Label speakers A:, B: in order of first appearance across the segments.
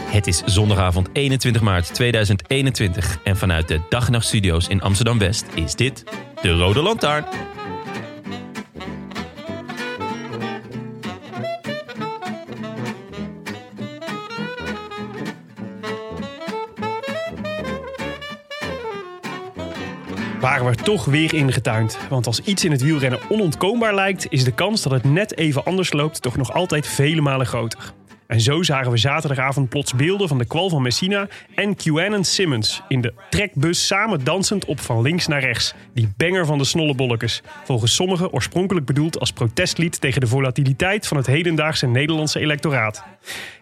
A: Het is zondagavond 21 maart 2021 en vanuit de Dag en Nacht Studio's in Amsterdam-West is dit de Rode Lantaarn.
B: waren we er toch weer ingetuind. Want als iets in het wielrennen onontkoombaar lijkt, is de kans dat het net even anders loopt toch nog altijd vele malen groter. En zo zagen we zaterdagavond plots beelden van de kwal van Messina en QAnon Simmons in de trekbus samen dansend op van links naar rechts. Die banger van de snollebollekes. Volgens sommigen oorspronkelijk bedoeld als protestlied tegen de volatiliteit van het hedendaagse Nederlandse electoraat.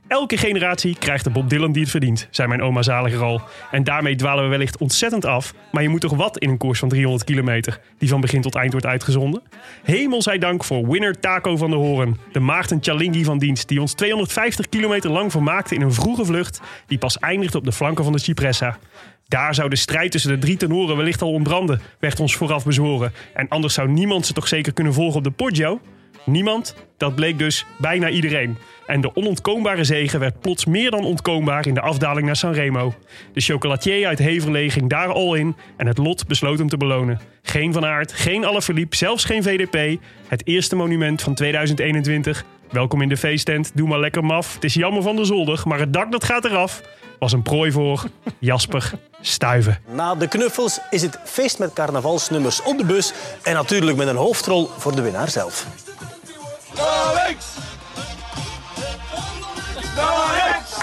B: Elke generatie krijgt de Bob Dylan die het verdient, zei mijn oma zaliger al. En daarmee dwalen we wellicht ontzettend af, maar je moet toch wat in een koers van 300 kilometer, die van begin tot eind wordt uitgezonden? Hemel zij dank voor winner Taco van der Hoorn, de maagden Chalingi van dienst, die ons 250 kilometer lang vermaakte in een vroege vlucht, die pas eindigde op de flanken van de Cipressa. Daar zou de strijd tussen de drie tenoren wellicht al ontbranden, werd ons vooraf bezworen. En anders zou niemand ze toch zeker kunnen volgen op de Poggio? Niemand, dat bleek dus bijna iedereen. En de onontkoombare zegen werd plots meer dan ontkoombaar in de afdaling naar Sanremo. De chocolatier uit Heverlee ging daar al in en het lot besloot hem te belonen. Geen Van Aert, geen Alaphilippe, zelfs geen VDP. Het eerste monument van 2021. Welkom in de feesttent, doe maar lekker maf. Het is jammer van de zolder, maar het dak dat gaat eraf. Was een prooi voor Jasper Stuiven.
C: Na de knuffels is het feest met carnavalsnummers op de bus en natuurlijk met een hoofdrol voor de winnaar zelf.
D: Naar links! Naar links!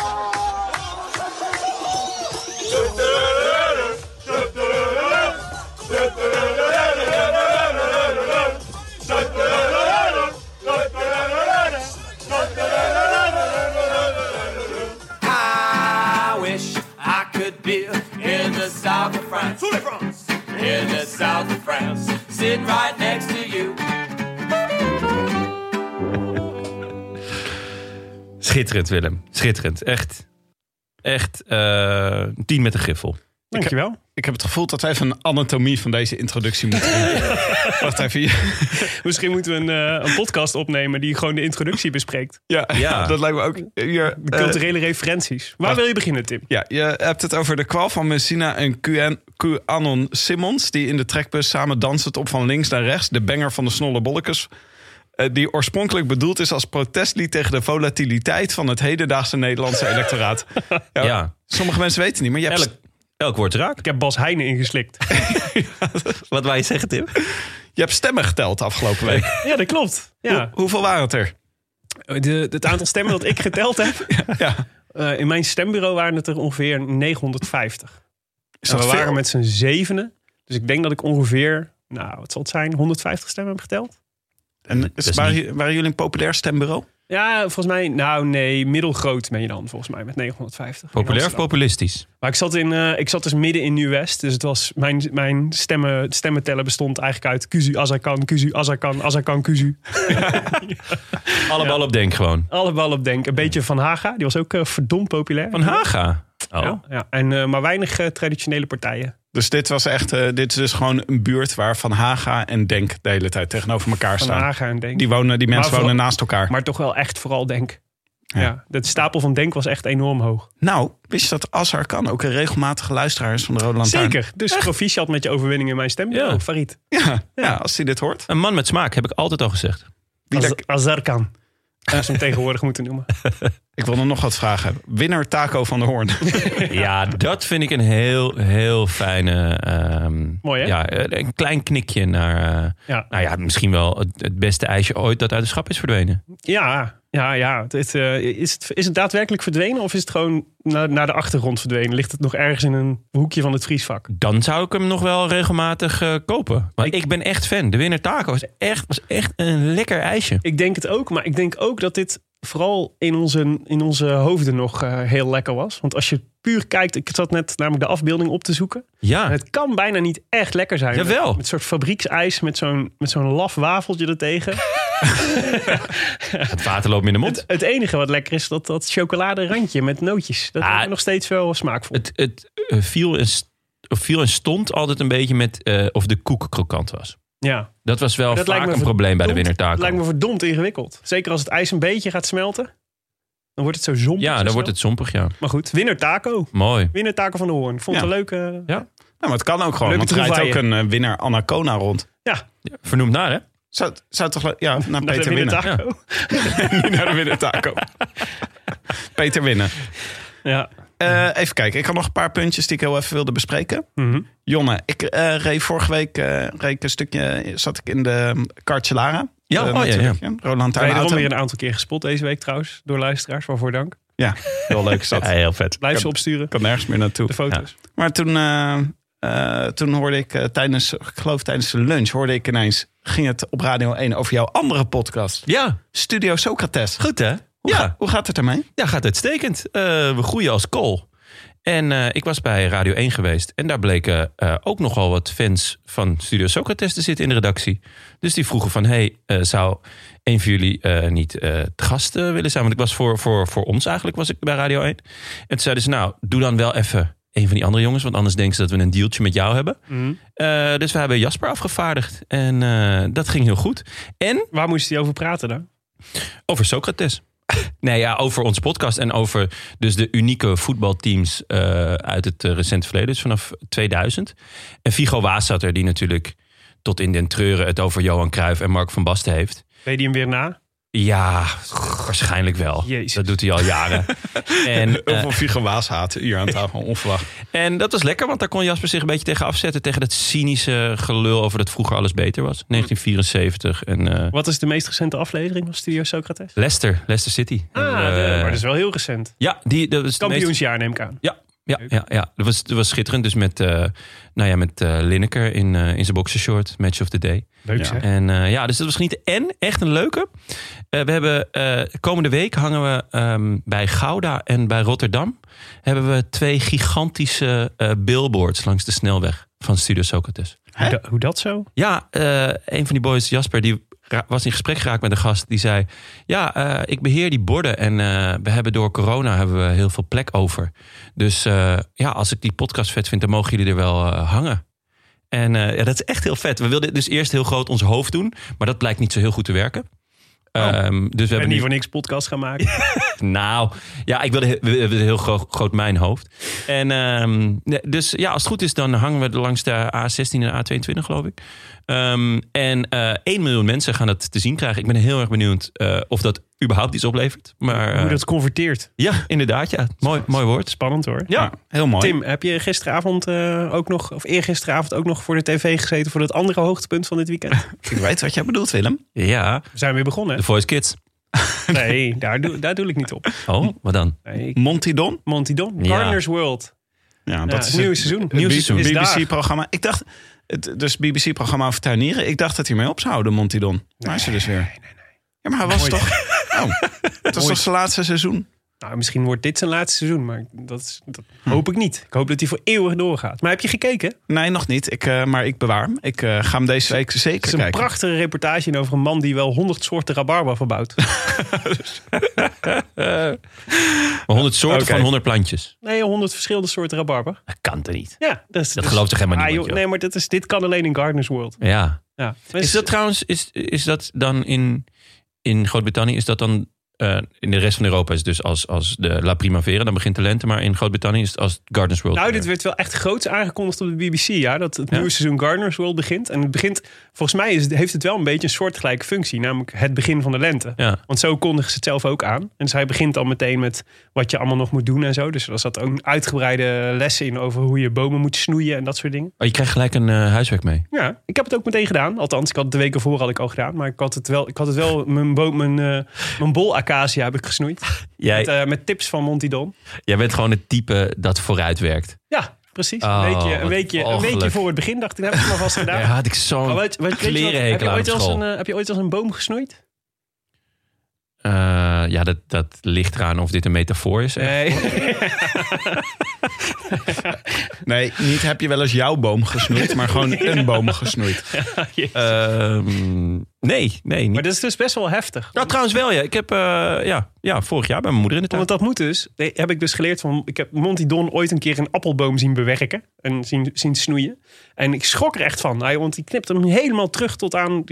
E: I wish I could be in the south of France. In the south of France. Sitting right next to you.
A: Schitterend, Willem. Schitterend. Echt. Echt. eh, een tien met een griffel.
B: Dankjewel.
F: Ik heb het gevoel dat wij even een anatomie van deze introductie moeten doen. Wacht even. hier.
B: Misschien moeten we een, eh, een podcast opnemen die gewoon de introductie bespreekt.
F: Ja,
A: Ja.
F: dat lijkt me ook. Hier,
B: De culturele referenties. Waar wil je beginnen, Tim?
F: Ja, je hebt het over de kwal van Messina en QN, QAnon Simmons... die in de trekbus samen dansend op van links naar rechts... de banger van de snolle bollekes... eh, die oorspronkelijk bedoeld is als protestlied... tegen de volatiliteit van het hedendaagse Nederlandse electoraat. Ja,
A: Ja.
F: Sommige mensen weten het niet, maar je hebt...
A: Elk, elk woord raak.
B: Ik heb Bas Heijnen ingeslikt.
A: Wat wij zeggen, Tim.
F: Je hebt stemmen geteld afgelopen week.
B: Ja, dat klopt. Ja.
F: Hoe- hoeveel waren het er?
B: De, het aantal stemmen dat ik geteld heb.
F: Ja.
B: eh, in mijn stembureau waren het er ongeveer 950.
F: Is
B: En
F: dat
B: we
F: veel?
B: waren met z'n zevenen. Dus ik denk dat ik ongeveer, nou, wat zal het zijn, 150 stemmen heb geteld.
F: En
A: Dat
F: is,
A: is
F: waren, waren jullie een populair stembureau?
B: Ja, volgens mij, nou nee, middelgroot ben je dan volgens mij met 950. in
A: Populair of
B: Amsterdam.
A: populistisch?
B: Maar ik zat, in, eh, ik zat dus midden in Nieuw-West. Dus het was mijn, mijn stemmen, het stemmentellen bestond eigenlijk uit Kuzu, Azarkan, Kuzu, Azarkan, Azarkan, Kuzu.
A: Alle bal op denk gewoon.
B: Alle bal op denk. Een beetje Van Haga. Die was ook eh, verdomd populair.
A: Van Haga. Oh.
B: Ja, ja. En, eh, maar weinig eh, traditionele partijen.
F: Dus dit was echt, eh, dit is dus gewoon een buurt waar Van Haga en Denk de hele tijd tegenover elkaar
B: Van
F: staan.
B: Haga en Denk.
F: Die, wonen, die mensen
B: Maar
F: wonen
B: vooral-
F: naast elkaar.
B: Maar toch wel echt vooral Denk.
F: Ja.
B: Ja. dat stapel van Denk was echt enorm hoog.
F: Nou, wist je dat Azar kan ook een regelmatige luisteraar is van de Rode Lantaarn?
B: Zeker. Dus proficiat met je overwinning in mijn stem.
A: Ja.
B: Ja, Farid.
F: Ja, ja. als hij dit hoort.
A: Een man met smaak, heb ik altijd al gezegd.
F: Wie
B: Az-
F: dat-
B: Azarkan. Als we hem tegenwoordig moeten noemen.
F: Ik wil er nog wat vragen. Winnaar Taco van de Hoorn. Nou,
A: Ja, dat vind ik een heel, heel fijne... ehm,
B: Mooi, hè?
A: Ja, eh, een klein knikje naar... eh,
B: Ja.
A: Nou ja, misschien wel het, het beste ijsje ooit dat uit de schap is verdwenen.
B: Ja, ja, ja. Het, het, eh, is, het, is het daadwerkelijk verdwenen of is het gewoon naar, naar de achtergrond verdwenen? Ligt het nog ergens in een hoekje van het vriesvak?
A: Dan zou ik hem nog wel regelmatig eh, kopen. Maar ik, ben echt fan. De winnaar taco was echt, was echt een lekker ijsje.
B: Ik denk het ook, maar ik denk ook dat dit vooral in onze, in onze hoofden nog eh, heel lekker was. Want als je puur kijkt, ik zat net namelijk de afbeelding op te zoeken. En
A: Ja,
B: het kan bijna niet echt lekker zijn. Met-
A: Jawel.
B: Met, een soort fabrieksijs, met zo'n, met zo'n laf wafeltje ertegen.
A: het water loopt me in de mond.
B: het, het enige wat lekker is, dat, dat chocoladerandje met nootjes. Dat
A: Ah.
B: is nog steeds wel smaakvol.
A: Het, het eh, viel, en st- of viel en stond altijd een beetje met eh, of de koek krokant was.
B: ja.
A: Dat was wel
B: Dat lijkt
A: vaak
B: me
A: een probleem bij de
B: verdomd-
A: winnaar
B: Het lijkt me
A: taco.
B: verdomd ingewikkeld. Zeker als het ijs een beetje gaat smelten. Dan wordt het zo zompig.
A: Ja,
B: zo
A: dan
B: snel.
A: wordt het zompig, ja.
B: Maar goed, winnaar taco.
A: Mooi.
B: Winnaar taco van de Hoorn. Vond het
F: Ja.
B: een leuke...
F: Nou, maar het kan ook gewoon.
B: Leuke
F: want er rijdt ook
B: troevaaier.
F: een eh, winnaar Anacona rond.
B: Ja,
A: Vernoemd naar, hè?
F: Zou, zou toch... le- Ja, naar
B: naar de
F: Peter
B: winnaar
F: winnen.
B: taco.
F: Niet naar de winnaar Taco. Peter winnen.
B: Ja.
F: Eh, even kijken. Ik had nog een paar puntjes die ik heel even wilde bespreken.
B: Mhm.
F: Jonne, ik eh, reed vorige week eh, reed ik een stukje... Zat ik in de Cartelara.
A: Ja,
F: Eh,
A: oh, ja,
F: natuurlijk, hè. Roland Tuin
B: Wederom
F: auto.
B: weer een aantal keer gespot deze week trouwens. Door luisteraars, waarvoor dank.
F: Ja, heel leuk is dat.
A: Ja, heel vet.
B: Blijf ze
F: Kan-
B: opsturen,
F: Ik kan nergens meer naartoe.
B: de foto's.
F: Maar toen, eh, eh, toen hoorde ik eh, tijdens, ik geloof tijdens de lunch, hoorde ik ineens, ging het op Radio 1 over jouw andere podcast.
A: Ja,
F: Studio Socrates.
A: goed hè? Hoe
F: ja,
A: ga-
F: hoe gaat het ermee?
A: Ja, gaat uitstekend. Eh, we groeien als kool. En eh, ik was bij Radio 1 geweest. En daar bleken eh, ook nogal wat fans van Studio Socrates te zitten in de redactie. Dus die vroegen van, hey, eh, zou een van jullie eh, niet eh te gast eh, willen zijn? Want ik was voor, voor, voor ons eigenlijk, was ik bij Radio 1. En toen zeiden ze, nou, doe dan wel even een van die andere jongens. Want anders denken ze dat we een dealtje met jou hebben. Eh, dus we hebben Jasper afgevaardigd. En eh, dat ging heel goed. En
B: Waar moest hij over praten dan?
A: over Socrates. Nee, ja, over ons podcast en over dus de unieke voetbalteams eh, uit het eh, recente verleden, dus vanaf 2000. En Vigo Waas zat er, die natuurlijk tot in den treuren het over Johan Cruijff en Mark van Basten heeft.
B: Weet hij hem weer na?
A: Ja, waarschijnlijk wel.
B: Jezus.
A: Dat doet hij al jaren. en, eh,
F: Hoeveel Vigo Waas haat hier aan tafel, onverwacht.
A: en dat was lekker, want daar kon Jasper zich een beetje tegen afzetten. Tegen dat cynische gelul over dat vroeger alles beter
B: Hm.
A: was. 1974 en eh
B: Wat is de meest recente aflevering van Studio Socrates?
A: Leicester, Leicester City.
B: Ah, de-
A: Eh,
B: maar dat is wel heel recent.
A: Ja, die, dat was de meest-
B: Kampioensjaar neem ik aan.
A: Ja, ja, ja, ja. Dat, was, dat was schitterend. Dus met, eh, nou ja, met eh, Lineker in, eh, in zijn boxershort, match of the day.
B: Leuk zeg.
A: En eh, ja, dus dat was genieten. En echt een leuke. Eh, we hebben eh, komende week hangen we ehm, bij Gouda en bij Rotterdam. Hebben we twee gigantische eh, billboards langs de snelweg van Studio Socrates.
B: Hoe, da- hoe dat zo?
A: Ja, eh, een van die boys, Jasper, die ra- was in gesprek geraakt met een gast. Die zei, ja, eh, ik beheer die borden. En eh, we hebben door corona hebben we heel veel plek over. Dus eh, ja, als ik die podcast vet vind, dan mogen jullie er wel eh, hangen. En eh, ja, dat is echt heel vet. We wilden dus eerst heel groot ons hoofd doen. Maar dat blijkt niet zo heel goed te werken. Ehm, dus we
B: En
A: hebben
B: niet
A: nu
B: voor niks podcast gaan maken.
A: nou, ja, ik wilde, he- we- we wilden heel gro- groot mijn hoofd. En ehm, nee, dus ja, als het goed is, dan hangen we er langs de A16 en A22, geloof ik. Ehm, en eh 1 miljoen mensen gaan dat te zien krijgen. Ik ben heel erg benieuwd eh, of dat überhaupt iets oplevert. Maar eh,
B: Hoe dat converteert.
A: ja, inderdaad, ja. Mooi, mooi woord.
B: Spannend hoor.
A: Ja.
F: heel mooi.
B: Tim, heb je gisteravond eh, ook nog, of eergisteravond ook nog voor de tv gezeten voor dat andere hoogtepunt van dit weekend?
F: Ik weet wat jij bedoelt, Willem.
A: Ja,
B: We zijn weer begonnen.
A: The Voice Kids.
B: hè? Nee, daar doe, daar doe ik niet op.
A: Oh, wat dan?
B: Nee, ik-
F: Monty Don.
B: Monty Don,
A: Ja.
B: Gardener's World.
F: Ja,
B: Ja,
F: dat
B: het
F: is
B: nieuwe
F: het
B: seizoen.
A: Nieuw seizoen.
B: is daar.
F: BBC-programma. Ik dacht, het, dus BBC-programma over tuinieren. Ik dacht dat hij mee op zou houden, Monty Don. Maar hij is er dus weer. Ja, maar hij was toch... Oh, het was toch zijn laatste seizoen?
B: Nou, misschien wordt dit zijn laatste seizoen, maar dat, is, dat
A: Hm.
B: hoop ik niet. Ik hoop dat hij voor eeuwig doorgaat. Maar heb je gekeken? Het
F: Nee, nog niet. Ik, eh, maar ik bewaar hem. Ik eh, ga hem deze week zeker
B: is een
F: kijken.
B: prachtige reportage in over een man die wel honderd soorten rabarber verbouwt.
A: Maar 100 soorten
F: Oké.
A: van 100 plantjes.
B: Nee, honderd verschillende soorden rabarber.
A: Dat kan toch niet?
B: Ja, dat, is,
A: Dat gelooft toch helemaal
B: Ah,
A: niemand,
B: joh,
A: joh.
B: nee, maar dit, is, dit kan alleen in Gardener's World.
A: Ja.
B: Ja. Dus
A: Is dat trouwens, is, is dat dan in, in Groot-Brittannië, is dat dan eh, in de rest van Europa is het dus als, als de La Primavera, dan begint de lente. Maar in Groot-Brittannië is het als het Gardens World.
B: Nou,
A: Fair.
B: dit werd wel echt groots aangekondigd op de BBC, ja. Dat het
A: Ja.
B: nieuwe seizoen Gardener's World begint. En het begint, volgens mij is het, heeft het wel een beetje een soortgelijke functie. Namelijk het begin van de lente.
A: Ja.
B: Want zo kondigen ze het zelf ook aan. En zij begint al meteen met wat je allemaal nog moet doen en zo. Dus er zat ook een uitgebreide lessen in over hoe je bomen moet snoeien en dat soort dingen.
A: Oh, je krijgt gelijk een eh, huiswerk mee.
B: Ja, ik heb het ook meteen gedaan. Althans, ik had het de weken voor had ik al gedaan. Maar ik had het wel, ik had het wel mijn, boom, mijn, eh, mijn bol acacia heb ik gesnoeid.
A: Jij,
B: Met, eh, met tips van Monty Don.
A: jij bent gewoon het type dat vooruit werkt.
B: Ja, precies.
A: Oh,
B: een, weekje, een,
A: wat
B: weekje, een
A: walgelijk.
B: weekje voor het begin dacht ik, dat heb ik maar vast gedaan.
A: Ja, had ik
B: Maar
A: zo'n
B: Oh, wat- wat- weet je wat- heb,
A: klerenhekel
B: je
A: aan
B: ooit
A: op
B: wel eens
A: school.
B: een, eh, heb je ooit als een boom gesnoeid?
A: Eh, ja, dat, dat ligt eraan of dit een metafoor is. echt.
B: Nee.
F: Nee, niet heb je wel eens jouw boom gesnoeid, maar gewoon een boom gesnoeid.
A: Ehm, nee, nee. Niet.
B: Eh. maar dat is dus best wel heftig.
A: Nou, trouwens wel, ja. Ik heb eh, ja, ja, vorig jaar bij mijn moeder in de tuin.
B: Want dat moet dus. Nee, heb ik dus geleerd van. Ik heb Monty Don ooit een keer een appelboom zien bewerken. En zien, zien snoeien. En ik schrok er echt van. Hij, want die knipt hem helemaal terug tot aan.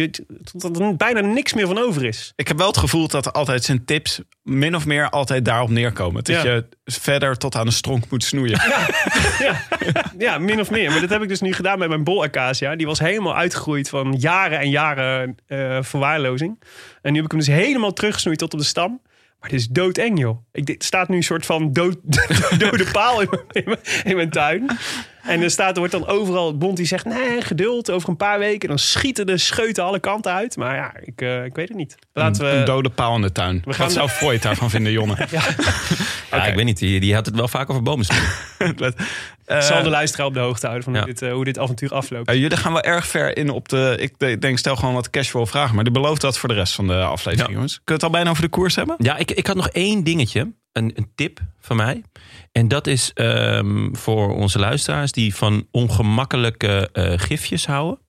B: Tot er bijna niks meer van over is.
F: Ik heb wel het gevoel dat er altijd zijn tips min of meer altijd daarop neerkomen.
B: Ja.
F: Dat je verder tot aan de stronk moet snoeien.
B: Ja, ja min of meer. Maar dat heb ik dus nu gedaan met mijn bolacacia. Die was helemaal uitgegroeid van jaren en jaren eh, verwaarlozing. En nu heb ik hem dus helemaal teruggesnoeid tot op de stam. Maar dit is doodeng, joh. Ik, dit staat nu een soort van dood, dode paal in mijn, in mijn- in mijn tuin. En er, staat, er wordt dan overal Bond die zegt... nee, geduld, over een paar weken. Dan schieten de scheuten alle kanten uit. Maar ja, ik, eh, ik weet het niet. Laten
F: Een
B: we...
F: dode paal in de tuin.
B: gaan-
F: Wat zou Freud daarvan vinden, Jonne?
A: Ja, ik weet niet. Die, die had het wel vaak over bomen.
B: Ik zal de luisteraar eh, op de hoogte houden van
A: Ja.
B: hoe, dit, eh, hoe dit avontuur afloopt.
F: Eh, jullie gaan wel erg ver in op de... Ik de- denk, stel gewoon wat casual vragen. Maar die belooft dat voor de rest van de aflevering,
A: Ja.
F: jongens. Kunnen we het al bijna over de koers hebben?
A: Ja, ik, ik had nog één dingetje. Een, een tip van mij. En dat is ehm, voor onze luisteraars die van ongemakkelijke eh, gifjes houden.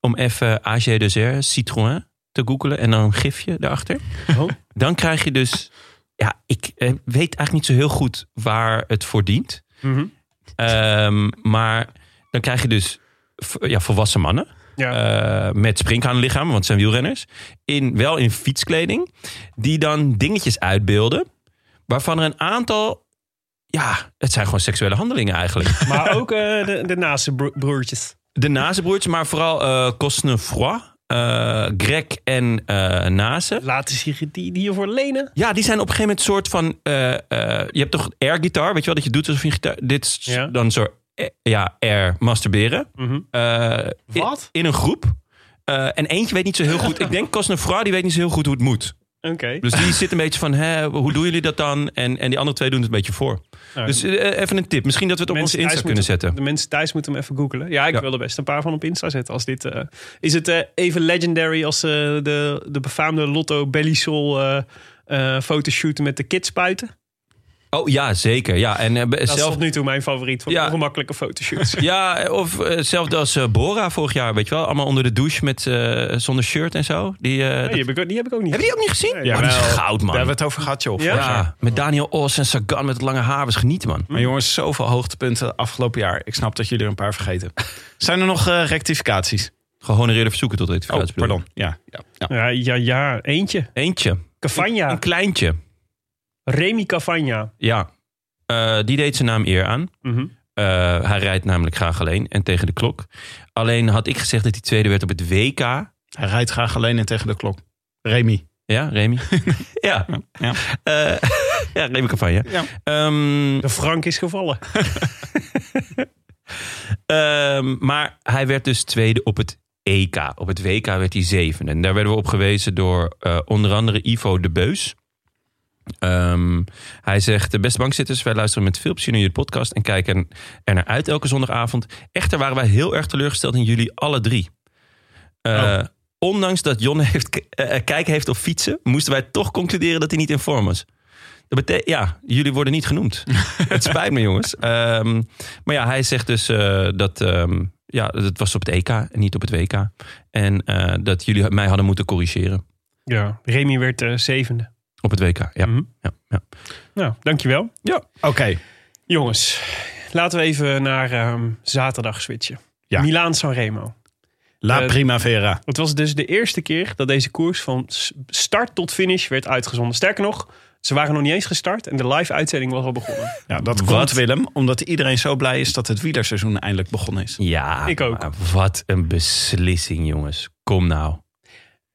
A: Om even AG Dessert Citroën te googelen en dan een gifje daarachter.
B: Oh.
A: Dan krijg je dus... Ja, ik eh, weet eigenlijk niet zo heel goed waar het voor dient.
B: Mhm.
A: Ehm, maar dan krijg je dus v- ja, volwassen mannen.
B: Ja.
A: eh, met springhaanlichaam, want het zijn wielrenners. In, wel in fietskleding. Die dan dingetjes uitbeelden. Waarvan er een aantal. Ja, het zijn gewoon seksuele handelingen eigenlijk.
B: Maar ook eh, de, de naaste bro- broertjes.
A: De nazenbroertjes, maar vooral eh Cosnefroid, eh, Greg en eh Nase.
B: Laten zich die, die hiervoor lenen.
A: Ja, die zijn op een gegeven moment soort van... eh, eh, je hebt toch air-gitaar, weet je wel? Dat je doet alsof je een gitaar... Dit is
B: Ja. Mhm.
A: dan zo... eh, Ja, air masturberen. Eh, in-
B: Wat?
A: In, een groep. Eh, en eentje weet niet zo heel goed... Ik denk Cosnefroid, die weet niet zo heel goed hoe het moet.
B: Oké.
A: Dus die zit een beetje van, hè, hoe doen jullie dat dan? En, en die andere twee doen het een beetje voor.
B: Nou,
A: Dus eh, even een tip. Misschien dat we het op
B: mensen
A: onze Insta
B: thuis
A: kunnen
B: moeten-
A: zetten.
B: De mensen thuis moeten hem even googelen. Ja, ik
A: Ja.
B: wil er best een paar van op Insta zetten. Als dit, eh, is het eh, even legendary als eh, de, de befaamde Lotto Bellisol eh eh, fotoshoot met de kidspuiten?
A: Oh ja, zeker. Ja, en eh,
B: Dat is
A: zelf...
B: tot nu toe mijn favoriet van
A: Ja.
B: ongemakkelijke fotoshoots.
A: Ja, of eh, hetzelfde als eh, Bora vorig jaar, weet je wel. Allemaal onder de douche met, eh, zonder shirt en zo. Die, eh, dat-
B: Nee, die, heb ik, ook- die heb ik ook niet.
A: Hebben die ook niet gezien?
B: Nee,
A: ja, die is
F: jawel.
A: goud, man.
F: Daar hebben we het over gehad, joh.
B: Ja?
F: vorig jaar.
A: ja, met Daniel Os en Sagan met het lange haar was genieten, man.
F: Maar jongens, zoveel hoogtepunten afgelopen jaar. Ik snap dat jullie er een paar vergeten. Zijn er nog eh, rectificaties?
A: Gehonoreerde verzoeken tot dit
F: Oh, pardon. Ja, ja, ja.
B: Ja, ja, ja. Eentje.
A: Eentje.
B: Cavagna.
A: Een kleintje.
B: Remy Cavagna.
A: Ja. Eh, die deed zijn naam eer aan.
B: Mhm.
A: Eh, hij rijdt namelijk graag alleen en tegen de klok. Alleen had ik gezegd dat hij tweede werd op het WK.
F: Hij rijdt graag alleen en tegen de klok. Remy.
A: Ja, Remy? ja.
F: Ja.
A: Eh, ja, Remy Cavagna.
F: Ja.
A: Ehm,
B: De Frank is gevallen.
A: ehm, maar hij werd dus tweede op het EK. Op het WK werd hij zevende. En daar werden we op gewezen door eh, onder andere Ivo de Beus. Ehm, hij zegt, de beste bankzitters, wij luisteren met veel plezier naar jullie podcast... en kijken er naar uit elke zondagavond. Echter waren wij heel erg teleurgesteld in jullie alle drie. Eh, Ondanks dat Jon heeft, k- eh, kijk heeft op fietsen... moesten wij toch concluderen dat hij niet in vorm was. Dat betekent, ja, jullie worden niet genoemd. het spijt me, jongens. Ehm, maar ja, hij zegt dus eh, dat... ehm, ja, dat was op het EK en niet op het WK. En eh, dat jullie mij hadden moeten corrigeren
B: Ja. Remy werd eh, zevende.
A: op het WK. Ja,
B: Mhm.
A: ja, ja.
B: Nou, dankjewel.
F: Oké,
B: Jongens, laten we even naar ehm, zaterdag switchen.
F: Ja.
B: Milaan Sanremo.
F: La
B: Eh,
F: Primavera.
B: Het was dus de eerste keer dat deze koers van s- start tot finish werd uitgezonden. Sterker nog, ze waren nog niet eens gestart en de live uitzending was al begonnen.
F: Ja, dat komt Willem, omdat iedereen zo blij is dat het wielerseizoen eindelijk begonnen is.
A: Ja,
B: Ik ook.
A: maar wat een beslissing, jongens. Kom nou.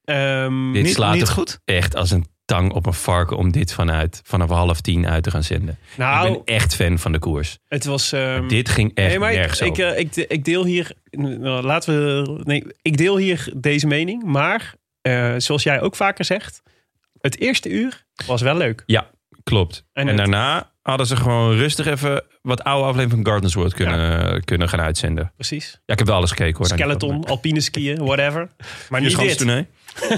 B: Ehm,
A: Dit
F: Niet-
A: slaat
F: niet
A: er
F: goed?
A: echt als een tang op een varken om dit vanuit vanaf half tien uit te gaan zenden.
B: nou,
A: Ik ben echt fan van de koers.
B: het was. ehm,
A: dit ging echt
B: nee, maar ik,
A: nergens
B: ik,
A: over.
B: eh, ik, de- ik deel hier. nou, Laten we. Nee, ik deel hier deze mening. Maar eh, zoals jij ook vaker zegt, het eerste uur was wel leuk.
A: ja, klopt.
B: En
A: En,
B: het-
A: daarna hadden ze gewoon rustig even wat oude aflevering van Gardens World kunnen, kunnen gaan uitzenden.
B: Precies.
A: Ja, ik heb wel alles gekeken hoor.
B: Skeleton, alpine skiën, whatever. Maar
A: Je
B: niet dit.
A: toernooi.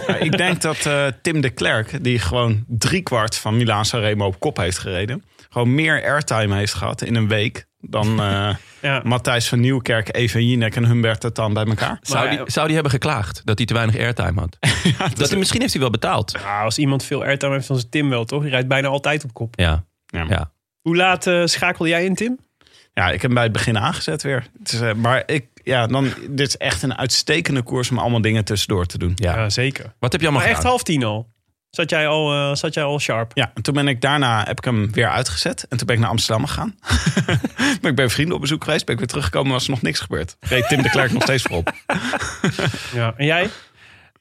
F: Maar ik denk dat eh, Tim de Klerk, die gewoon driekwart van Milaan Sanremo op kop heeft gereden, gewoon meer airtime heeft gehad in een week dan eh
B: Ja.
F: Matthijs van Nieuwkerk, Even Jinek en Humbert het dan bij elkaar.
A: Zou die, zou die hebben geklaagd dat hij te weinig airtime had? dat hij, misschien heeft hij wel betaald.
B: Nou, als iemand veel airtime heeft, dan is Tim wel, toch? Die rijdt bijna altijd op kop.
A: Ja.
F: Ja.
A: ja.
B: Hoe laat eh, schakel jij in, Tim?
F: Ja, ik heb hem bij het begin aangezet weer. Het is, eh, maar ik, ja, dan, dit is echt een uitstekende koers om allemaal dingen tussendoor te doen.
A: Ja.
B: zeker.
A: Wat heb je allemaal
B: Maar echt
A: gedaan?
B: half tien al. Zat jij al, eh, zat jij al sharp?
F: Ja, en toen ben ik daarna heb ik hem weer uitgezet. En toen ben ik naar Amsterdam gegaan. ben ik bij vrienden op bezoek geweest. Ben ik weer teruggekomen. Was er nog niks gebeurd. Reed Tim de Klerk nog steeds voorop.
B: Ja. En jij?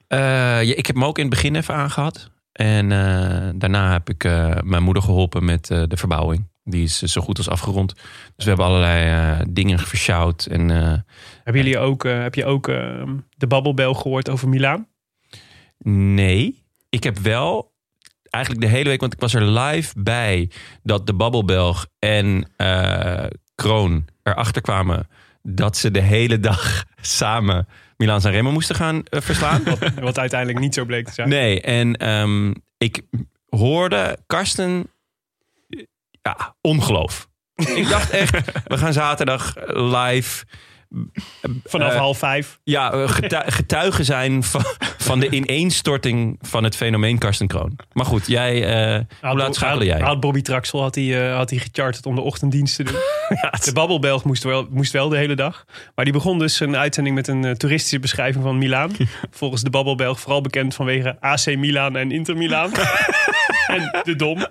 A: Eh, ja, ik heb hem ook in het begin even aangehad. En eh, daarna heb ik eh, mijn moeder geholpen met eh, de verbouwing. Die is eh, zo goed als afgerond. Dus we hebben allerlei eh, dingen versjouwd. En eh,
B: Hebben jullie ook, eh, heb je ook eh, de babbelbel gehoord over Milaan?
A: nee, ik heb wel eigenlijk de hele week... want ik was er live bij dat de Babbelbelg en eh, Kroon erachter kwamen... dat ze de hele dag samen Milaan Sanremo moesten gaan eh, verslaan.
B: Wat, wat uiteindelijk niet zo bleek te zijn.
A: Nee, en ehm, ik hoorde Karsten. eh, Ja, ongeloof. ik dacht echt, we gaan zaterdag eh, live.
B: Vanaf
A: Eh,
B: half vijf.
A: Ja, eh, getu- getuigen zijn van, van de ineenstorting van het fenomeen Karsten Kroon. Maar goed, jij. eh hoe laat schakelde
B: had-
A: jij?
B: Had Bobby Traxel had hij, eh, had hij gecharterd om de ochtenddienst te doen. De babbelbelg moest wel, moest wel de hele dag. Maar die begon dus een uitzending met een eh, toeristische beschrijving van Milaan. Volgens de babbelbelg vooral bekend vanwege AC Milaan en Inter Milaan. en de Dom.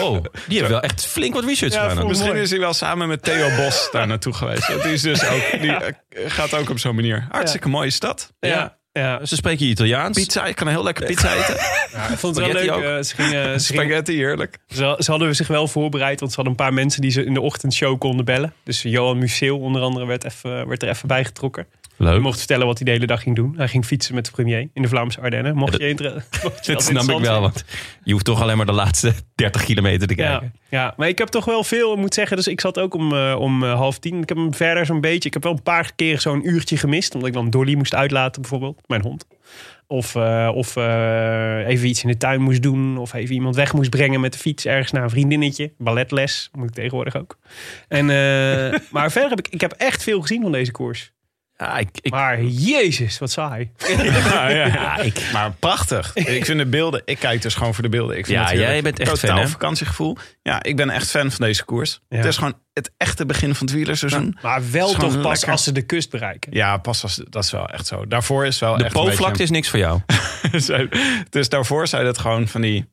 A: Oh, die hebben wel echt flink wat research gedaan. dan.
F: Misschien
B: mooi.
F: is hij wel samen met Theo Bos daar naartoe geweest. Dat is dus ook, die eh, gaat ook op zo'n manier. Hartstikke mooie stad.
A: Ja.
B: Ja,
A: Ze spreken Italiaans.
F: Pizza, ik kan heel lekker pizza eten.
B: ik vond het wel leuk.
A: Spaghetti ook.
B: eh, ze, gingen, ze, gingen-
F: Spaghetti, heerlijk.
B: ze, ze hadden zich wel voorbereid, want ze hadden een paar mensen die ze in de ochtendshow konden bellen. Dus Johan Museeuw onder andere werd, even, eh, werd er even bij getrokken. Hij
A: Leuk.
B: mocht vertellen wat hij de hele dag ging doen. Hij ging fietsen met de premier in de Vlaamse Ardennen. Mocht je inter- mocht je
A: Dat snap ik
B: interessant
A: wel,
B: vinden.
A: want je hoeft toch alleen maar de laatste 30 kilometer te kijken.
B: Ja, ja, maar ik heb toch wel veel, moet zeggen. Dus ik zat ook om, eh, om eh, half tien. Ik heb hem verder zo'n beetje. Ik heb wel een paar keer zo'n uurtje gemist. Omdat ik dan Dolly moest uitlaten, bijvoorbeeld. Mijn hond. Of, eh, of eh, even iets in de tuin moest doen. Of even iemand weg moest brengen met de fiets ergens naar een vriendinnetje. Balletles moet ik tegenwoordig ook. En, eh, maar verder heb ik, ik heb echt veel gezien van deze koers.
A: Ja, ik, ik,
B: Maar jezus, wat saai.
F: Ja, ja. Maar prachtig. Ik vind de beelden, ik kijk dus gewoon voor de beelden. Ik vind
A: Ja,
F: het heerlijk.
A: jij bent echt
F: Totaal
A: fan, hè?
F: vakantiegevoel. Ja, ik ben echt fan van deze koers.
B: Ja.
F: Het is gewoon het echte begin van het wielerseizoen.
B: Maar wel
F: Is gewoon
B: toch pas
F: lekker.
B: als ze de kust bereiken.
F: Ja, pas als, dat is wel echt zo. Daarvoor is wel
A: de
F: echt een beetje-
A: poolvlakte is niks voor jou.
F: Zo- dus daarvoor zijn dat gewoon van die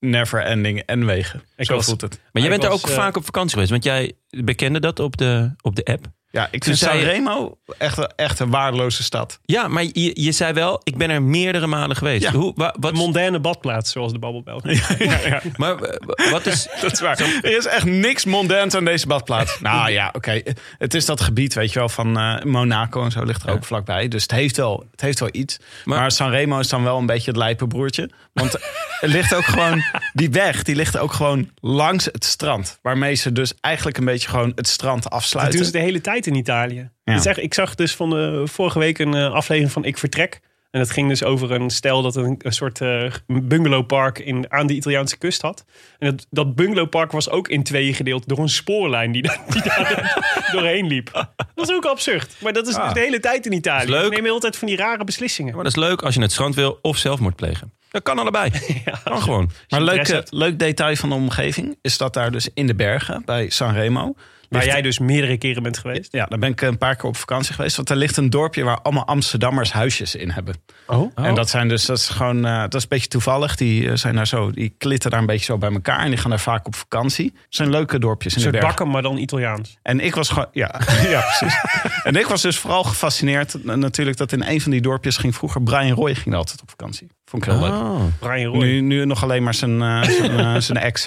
F: never ending en wegen.
B: Ik
F: Zo
B: was-
F: voelt het.
A: Maar jij
B: Ik
A: bent er
B: was,
A: ook
B: eh,
A: vaak op vakantie geweest, want jij bekende dat op de, op de app.
F: Ja, ik
A: Toen
F: vind
A: zei je-
F: Sanremo echt, een- echt een waardeloze stad.
A: Ja, maar je, je zei wel, ik ben er meerdere malen geweest.
F: Ja.
A: Hoe, wa-
B: Een
A: wat,
B: mondaine badplaats, zoals de babbelbel.
A: maar, eh, wat is...
F: Dat is waar. Er is echt niks mondains aan deze badplaats. nou ja, oké. Het is dat gebied, weet je wel, van eh, Monaco en zo ligt er ook vlakbij. Dus het heeft wel, het heeft wel iets.
A: Maar-
F: Maar, Sanremo is dan wel een beetje het lijpenbroertje. Want het ligt ook gewoon, die weg, die ligt ook gewoon langs het strand. Waarmee ze dus eigenlijk een beetje gewoon het strand
B: Dat
F: afsluiten.
B: doen ze de hele tijd in Italië.
F: Ja.
B: Het is echt- ik zag dus van de, vorige week een eh, aflevering van Ik Vertrek. En dat ging dus over een stel dat een, een soort eh, bungalowpark in, aan de Italiaanse kust had. En dat, dat bungalowpark was ook in tweeën gedeeld door een spoorlijn die, daar- die daar doorheen liep. Dat is ook absurd. Maar dat is
F: Ah.
B: dus de hele tijd in Italië.
A: Leuk.
B: Ze nemen altijd van die rare beslissingen.
A: Maar dat is leuk als je het strand wil of zelfmoord plegen. Dat kan allebei. Kan gewoon.
F: Maar
B: je
F: leuk,
B: interesse
F: eh, leuk detail van de omgeving is dat daar dus in de bergen bij Sanremo
B: Waar
F: Ligt-
B: jij dus meerdere keren bent geweest.
F: Ja, daar ben ik een paar keer op vakantie geweest. Want er ligt een dorpje waar allemaal Amsterdammers huisjes in hebben.
B: Oh.
F: En dat zijn dus, dat is gewoon, eh, dat is een beetje toevallig. Die eh, zijn daar zo, die klitten daar een beetje zo bij elkaar. En die gaan daar vaak op vakantie. Het zijn leuke dorpjes in
B: Een
F: de
B: soort
F: bergen.
B: bakken, maar dan Italiaans.
F: En ik was gewoon, ja, ja precies. En ik was dus vooral gefascineerd eh, natuurlijk dat in een van die dorpjes ging vroeger Brian Roy ging daar altijd op vakantie. Vond ik heel leuk.
B: Ah.
A: Oh.
B: Brian Roy.
F: Nu, nu nog alleen maar zijn, eh, zijn, eh, zijn ex.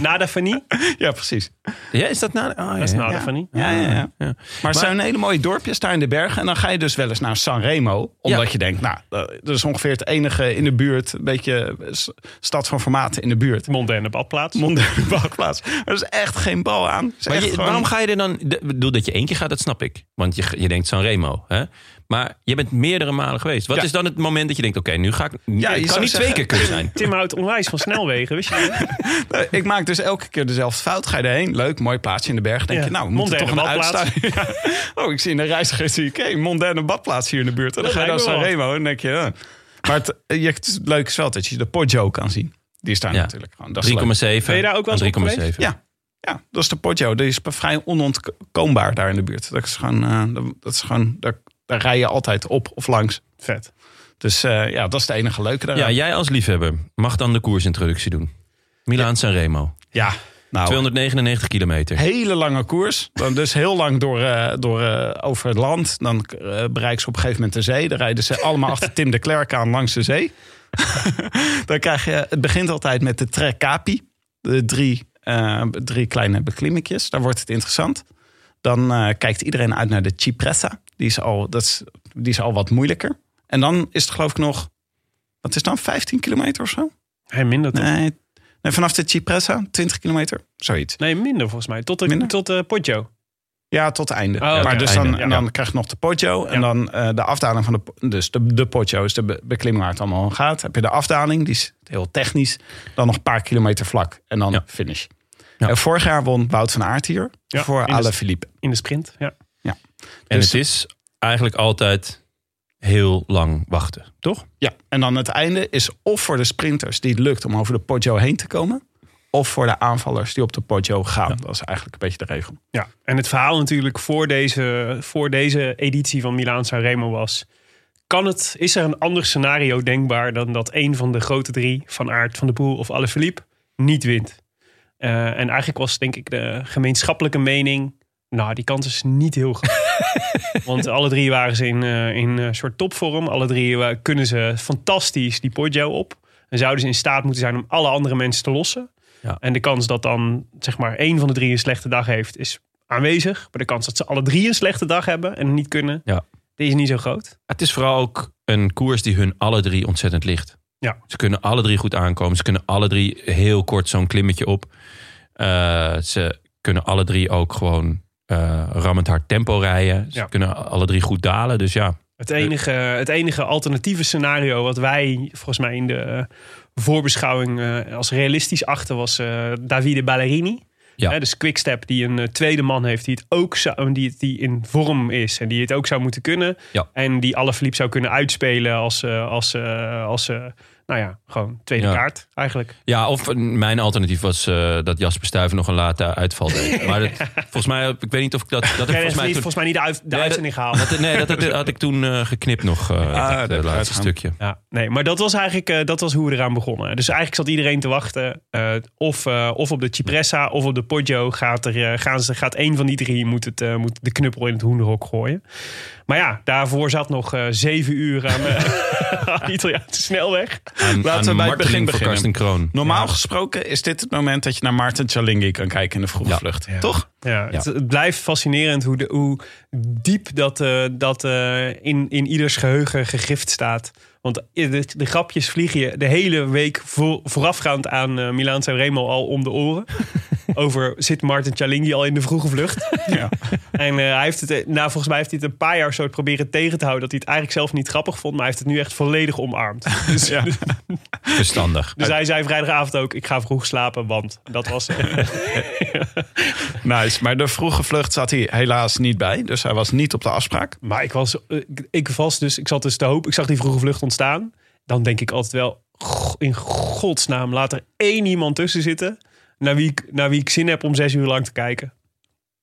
B: Nada Fanny.
F: ja, precies.
A: Ja, is dat nou? Oh, ja,
B: Dat is
A: ja.
B: Nada
F: Ja.
B: Fanny.
F: Ja, ja, ja.
A: Ja.
F: Maar het zijn hele mooie dorpjes daar in de bergen. En dan ga je dus wel eens naar Sanremo. Omdat
A: Ja.
F: je denkt, nou, eh, dat is ongeveer het enige in de buurt. Een beetje eh, s- stad van formaten in de buurt.
B: Mondaine badplaats.
F: Mondaine bouwplaats. Er is echt geen bal aan. Het is
A: Maar
F: echt
A: je-
F: gewoon-
A: waarom ga je er dan... de- Ik bedoel, dat je één keer gaat, dat snap ik. Want je, je denkt Sanremo. Hè? Maar je bent meerdere malen geweest. Wat
F: Ja.
A: is dan het moment dat je denkt... Oké, nu ga ik...
F: je
A: het kan
F: zou
A: niet twee
F: zeggen-
A: keer kunnen zijn.
B: Tim houdt onwijs van snelwegen, wist je? dat?
F: Eh, Ik maak dus elke keer dezelfde fout. Ga je erheen, leuk, mooi plaatsje in de berg. Denk
B: Ja.
F: je, nou, we moeten toch een
B: Mondaine
F: uitstaan. Oh, ik zie in de reiziger, zie ik, hey, mondaine badplaats hier in de buurt. En dan
B: Dat
F: ga je naar
B: lijkt me wel.
F: Sanremo en denk je... eh. Maar het, eh, je- het leuke is wel dat je de Poggio kan zien. Die is daar
A: Ja.
F: natuurlijk gewoon. Dat is leuk.
A: 3,7.
B: Ben je daar ook wel eens op geweest?
A: 3,7.
F: Ja. Ja, dat is de Poggio. Die is vrij onontkoombaar daar in de buurt. Dat is gewoon, eh, dat- dat is gewoon daar, daar rij je altijd op of langs.
B: Vet.
F: Dus eh, ja, dat is het enige leuke
A: Ja,
F: daaraan.
A: jij als liefhebber mag dan de koersintroductie doen. Milaan Sanremo.
F: Ja, nou,
A: 299 kilometer.
F: hele lange koers. Dan dus heel lang door, eh, door, eh, over het land. Dan eh bereiken ze op een gegeven moment de zee. Dan rijden ze allemaal achter Tim de Klerk aan langs de zee. dan krijg je, het begint altijd met de Tre Capi. De drie, eh, drie kleine beklimmetjes. Daar wordt het interessant. Dan eh, kijkt iedereen uit naar de Cipressa. Die is, al, dat is, die is al wat moeilijker. En dan is het geloof ik nog... Wat is dan? 15 kilometer of zo?
B: Hij minder toch?
F: Nee, nee vanaf de Cipressa 20 kilometer. Zoiets.
B: Nee, minder volgens mij. Tot, de,
F: Minder?
B: tot eh Poggio.
F: Ja, tot het einde.
B: Oh, oké.
F: Maar dus
A: Einde,
F: dan,
B: ja.
F: en dan krijg je nog de pocho. En
B: Ja.
F: dan eh, de afdaling van de... po- Dus de, de pocho is de be- beklimming waar het allemaal om gaat. Heb je de afdaling, die is heel technisch. Dan nog een paar kilometer vlak. En dan
A: Ja.
F: finish.
A: Ja.
F: En vorig jaar won Wout van Aert hier.
B: Ja,
F: voor
B: in de-
F: Alain Philippe.
B: In de sprint, ja.
A: en
F: dus-
A: het is eigenlijk altijd heel lang wachten, toch?
F: Ja, en dan het einde is of voor de sprinters die het lukt om over de pocho heen te komen. Of voor de aanvallers die op de pocho gaan. Dat is eigenlijk een beetje de regel.
B: Ja, en het verhaal natuurlijk voor deze, voor deze editie van Milaan Sanremo was... Kan het, is er een ander scenario denkbaar dan dat een van de grote drie... Van Aert, Van de Poel of Alaphilippe niet wint? Eh, en eigenlijk was denk ik de gemeenschappelijke mening... Nou, die kans is niet heel groot. Want alle drie waren ze in, eh, in een soort topvorm. Alle drie eh, kunnen ze fantastisch die Poggio op. En zouden ze in staat moeten zijn om alle andere mensen te lossen.
A: Ja.
B: En de kans dat dan zeg maar één van de drie een slechte dag heeft, is aanwezig. Maar de kans dat ze alle drie een slechte dag hebben en het niet kunnen,
A: Ja.
B: die is niet zo groot.
A: Het is vooral ook een koers die hun alle drie ontzettend ligt.
B: Ja.
A: Ze kunnen alle drie goed aankomen. Ze kunnen alle drie heel kort zo'n klimmetje op. Eh, ze kunnen alle drie ook gewoon eh, rammend hard tempo rijden. Ze
B: Ja.
A: kunnen alle drie goed dalen. Dus ja,
B: Het enige, het enige alternatieve scenario wat wij volgens mij in de eh, voorbeschouwing eh, als realistisch achten was eh, Davide Ballerini.
A: Ja.
B: Hè, dus Quickstep die een eh, tweede man heeft die het ook zou, die, het- die in vorm is en die het ook zou moeten kunnen.
A: Ja.
B: En die alle verliep zou kunnen uitspelen als, eh, als, eh, als eh, nou ja, gewoon tweede
A: Ja.
B: kaart eigenlijk.
A: Ja, of eh, mijn alternatief was eh, dat Jasper Stuyven nog een late uitval deed. Maar dat, volgens mij, ik weet niet of ik dat... dat heb
B: Nee,
A: ik volgens mij toen-
B: volgens mij niet de, uit, de
A: dat-
B: uitzending gehaald.
A: dat- nee, dat had, had ik toen eh, geknipt nog, eh dat eh,
F: dat
A: laatste
F: Ah, gaat gaan.
A: stukje.
B: Ja, nee, maar dat was eigenlijk eh, dat was hoe we eraan begonnen. Dus eigenlijk zat iedereen te wachten. eh, of, eh, of op de Cipressa of op de Poggio gaat, er, eh, gaan ze, gaat één van die drie moet, het, eh, moet de knuppel in het hoenderhok gooien. Maar ja, daarvoor zat nog eh, zeven uur aan eh, aan de Italiaanse snelweg.
A: Aan,
F: Laten
A: aan
F: we bij het
A: marteling
F: begin
A: voor Karsten
F: beginnen.
A: Kroon.
F: Normaal gesproken is dit het moment dat je naar Maarten Cialinghi kan kijken in de vroege
A: Ja.
F: vlucht.
B: Ja.
F: Toch?
B: Ja, Het, het blijft fascinerend hoe, de, hoe diep dat, eh, dat eh, in, in ieders geheugen gegrift staat. Want eh, de, de grapjes vliegen je de hele week voor- voorafgaand aan eh Milaan Sanremo al om de oren. Over zit Martin Cialinghi al in de vroege vlucht.
F: Ja.
B: En eh, hij heeft het, eh, nou, volgens mij heeft hij het een paar jaar zo proberen tegen te houden. Dat hij het eigenlijk zelf niet grappig vond. Maar hij heeft het nu echt volledig omarmd. Dus,
F: Ja.
A: Verstandig.
B: dus hij zei vrijdagavond ook: Ik ga vroeg slapen. Want dat was. eh,
F: Nice, maar de vroege vlucht zat hij helaas niet bij. Dus hij was niet op de afspraak.
B: Maar ik was, eh, ik, ik was dus, ik zat dus te hoop. Ik zag die vroege vlucht ontstaan. Dan denk ik altijd wel, "Go- in godsnaam, laat er één iemand tussen zitten. Naar wie, ik, naar wie ik zin heb om zes uur lang te kijken.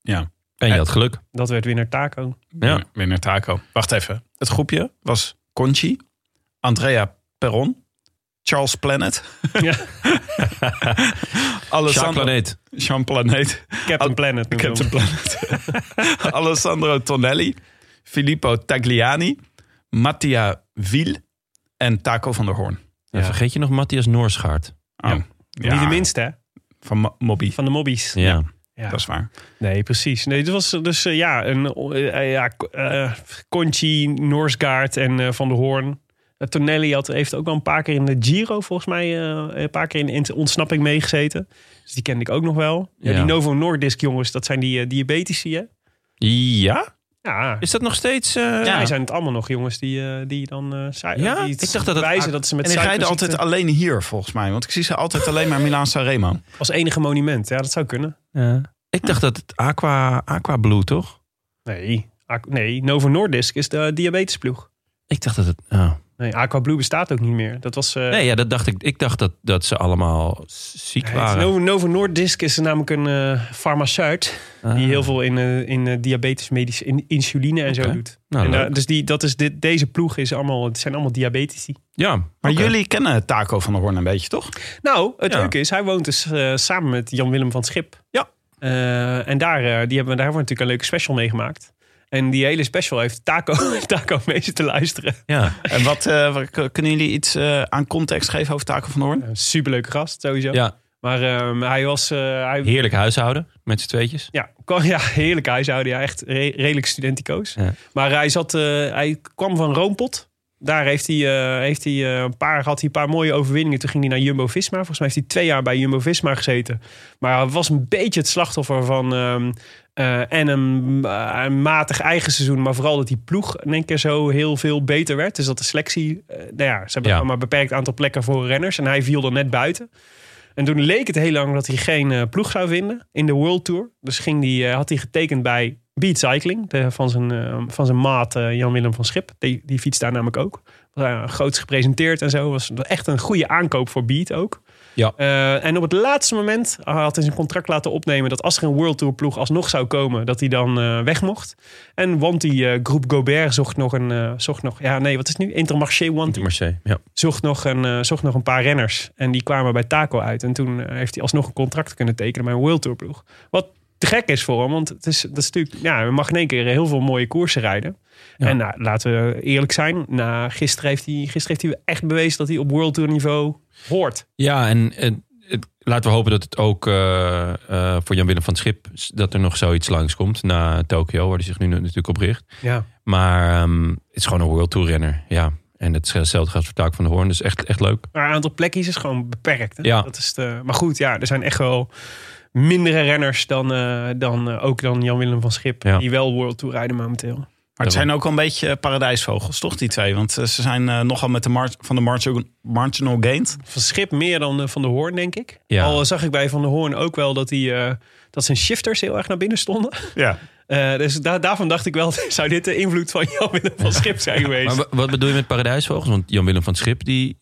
F: Ja.
A: En je had geluk.
B: Dat werd weer naar Taco.
F: Oh,
A: Ja.
F: Winnaar Taco. Wacht even. Het groepje was Conchi, Andrea Perron, Charles Planet,
B: Ja,
A: Jacques
F: Alessandro...
A: Planeet.
F: Jean Planet.
B: Captain
F: Al-
B: Planet. noemde
F: Captain
B: hem.
F: Planet. Alessandro Tonelli, Filippo Tagliani, Mattia Wiel en Taco van der Hoorn.
A: En vergeet je nog Matthias Noorschaart.
F: Oh, ja.
B: Niet de minste, hè?
F: Van Mo- Mobby.
B: Van de mobbies.
A: Ja.
B: Ja.
F: Dat is waar.
B: Nee, precies. Nee, dit was dus eh, ja, een, eh, ja, eh, Conchi, Noorsgaard en eh, Van der Hoorn. Eh, Tonelli had, heeft ook wel een paar keer in de Giro, volgens mij, eh, een paar keer in, in de ontsnapping meegezeten. Dus die kende ik ook nog wel. Ja,
A: Ja.
B: Die Novo Nordisk jongens, dat zijn die eh, diabetici, hè?
A: Ja?
B: Ja,
A: Is dat nog steeds... eh,
B: ja. zijn het allemaal nog jongens die, eh, die dan eh su-
A: Ja?
B: die
A: Ik dacht dat het-
B: wijzen dat ze met
F: En die rijden
B: suikerziekte-
F: altijd alleen hier, volgens mij. Want ik zie ze altijd alleen maar Milaan Sanremo.
B: als enige monument. Ja, dat zou kunnen.
A: Ja. Ik dacht dat het Aqua, Aqua Blue, toch?
B: Nee, Aqu- nee Novo Nordisk is de diabetesploeg.
A: Ik dacht dat het... oh.
B: Nee, Aqua Blue bestaat ook niet meer. Dat was... eh,
A: Nee, ja, dat dacht ik. Ik dacht dat, dat ze allemaal ziek
B: Nee, het
A: waren.
B: Novo, Novo Nordisk is namelijk een eh, farmaceut
A: Ah.
B: die heel veel in, eh, in eh, diabetes, medisch, in, insuline en zo
A: Oké.
B: doet.
A: Nou,
B: En, eh,
A: leuk.
B: dus die, dat is dit, deze ploeg is allemaal, het zijn allemaal diabetici.
A: ja.
F: Maar
A: oké.
F: jullie kennen Taco van der Hoorn een beetje, toch?
B: Nou, het
A: Ja.
B: leuke is, hij woont dus eh, samen met Jan-Willem van Schip.
A: Ja.
B: Eh, en daar, eh, die hebben, daar hebben we natuurlijk een leuke special mee gemaakt. En die hele special heeft Taco, Taco mee zitten luisteren.
A: Ja.
F: En wat, eh, wat- k- kunnen jullie iets eh, aan context geven over Taco van der Hoorn?
B: Een superleuke gast, sowieso.
A: ja.
B: Maar ehm, hij was... eh, hij,
A: Heerlijk huishouden met z'n tweetjes.
B: Ja, kwam, ja heerlijk huishouden. Ja, echt re- redelijk studentico's.
A: Ja.
B: Maar hij, zat, eh, hij kwam van Roompot. Daar heeft hij, eh, heeft hij, eh, een paar, had hij een paar mooie overwinningen. Toen ging hij naar Jumbo-Visma. Volgens mij heeft hij twee jaar bij Jumbo-Visma gezeten. Maar hij was een beetje het slachtoffer van... ehm, eh, en een, eh, een matig eigen seizoen. Maar vooral dat die ploeg in één keer zo heel veel beter werd. Dus dat de selectie... eh, nou ja, ze hebben
A: Ja.
B: maar een beperkt aantal plekken voor renners. En hij viel er net buiten. En toen leek het heel lang dat hij geen eh, ploeg zou vinden in de World Tour. Dus ging die, eh, had hij getekend bij Beat Cycling de- van, zijn, eh, van zijn maat eh, Jan-Willem van Schip. Die, die fietst daar namelijk ook. Was, eh, groots gepresenteerd en zo. Was echt een goede aankoop voor Beat ook.
A: Ja.
B: Eh, en op het laatste moment had hij zijn contract laten opnemen dat als er een World Tour ploeg alsnog zou komen, dat hij dan eh, weg mocht. En Wanty, eh Groep Gobert zocht nog een, eh, zocht nog, ja nee, wat is het nu? Intermarché Wanty
A: Marseille. Ja.
B: zocht nog, een, eh, zocht nog een paar renners. En die kwamen bij Taco uit. En toen eh, heeft hij alsnog een contract kunnen tekenen bij een World Tour ploeg. Wat te gek is voor hem, want het is, dat is natuurlijk, ja, hij mag in één keer heel veel mooie koersen rijden.
A: Ja.
B: En nou, laten we eerlijk zijn, na, gisteren, heeft hij, gisteren heeft hij echt bewezen dat hij op World Tour niveau hoort.
A: Ja, en, en het- laten we hopen dat het ook eh, eh, voor Jan-Willem van het Schip... s- dat er nog zoiets langskomt na Tokio, waar hij zich nu na- natuurlijk op richt.
B: Ja.
A: Maar ehm, het is gewoon een World Tour renner, ja. En het is eh, hetzelfde geldt voor Taak van de Hoorn, dus echt, echt leuk.
B: Maar het aantal plekjes is gewoon beperkt. Hè?
A: Ja.
B: Dat is de, maar goed, ja, er zijn echt wel mindere renners dan, eh, dan eh, ook dan Jan-Willem van Schip.
A: Ja.
B: Die wel World Tour rijden momenteel.
F: Maar het zijn ook al een beetje eh, paradijsvogels, toch, die twee? Want eh, ze zijn eh, nogal met de mar- van de margin- marginal gained.
B: van Schip meer dan eh, Van der Hoorn, denk ik.
A: Ja.
B: Al eh, zag ik bij Van der Hoorn ook wel dat, die, eh, dat zijn shifters heel erg naar binnen stonden.
F: Ja.
B: Eh, dus da- daarvan dacht ik wel, zou dit de invloed van Jan-Willem van Schip zijn geweest?
A: Maar wa- wat bedoel je met paradijsvogels? Want Jan-Willem van het Schip, die,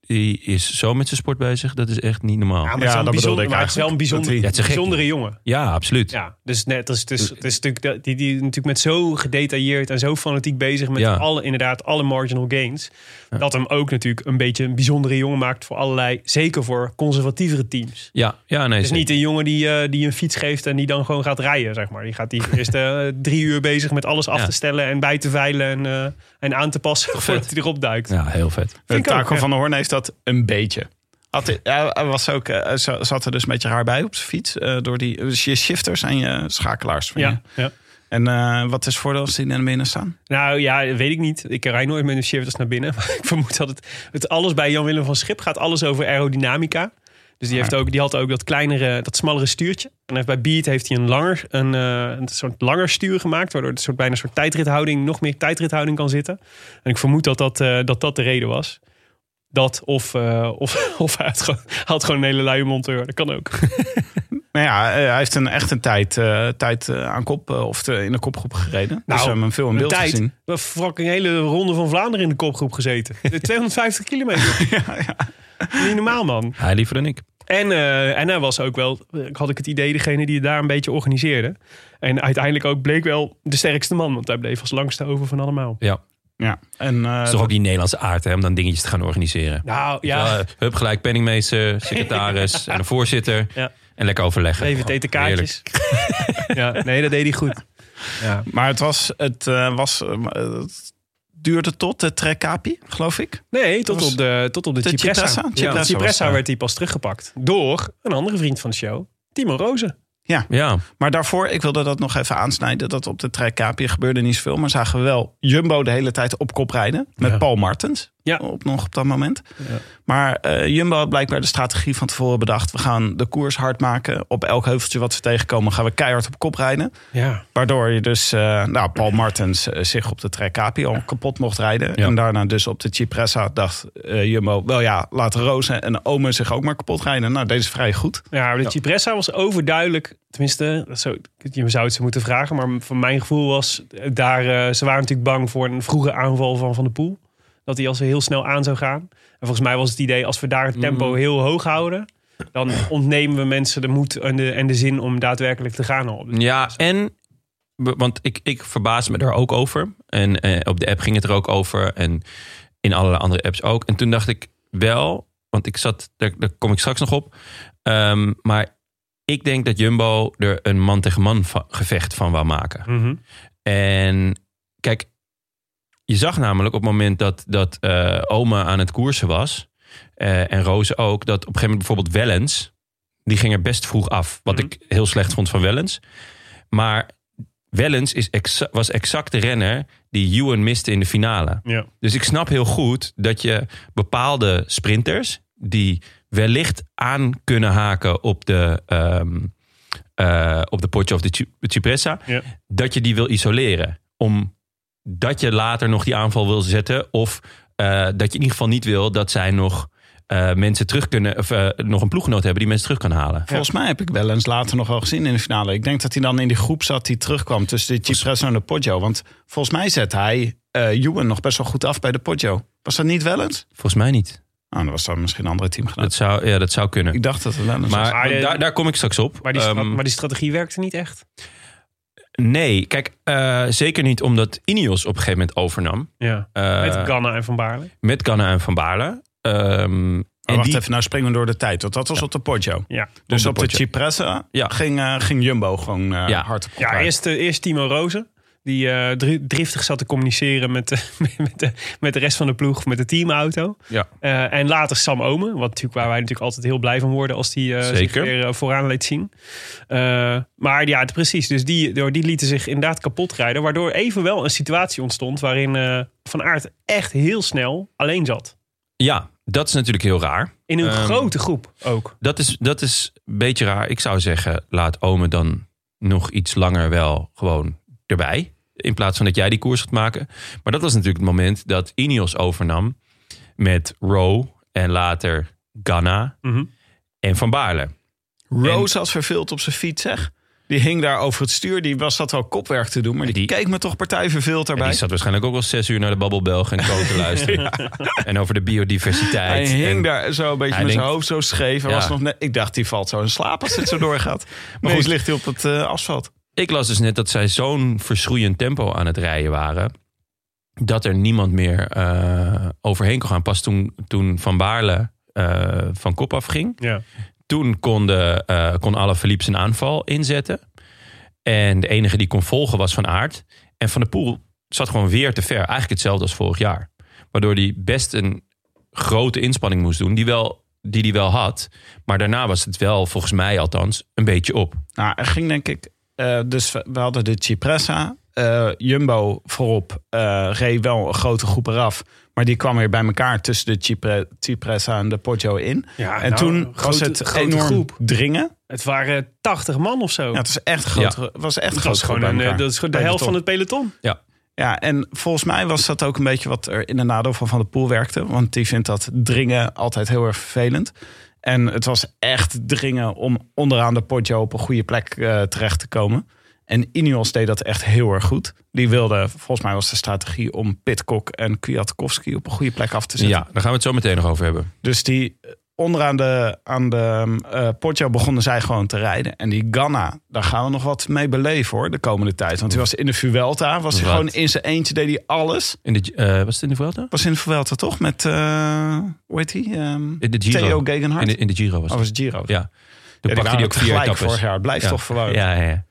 A: die is zo met zijn sport bezig. Dat is echt niet normaal.
B: ja,
A: Ja,
B: maar het is wel
F: Ja,
B: een
F: dat bedoelde
B: bijzonder-
F: ik
B: maar het is wel een
F: eigenlijk. Dat
B: bijzonder,
F: hij-
A: Ja, het is een gek-
B: bijzondere jongen.
A: absoluut.
B: Ja, dus net als het is, het is natuurlijk dat- die, die natuurlijk met zo gedetailleerd en zo fanatiek bezig met
A: Ja.
B: alle, inderdaad, alle marginal gains. Dat hem ook natuurlijk een beetje een bijzondere jongen maakt voor allerlei, zeker voor conservatievere teams.
A: Ja, ja nee.
B: Het is
A: zeker.
B: Dus niet een jongen die, eh, die een fiets geeft en die dan gewoon gaat rijden, zeg maar. Die gaat die eerst eh, drie uur bezig met alles af
A: Ja.
B: te stellen en bij te veilen en, eh, en aan te passen voordat hij erop duikt.
A: Ja, heel vet.
B: Vind ik ook,
F: Eh, Taco
B: ja.
F: van der Hoorn heeft dat een beetje. Had hij, hij- hij was ook, eh, hij za- zat er dus een beetje raar bij op zijn fiets. eh, door die, dus je shifters en je schakelaars. van je.
B: Ja, ja.
F: En eh, wat is het voordeel als die naar binnen staan?
B: Nou ja, dat weet ik niet. Ik rij nooit met een shifters naar binnen. Maar ik vermoed dat het, het alles bij Jan-Willem van Schip gaat alles over aerodynamica. Dus die, heeft ook, die had ook dat kleinere, dat smallere stuurtje. En hij heeft bij Beat heeft hij een, langer, een, eh, een soort langer stuur gemaakt. Waardoor het soort, bijna een soort tijdrithouding, nog meer tijdrithouding kan zitten. En ik vermoed dat dat, eh, dat, dat de reden was. Dat of, eh, of, of hij had gewoon, hij had gewoon een hele luie monteur. Dat kan ook.
F: Nou ja, eh, hij heeft een, echt een tijd, eh, tijd eh, aan kop eh, of te- in de kopgroep gereden. dus we hebben hem veel in
B: Nou, een
F: beeld
B: tijd.
F: gezien.
B: We hebben fucking hele ronde van Vlaanderen in de kopgroep gezeten. 250 kilometer. Niet normaal, man.
A: Hij liever dan ik.
B: En, eh, en hij was ook wel, eh, had ik het idee, degene die het daar een beetje organiseerde. En uiteindelijk ook bleek wel de sterkste man, want hij bleef als langste over van allemaal.
A: Ja.
F: Ja. En, eh,
A: Het is toch ook die Nederlandse aard hè, om dan dingetjes te gaan organiseren.
B: Nou
A: Ja,
B: ja,
A: eh, hup, gelijk penningmeester, secretaris en een voorzitter.
B: Ja.
A: En lekker overleggen.
B: even TTK'tjes. ja, nee, dat deed hij goed. Ja.
F: Maar het was, het eh, was, eh, het duurde tot de trekkapi, geloof ik.
B: Nee, tot
F: Was-
B: op de, tot op de,
F: De
B: Cipressa.
F: Cipressa?
B: Ja, want
F: Cipressa was
B: Cipressa
F: daar.
B: werd hij pas teruggepakt door een andere vriend van de show, Timo Rozen.
A: Ja,
F: Maar daarvoor, ik wilde dat nog even aansnijden, dat op de trekkapi gebeurde niet zoveel. Maar zagen we wel Jumbo de hele tijd op kop rijden met
B: Ja.
F: Paul Martens.
B: Ja.
F: Op, nog op dat moment.
B: Ja.
F: Maar eh, Jumbo had blijkbaar de strategie van tevoren bedacht. We gaan de koers hard maken. Op elk heuveltje wat ze tegenkomen gaan we keihard op kop rijden.
B: Ja.
F: Waardoor je dus, eh, nou, Paul Martens eh, zich op de Trek Capi al kapot mocht rijden.
A: Ja.
F: En daarna dus op de Cipressa dacht eh, Jumbo, wel ja, laten Rozen en Omen zich ook maar kapot rijden. Nou, deze is vrij goed.
B: Ja, maar de Cipressa was overduidelijk. Tenminste, dat zou, je zou het ze moeten vragen. Maar van mijn gevoel was eh, daar. eh, ze waren natuurlijk bang voor een vroege aanval van Van de Poel. Dat hij als ze heel snel aan zou gaan. En volgens mij was het idee: als we daar het tempo
A: Mhm.
B: heel hoog houden. dan ontnemen we mensen de moed en de, en de zin om daadwerkelijk te gaan. Al.
A: ja en... we- Want ik, ik verbaas me daar ook over. En eh, op de app ging het er ook over. En in allerlei andere apps ook. En toen dacht ik wel... Want ik zat... Daar, daar kom ik straks nog op. Ehm, maar ik denk dat Jumbo er een man-tegen-man va- gevecht van wou maken.
B: Mhm.
A: En kijk, je zag namelijk op het moment dat, dat eh, oma aan het koersen was... eh, en Roze ook, dat op een gegeven moment bijvoorbeeld Wellens... die ging er best vroeg af. Wat
B: Mhm.
A: ik heel slecht vond van Wellens. Maar Wellens is exa- was exact de renner die Ewan miste in de finale.
B: Ja.
A: Dus ik snap heel goed dat je bepaalde sprinters... die wellicht aan kunnen haken op de... ehm, eh, op de potje of de Ci- Cipressa
B: Ja.
A: dat je die wil isoleren. Omdat je later nog die aanval wil zetten. Of eh, dat je in ieder geval niet wil dat zij nog eh, mensen terug kunnen. Of eh, nog een ploeggenoot hebben die mensen terug kan halen.
F: Volgens mij heb ik wel eens later nog wel gezien in de finale. Ik denk dat hij dan in die groep zat die terugkwam tussen de Cipressa en de Poggio. Want volgens mij zet hij eh Ewan nog best wel goed af bij de Poggio. Was dat niet wel eens?
A: Volgens mij niet.
F: Nou, dat was dan misschien een andere team gedaan.
A: Dat zou, ja, dat zou kunnen.
F: Nou. Ik dacht dat het wel eens was.
A: Maar
B: Maar, eh,
A: daar, daar kom ik straks op.
B: Maar, die stra-
A: Ehm,
B: maar die strategie werkte niet echt.
A: nee, kijk, eh, zeker niet omdat Ineos op een gegeven moment overnam.
B: Ja.
A: eh,
B: Met Ganna en Van Baarle.
A: met Ganna en Van Baarle. Ehm,
F: Maar
A: en
F: wacht
A: die-
F: even, nou springen we door de tijd. Want dat was op de Poggio.
B: Ja.
F: Dus
A: de
F: op de,
A: Poggio.
F: Cipressa
A: Ja.
F: ging, eh, ging Jumbo gewoon eh,
A: Ja.
F: hard op
B: Ja,
F: elkaar.
B: eerst, eh, eerst Timo Rozen. Die eh, dri- driftig zat te communiceren met, de- met, de, met de rest van de ploeg, met de teamauto.
A: Ja.
B: Eh, en later Sam Omen, wat natuurlijk, waar wij natuurlijk altijd heel blij van worden als die eh, zich
A: Zeker.
B: weer eh, vooraan liet zien. Eh, maar ja, het- precies. Dus die, door die lieten zich inderdaad kapot rijden. Waardoor even wel een situatie ontstond waarin eh, Van Aert echt heel snel alleen zat.
A: ja, dat is natuurlijk heel raar.
B: In een
A: Ehm,
B: grote groep ook.
A: Dat is, dat is een beetje raar. Ik zou zeggen, laat Ome dan nog iets langer wel gewoon erbij. In plaats van dat jij die koers gaat maken. Maar dat was natuurlijk het moment dat Ineos overnam met Rowe en later Ganna
B: Mhm.
A: en Van Baarle.
F: Rose had verveeld op zijn fiets, zeg. Die hing daar over het stuur. Die was dat wel kopwerk te doen. Maar die,
A: Die-
F: keek me toch partij verveeld
A: En die
F: daarbij.
A: zat waarschijnlijk ook wel zes uur naar de Babbelbelg en Co te luisteren. En over de biodiversiteit.
F: Hij hing
A: En-
F: daar zo een beetje
A: Hij
F: met zijn
A: denkt-
F: hoofd zo scheef. Hij
A: Ja.
F: was nog net, ik dacht, die valt zo in slaap als dit zo doorgaat. Maar
A: Nee.
F: goed, ligt hij op het eh, asfalt.
A: Ik las dus net dat zij zo'n verschroeiend tempo aan het rijden waren. Dat er niemand meer eh, overheen kon gaan. Pas toen, toen Van Baarle eh, van kop af ging.
B: Ja.
A: Toen kon, de, eh kon Alaphilippe zijn aanval inzetten. En de enige die kon volgen was Van Aert. En Van der Poel zat gewoon weer te ver. Eigenlijk hetzelfde als vorig jaar. Waardoor hij best een grote inspanning moest doen. Die wel, die hij wel had. Maar daarna was het wel, volgens mij althans, een beetje op.
F: Nou, er ging denk ik... eh, dus we we hadden de Cipressa. eh, Jumbo voorop eh reed wel een grote groep eraf. Maar die kwam weer bij elkaar tussen de Cipre- Cipressa en de Poggio in.
B: Ja,
F: en
B: nou,
F: toen was
B: grote-
F: het
B: grote
F: enorm
B: groep.
F: dringen.
B: Het waren 80 man of zo.
F: Ja, het is echt groot. Het was echt
B: dat
F: groot.
B: was gewoon een, eh, dat is gewoon de helft van het peloton.
F: Ja, en volgens mij was dat ook een beetje wat er in de nadeel van Van der Poel werkte. Want die vindt dat dringen altijd heel erg vervelend. En het was echt dringen om onderaan de potje op een goede plek eh, terecht te komen. En Ineos deed dat echt heel erg goed. Die wilde, volgens mij was de strategie om Pitcock en Kwiatkowski op een goede plek af te zetten.
A: Ja, daar gaan we het zo meteen nog over hebben.
F: Dus die onderaan de, aan de eh Poggio begonnen zij gewoon te rijden. En die Ganna, daar gaan we nog wat mee beleven hoor, de komende tijd. Want hij was in de Vuelta, was hij
A: Wat.
F: gewoon in zijn eentje, deed hij alles.
A: In de, eh, was het in de Vuelta?
F: Was in de Vuelta toch? Met, eh hoe heet hij? Ehm,
A: In de Giro.
F: Theo Gegenhardt.
A: In de, in de Giro was
F: Oh,
A: het.
F: was het Giro.
A: Ja.
F: Ja,
A: Toen pakte
F: die waren
A: hij
F: ook
A: ook vier
F: gelijk
A: etappes.
F: vorig jaar. Blijft
A: ja.
F: toch verwarrend.
A: Ja, ja, ja.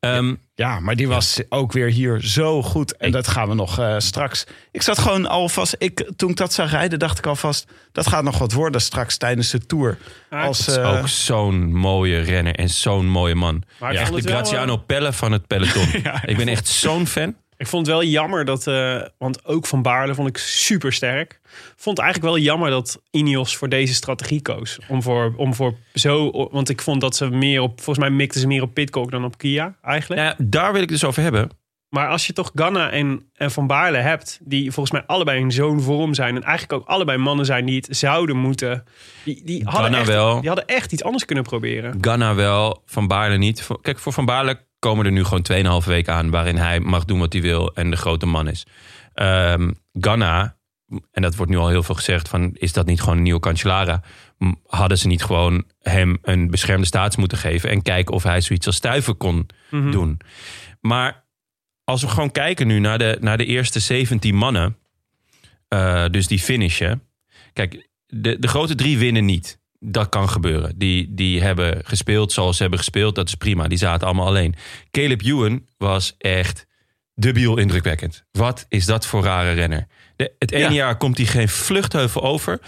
A: Ehm,
F: Ja, maar die was ook weer hier zo goed. En
A: Ik-
F: dat gaan we nog eh, straks. Ik zat gewoon alvast. Ik, toen ik dat zag rijden, dacht ik alvast. Dat gaat nog wat worden straks tijdens de tour. Als, eh,
A: ook zo'n mooie renner en zo'n mooie man.
B: Maar ik
A: echt
B: vond
A: de
B: het wel,
A: Graziano
F: eh,
A: Pelle van het peloton. ik ben echt zo'n fan.
B: Ik vond het wel jammer dat, eh, want ook Van Baarle vond ik super sterk. Vond eigenlijk wel jammer dat Ineos voor deze strategie koos. Om voor, om voor zo, want ik vond dat ze meer op, volgens mij mikten ze meer op Pitcock dan op Kia eigenlijk.
A: Nou, ja, daar wil ik het dus over hebben.
B: Maar als je toch Ganna en, en Van Baarle hebt, die volgens mij allebei in zo'n vorm zijn. En eigenlijk ook allebei mannen zijn die het zouden moeten. Die, die, hadden,
A: Ganna
B: echt,
A: wel.
B: die hadden echt iets anders kunnen proberen.
A: Ganna wel, Van Baarle niet. Voor- Kijk, voor Van Baarle komen er nu gewoon 2,5 weken aan... waarin hij mag doen wat hij wil en de grote man is. Ehm Ganna, en dat wordt nu al heel veel gezegd... van is dat niet gewoon een nieuwe Cancellara? M- Hadden ze niet gewoon hem een beschermde staats moeten geven... en kijken of hij zoiets als stuiven kon doen? Maar als we gewoon kijken nu naar de, naar de eerste 17 mannen... eh, dus die finishen... Kijk, de, de grote drie winnen niet. Dat kan gebeuren. Die, die hebben gespeeld zoals ze hebben gespeeld. Dat is prima. Die zaten allemaal alleen. Caleb Ewan was echt debiel indrukwekkend. Wat is dat voor rare renner? De, het ene
F: Ja.
A: jaar komt hij geen vluchtheuvel over.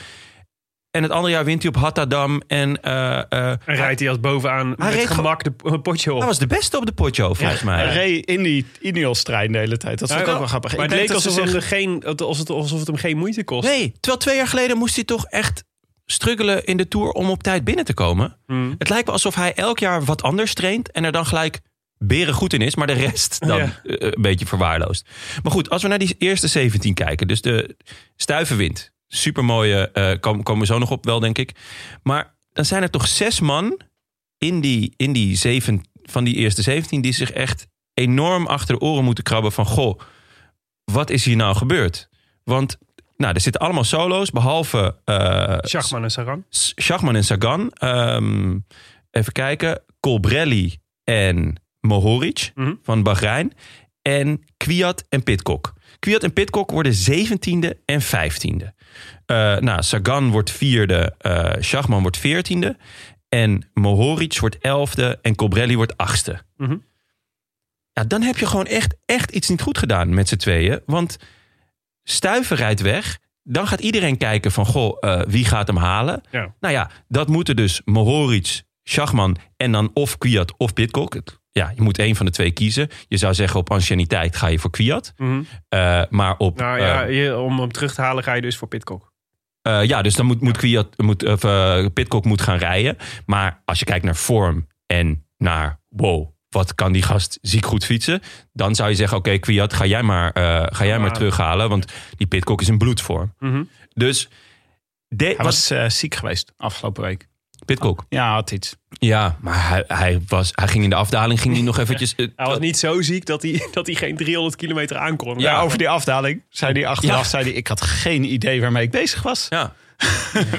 A: En het andere jaar wint hij op Hattadam. En eh, eh,
B: En rijdt hij als bovenaan met
A: reed
B: gemak de eh, potje op.
A: hij was de beste op de potjo, volgens mij.
F: Hij reed in die Ineos-trein de hele tijd. Dat vond ik ook wel grappig.
B: Maar
F: ik
B: het
F: denk
B: leek
F: dat
B: alsof,
F: ze
B: hem
F: zich-
B: er geen, alsof, het, alsof het hem geen moeite kost.
A: Nee, terwijl twee jaar geleden moest hij toch echt struggelen in de Tour om op tijd binnen te komen.
B: Hmm.
A: Het lijkt wel alsof hij elk jaar wat anders traint en er dan gelijk beren goed in is, maar de rest dan
B: Ja.
A: eh, een beetje verwaarloost. Maar goed, als we naar die eerste 17 kijken, dus de stuivenwind, supermooie, eh kom- komen we zo nog op wel, denk ik. Maar dan zijn er toch zes man in die, in die zeven, van die eerste 17 die zich echt enorm achter de oren moeten krabben van goh, wat is hier nou gebeurd? Want nou, er zitten allemaal solo's, behalve eh,
B: Schachman en Saran.
A: S- Schachman en Sagan. Ehm, even kijken. Colbrelli en Mohoric
B: Mhm.
A: van Bahrein. En Kwiat en Pitcock. Kwiat en Pitcock worden 17e en 15e. Eh, nou, Sagan wordt vierde. eh Schachman wordt 14e. En Mohoric wordt 11e. En Colbrelli wordt 8e.
B: Mhm.
A: Ja, dan heb je gewoon echt, echt iets niet goed gedaan met z'n tweeën. Want Stuiven rijdt weg. Dan gaat iedereen kijken van, goh, eh, wie gaat hem halen?
B: Ja.
A: Nou ja, dat moeten dus Mohoric, Schachman en dan of Kwiat of Pitcock. Het- Ja, je moet één van de twee kiezen. Je zou zeggen op anciëniteit ga je voor Kwiat.
B: Mhm.
A: Eh, maar op...
B: Nou ja, je- om hem terug te halen ga je dus voor Pitcock.
A: eh, eh, ja, dus dan moet, moet, Kwiat, moet of, eh, Pitcock moet gaan rijden. Maar als je kijkt naar vorm en naar wow, wat kan die gast ziek goed fietsen. Dan zou je zeggen, oké Kwiat, ga jij maar, eh, ga jij maar
B: Ah.
A: terughalen. Want die Pitcock is in bloedvorm.
B: Mhm.
A: Dus... De,
F: Hij was eh, ziek geweest afgelopen week.
A: Pitcock.
F: Ja, had iets.
A: Ja, maar hij, hij, was, hij ging in de afdaling ging hij nog eventjes... eh,
B: Hij was niet zo ziek dat hij, dat hij geen 300 kilometer Nou, aankon.
F: Ja, over die afdaling. Zei die achteraf,
A: Ja.
F: zei die, ik had geen idee waarmee ik bezig was.
A: Ja.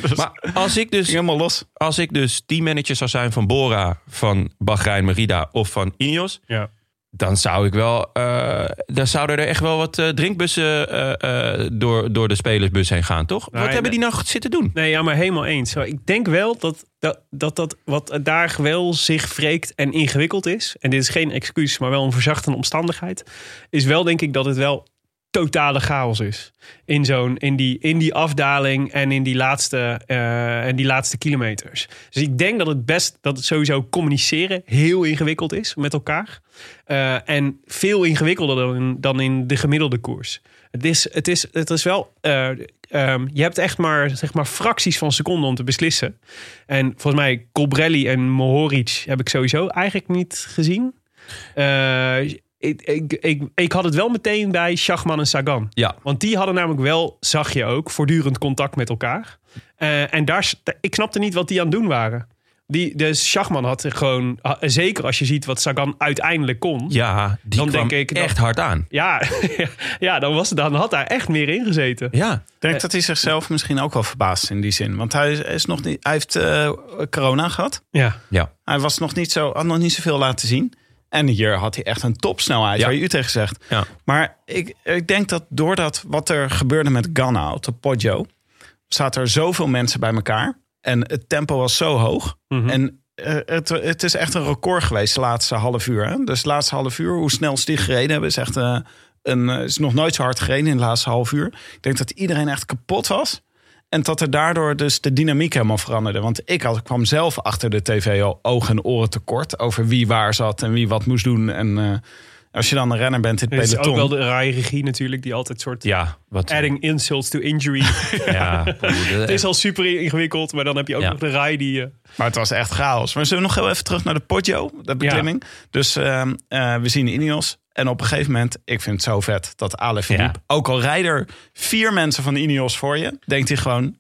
F: Dus
A: Maar als ik
F: ging
A: dus,
F: helemaal los.
A: als ik dus teammanager zou zijn van Bora, van Bahrein Merida of van Ineos,
B: Ja.
A: dan zou ik wel, eh, dan zouden er echt wel wat eh, drinkbussen eh, eh, door, door de spelersbus heen gaan, toch?
B: Nee,
A: wat hebben
B: nee.
A: die nou goed zitten doen?
B: Nee, ja, maar helemaal eens. Maar Ik denk wel dat dat, dat, dat wat daar wel zich wreekt en ingewikkeld is. En dit is geen excuus, maar wel een verzachtende omstandigheid. Is wel denk ik dat het wel totale chaos is. In, zo'n, in, die, in die afdaling en in die, laatste, eh, en die laatste kilometers. Dus ik denk dat het best dat het sowieso communiceren heel ingewikkeld is met elkaar. Eh, en veel ingewikkelder dan in, dan in de gemiddelde koers. Het is, het is, het is wel. eh, ehm, je hebt echt maar, zeg maar fracties van seconden om te beslissen. En volgens mij Colbrelli en Mohoric heb ik sowieso eigenlijk niet gezien. Eh, ik, ik, ik, ik had het wel meteen bij Schachman en Sagan.
A: Ja,
B: Want die hadden namelijk wel, zag je ook, voortdurend contact met elkaar. Eh, en daar, s- ik snapte niet wat die aan het doen waren. Die, dus Schachman had gewoon, ah, zeker als je ziet wat Sagan uiteindelijk kon.
A: Ja, die
B: Dan
A: kwam
B: denk ik dat-
A: echt hard aan.
B: Ja, ja dan, was, dan had daar echt meer in gezeten.
A: Ja,
F: Ik denk dat hij zichzelf misschien ook wel verbaast in die zin. Want hij, is- is nog niet, hij heeft eh, corona gehad.
B: Ja.
A: ja.
F: Hij was nog niet zo, had nog niet zoveel laten zien. En hier had hij echt een topsnelheid,
A: Ja.
F: waar je u tegen zegt.
A: Ja.
F: Maar ik, ik denk dat doordat wat er gebeurde met Ghana op de Poggio... zaten er zoveel mensen bij elkaar. En het tempo was zo hoog. En eh, het, het is echt een record geweest de laatste half uur. Hè? Dus de laatste half uur, hoe snel ze die gereden hebben... is echt eh, een, eh, is nog nooit zo hard gereden in de laatste half uur. Ik denk dat iedereen echt kapot was. En dat er daardoor dus de dynamiek helemaal veranderde. Want ik had, kwam zelf achter de tv al oog en oren tekort... over wie waar zat en wie wat moest doen. En eh, als je dan een renner bent in het
B: Het is
F: peloton...
B: ook wel de raaie regie natuurlijk, die altijd soort
A: Ja, wat...
B: adding insults to injury.
A: Ja, poeh,
B: Het is al super ingewikkeld, maar dan heb je ook
A: Ja.
B: nog de raai die... eh,
F: Maar het was echt chaos. Maar zullen we nog heel even terug naar de Poggio, de beklimming. Dus ehm, eh, we zien Ineos. En op een gegeven moment, ik vind het zo vet dat Ale Philippe... ook al rijden er vier mensen van Ineos voor je... denkt hij gewoon,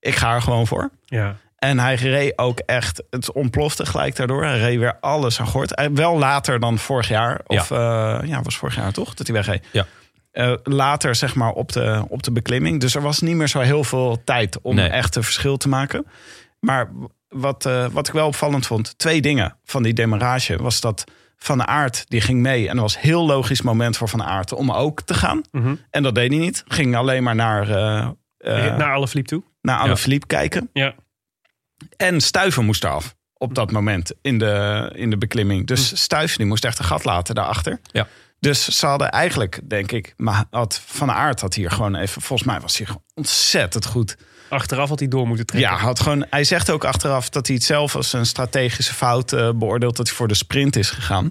F: ik ga er gewoon voor.
B: ja.
F: En hij reed ook echt, het ontplofte gelijk daardoor. Hij reed weer alles aan gort. Hij- Wel later dan vorig jaar. Of ja, ja was vorig jaar toch, dat hij wegreed.
A: Ja.
F: Eh, later zeg maar op de, op de beklimming. Dus er was niet meer zo heel veel tijd om
A: Nee.
F: echt een verschil te maken. Maar wat, eh, wat ik wel opvallend vond, twee dingen van die demarage... was dat Van Aert, die ging mee. En dat was een heel logisch moment voor Van Aert om ook te gaan. En dat deed hij niet. Ging alleen maar naar, eh eh,
B: naar alle fliep toe.
F: naar Alaphilippe kijken.
B: Ja.
F: En Stuiven moest eraf op dat moment in de, in de beklimming.
B: Hm.
F: Dus Stuiven die moest echt een gat laten daarachter.
A: Ja.
F: Dus ze hadden eigenlijk, denk ik, maar had Van Aert had hier gewoon even... Volgens mij was hij gewoon ontzettend goed.
B: Achteraf had hij door moeten trekken.
F: Ja, had gewoon, hij zegt ook achteraf dat hij het zelf als een strategische fout eh, beoordeelt... dat hij voor de sprint is gegaan.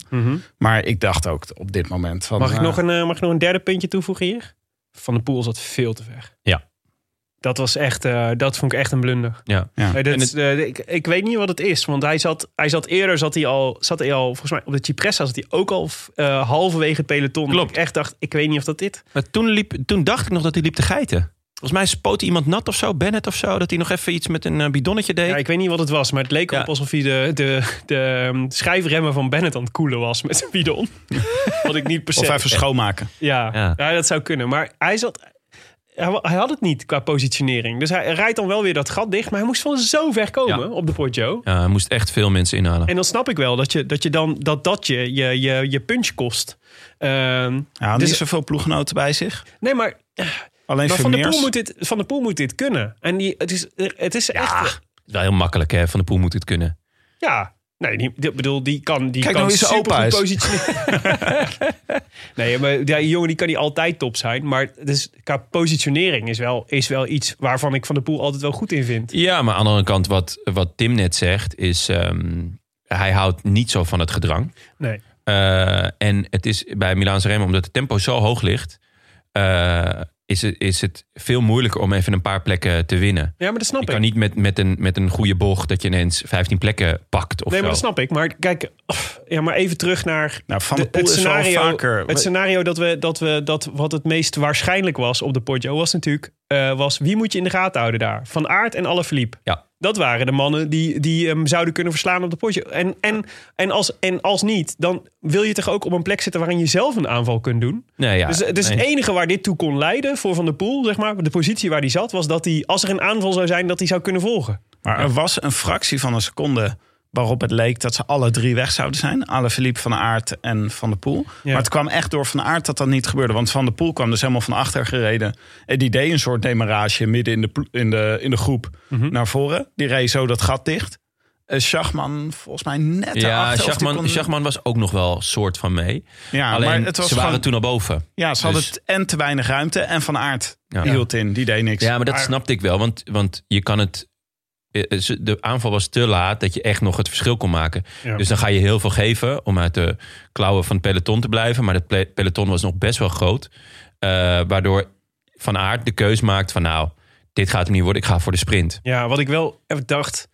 F: Maar ik dacht ook op dit moment... Van,
B: Mhm. Mag ik,
F: eh,
B: nog een, eh, mag ik nog een derde puntje toevoegen hier? Van de Poel zat veel te ver.
A: Ja.
B: Dat was echt, eh, dat vond ik echt een blunder.
A: Ja.
F: Ja.
B: Eh, dat
A: En
B: is, eh, ik, ik weet niet wat het is, want hij zat, hij zat eerder, zat hij al, zat hij al, volgens mij op de Cipressa zat hij ook al eh, halverwege het peloton.
A: Klopt.
B: Dat Ik echt dacht, ik weet niet of dat dit.
A: Maar toen, liep, toen dacht ik nog dat hij liep te geiten. Volgens mij spoot iemand nat of zo, Bennett of zo. Dat hij nog even iets met een eh, bidonnetje deed.
B: Ja, ik weet niet wat het was, maar het leek
A: Ja.
B: op alsof hij de, de, de ehm, schijfremmen van Bennett aan het koelen was met zijn bidon. wat ik niet per se.
F: Of even schoonmaken.
B: Ja,
A: Ja.
B: ja. dat zou kunnen. Maar hij zat. Hij hij had het niet qua positionering. Dus hij rijdt dan wel weer dat gat dicht. Maar hij moest van zo ver komen
A: Ja.
B: op de Poggio.
A: Ja, hij moest echt veel mensen inhalen.
B: En dan snap ik wel dat je, dat je dan dat, dat je, je, je, je punch kost. Ehm,
F: Ja,
B: Dus-
F: niet zoveel ploeggenoten bij zich.
B: nee, maar,
F: Alleen
B: maar van, de
F: Vermeers.
B: Poel moet dit, van de Poel moet dit kunnen. En die, het is, het is echt.
A: Wel heel makkelijk, hè? Van de Poel moet het kunnen.
B: Ja. Nee, die, die- bedoel, die kan, die
F: Kijk
B: kan
F: nou wie zijn
B: supergoed
F: opa is.
B: positioneren. nee, maar die jongen die kan niet altijd top zijn. Maar dus, qua positionering is wel, is wel iets waarvan ik Van de Poel altijd wel goed in vind.
A: Ja, maar aan de andere kant, wat, wat Tim net zegt, is... ehm, hij houdt niet zo van het gedrang.
B: Nee.
A: Eh, en het is bij Milaanse Remo, omdat het tempo zo hoog ligt... eh, is, het, is het veel moeilijker om even een paar plekken te winnen.
B: Ja, maar dat snap
A: Je
B: ik.
A: kan niet met, met, een, met een goede bocht dat je ineens 15 plekken pakt of
B: nee,
A: zo.
B: maar dat snap ik. Maar kijk, of, ja, maar even terug naar
F: Nou, van de,
B: de-
F: Poel is wel vaker...
B: Het scenario dat we, dat we dat wat het meest waarschijnlijk was op de Poggio was natuurlijk eh, was wie moet je in de gaten houden daar? Van Aert en Alaphilippe.
A: Ja.
B: Dat waren de mannen die, die hem zouden kunnen verslaan op de Poggio. En, en, en, als, en als niet, dan wil je toch ook op een plek zitten waarin je zelf een aanval kunt doen.
A: Nee, ja,
B: dus dus
A: nee.
B: het enige waar dit toe kon leiden voor Van der Poel, zeg maar, de positie waar hij zat, was dat hij, als er een aanval zou zijn, dat hij zou kunnen volgen.
F: Maar er was een fractie van een seconde waarop het leek dat ze alle drie weg zouden zijn. Alle Philippe van Aert en Van der Poel. Maar het kwam echt door Van Aert dat dat niet gebeurde. Want Van der Poel kwam dus helemaal van achter gereden. En die deed een soort demarage midden in de, plo- in de, in de groep naar voren. Die reed zo dat gat dicht. Eh, Schachman volgens mij net
A: Ja,
F: daarachter, of die
A: Schachman,
F: kon-
A: Schachman was ook nog wel soort van mee.
F: Ja,
A: Alleen,
F: maar het was
A: ze waren
F: gewoon-
A: toen al boven.
F: Ja,
A: dus-
F: ze hadden het en te weinig ruimte. En Van Aert
A: Ja.
F: hield in. Die deed niks.
A: Ja, maar dat snapte ik wel. Want, want je kan het... eh, ze- De aanval was te laat dat je echt nog het verschil kon maken. Dus dan ga je heel veel geven om uit de klauwen van het peloton te blijven. Maar het ple- peloton was nog best wel groot. Eh, waardoor Van Aert de keus maakt van nou, dit gaat hem niet worden. Ik ga voor de sprint.
B: Ja, wat ik wel even dacht.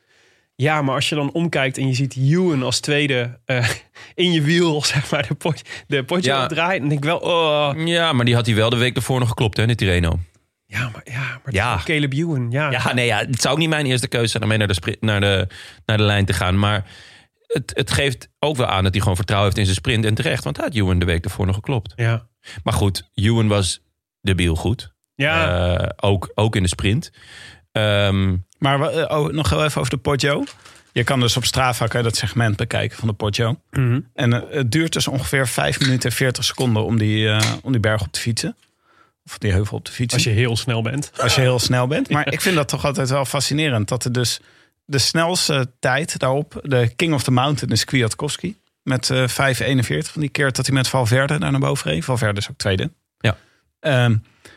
B: Ja, maar als je dan omkijkt en je ziet Ewan als tweede eh, in je wiel, zeg maar, de, pot, de potje
A: Ja.
B: opdraaien. Dan denk ik wel, oh,
A: Ja, maar die had hij wel de week ervoor nog geklopt hè, de Tirreno.
B: Ja, maar, ja, maar het
A: Ja.
B: is Caleb Ewan. Ja.
A: Ja, nee, ja, het zou ook niet mijn eerste keuze zijn om mee naar de, sprint, naar de, naar de lijn te gaan. Maar het, het geeft ook wel aan dat hij gewoon vertrouwen heeft in zijn sprint. En terecht, want hij had Ewan de week ervoor nog geklopt.
B: ja.
A: Maar goed, Ewan was debiel goed.
B: Ja.
F: Ah.
A: Eh, ook, ook in de sprint. Ehm,
F: Maar we- eh, oh, nog heel even over de Poggio. Je kan dus op Strava kan je dat segment bekijken van de Poggio. En eh, het duurt dus ongeveer 5 minuten en 40 seconden om die, eh, om die berg op te fietsen. Of die heuvel op te fietsen.
B: Als je heel snel bent.
F: als je heel snel bent. Maar ik vind dat toch altijd wel fascinerend. Dat er dus de snelste tijd daarop, de King of the Mountain, is Kwiatkowski. Met eh 5,41 van die keer dat hij met Valverde daar naar boven reed. Valverde is ook tweede.
A: Ja.
F: Ehm,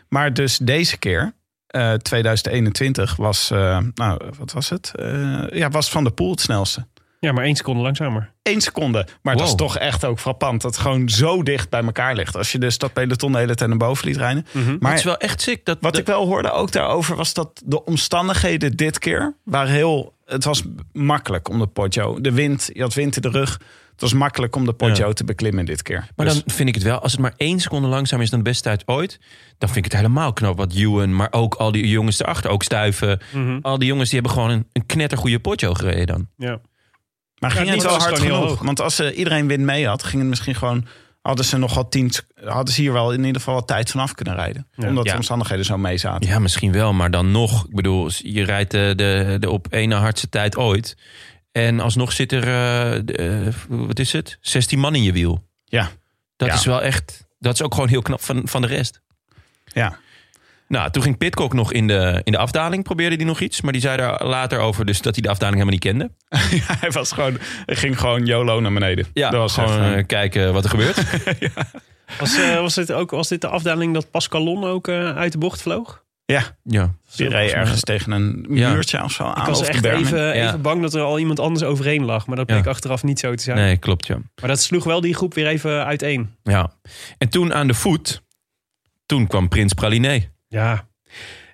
F: maar dus deze keer, eh, 2021, was, eh, nou, wat was het? Eh, ja, was Van der Poel het snelste.
B: Ja, maar één seconde langzamer.
F: 1 seconde. Maar dat is
A: Wow.
F: toch echt ook frappant. Dat het gewoon zo dicht bij elkaar ligt. Als je dus dat peloton de hele tijd naar boven liet rijden. Maar
A: Mhm. het is wel echt sick. Dat,
F: wat
A: dat-
F: ik wel hoorde ook daarover was dat de omstandigheden dit keer waren heel. Het was makkelijk om de Poggio. De wind, je had wind in de rug. Het was makkelijk om de Poggio te beklimmen dit keer.
A: maar
F: Dus-
A: dan vind ik het wel, als het maar één seconde langzamer is dan de beste tijd ooit, dan vind ik het helemaal knap. Wat Ewan, maar ook al die jongens erachter, ook Stuiven.
F: Mhm.
A: Al die jongens die hebben gewoon een, een knettergoeie potjo gereden dan.
B: Ja.
F: maar ging
B: ja,
F: het
B: die
F: wel
B: was
F: hard
B: gewoon heel
F: genoeg?
B: hoog.
F: Want als eh, iedereen wind mee had, ging het misschien gewoon. Hadden ze nog wat tien. Hadden ze hier wel in ieder geval wat tijd vanaf kunnen rijden. Omdat
A: Ja.
F: de omstandigheden zo mee zaten.
A: Ja, misschien wel, maar dan nog. Ik bedoel, je rijdt eh, de, de op één na hardste tijd ooit. En alsnog zit er, eh, de, eh, wat is het? 16 man in je wiel.
F: Ja.
A: Dat
F: Ja.
A: is wel echt, dat is ook gewoon heel knap van, van de rest.
F: Ja.
A: Nou, toen ging Pitcock nog in de, in de afdaling, probeerde hij nog iets. Maar die zei daar later over dus dat hij de afdaling helemaal niet kende.
F: Hij was gewoon, hij ging gewoon YOLO naar beneden.
A: Ja,
F: dat was
A: gewoon
F: echt, eh,
A: eh, kijken wat er gebeurt.
B: Was, eh, was, dit ook, was dit de afdaling dat Pascalon ook eh, uit de bocht vloog?
F: ja,
A: ja.
F: die reed ergens tegen een
A: Ja.
F: muurtje of zo aan.
B: Ik was
F: of de
B: echt
F: bermen.
B: even,
A: Ja.
B: even bang dat er al iemand anders overheen lag. Maar dat bleek
A: Ja.
B: achteraf niet zo te zijn.
A: Nee, klopt ja.
B: Maar dat sloeg wel die groep weer even uiteen.
A: ja. En toen aan de voet, toen kwam Prins Praliné.
B: Ja,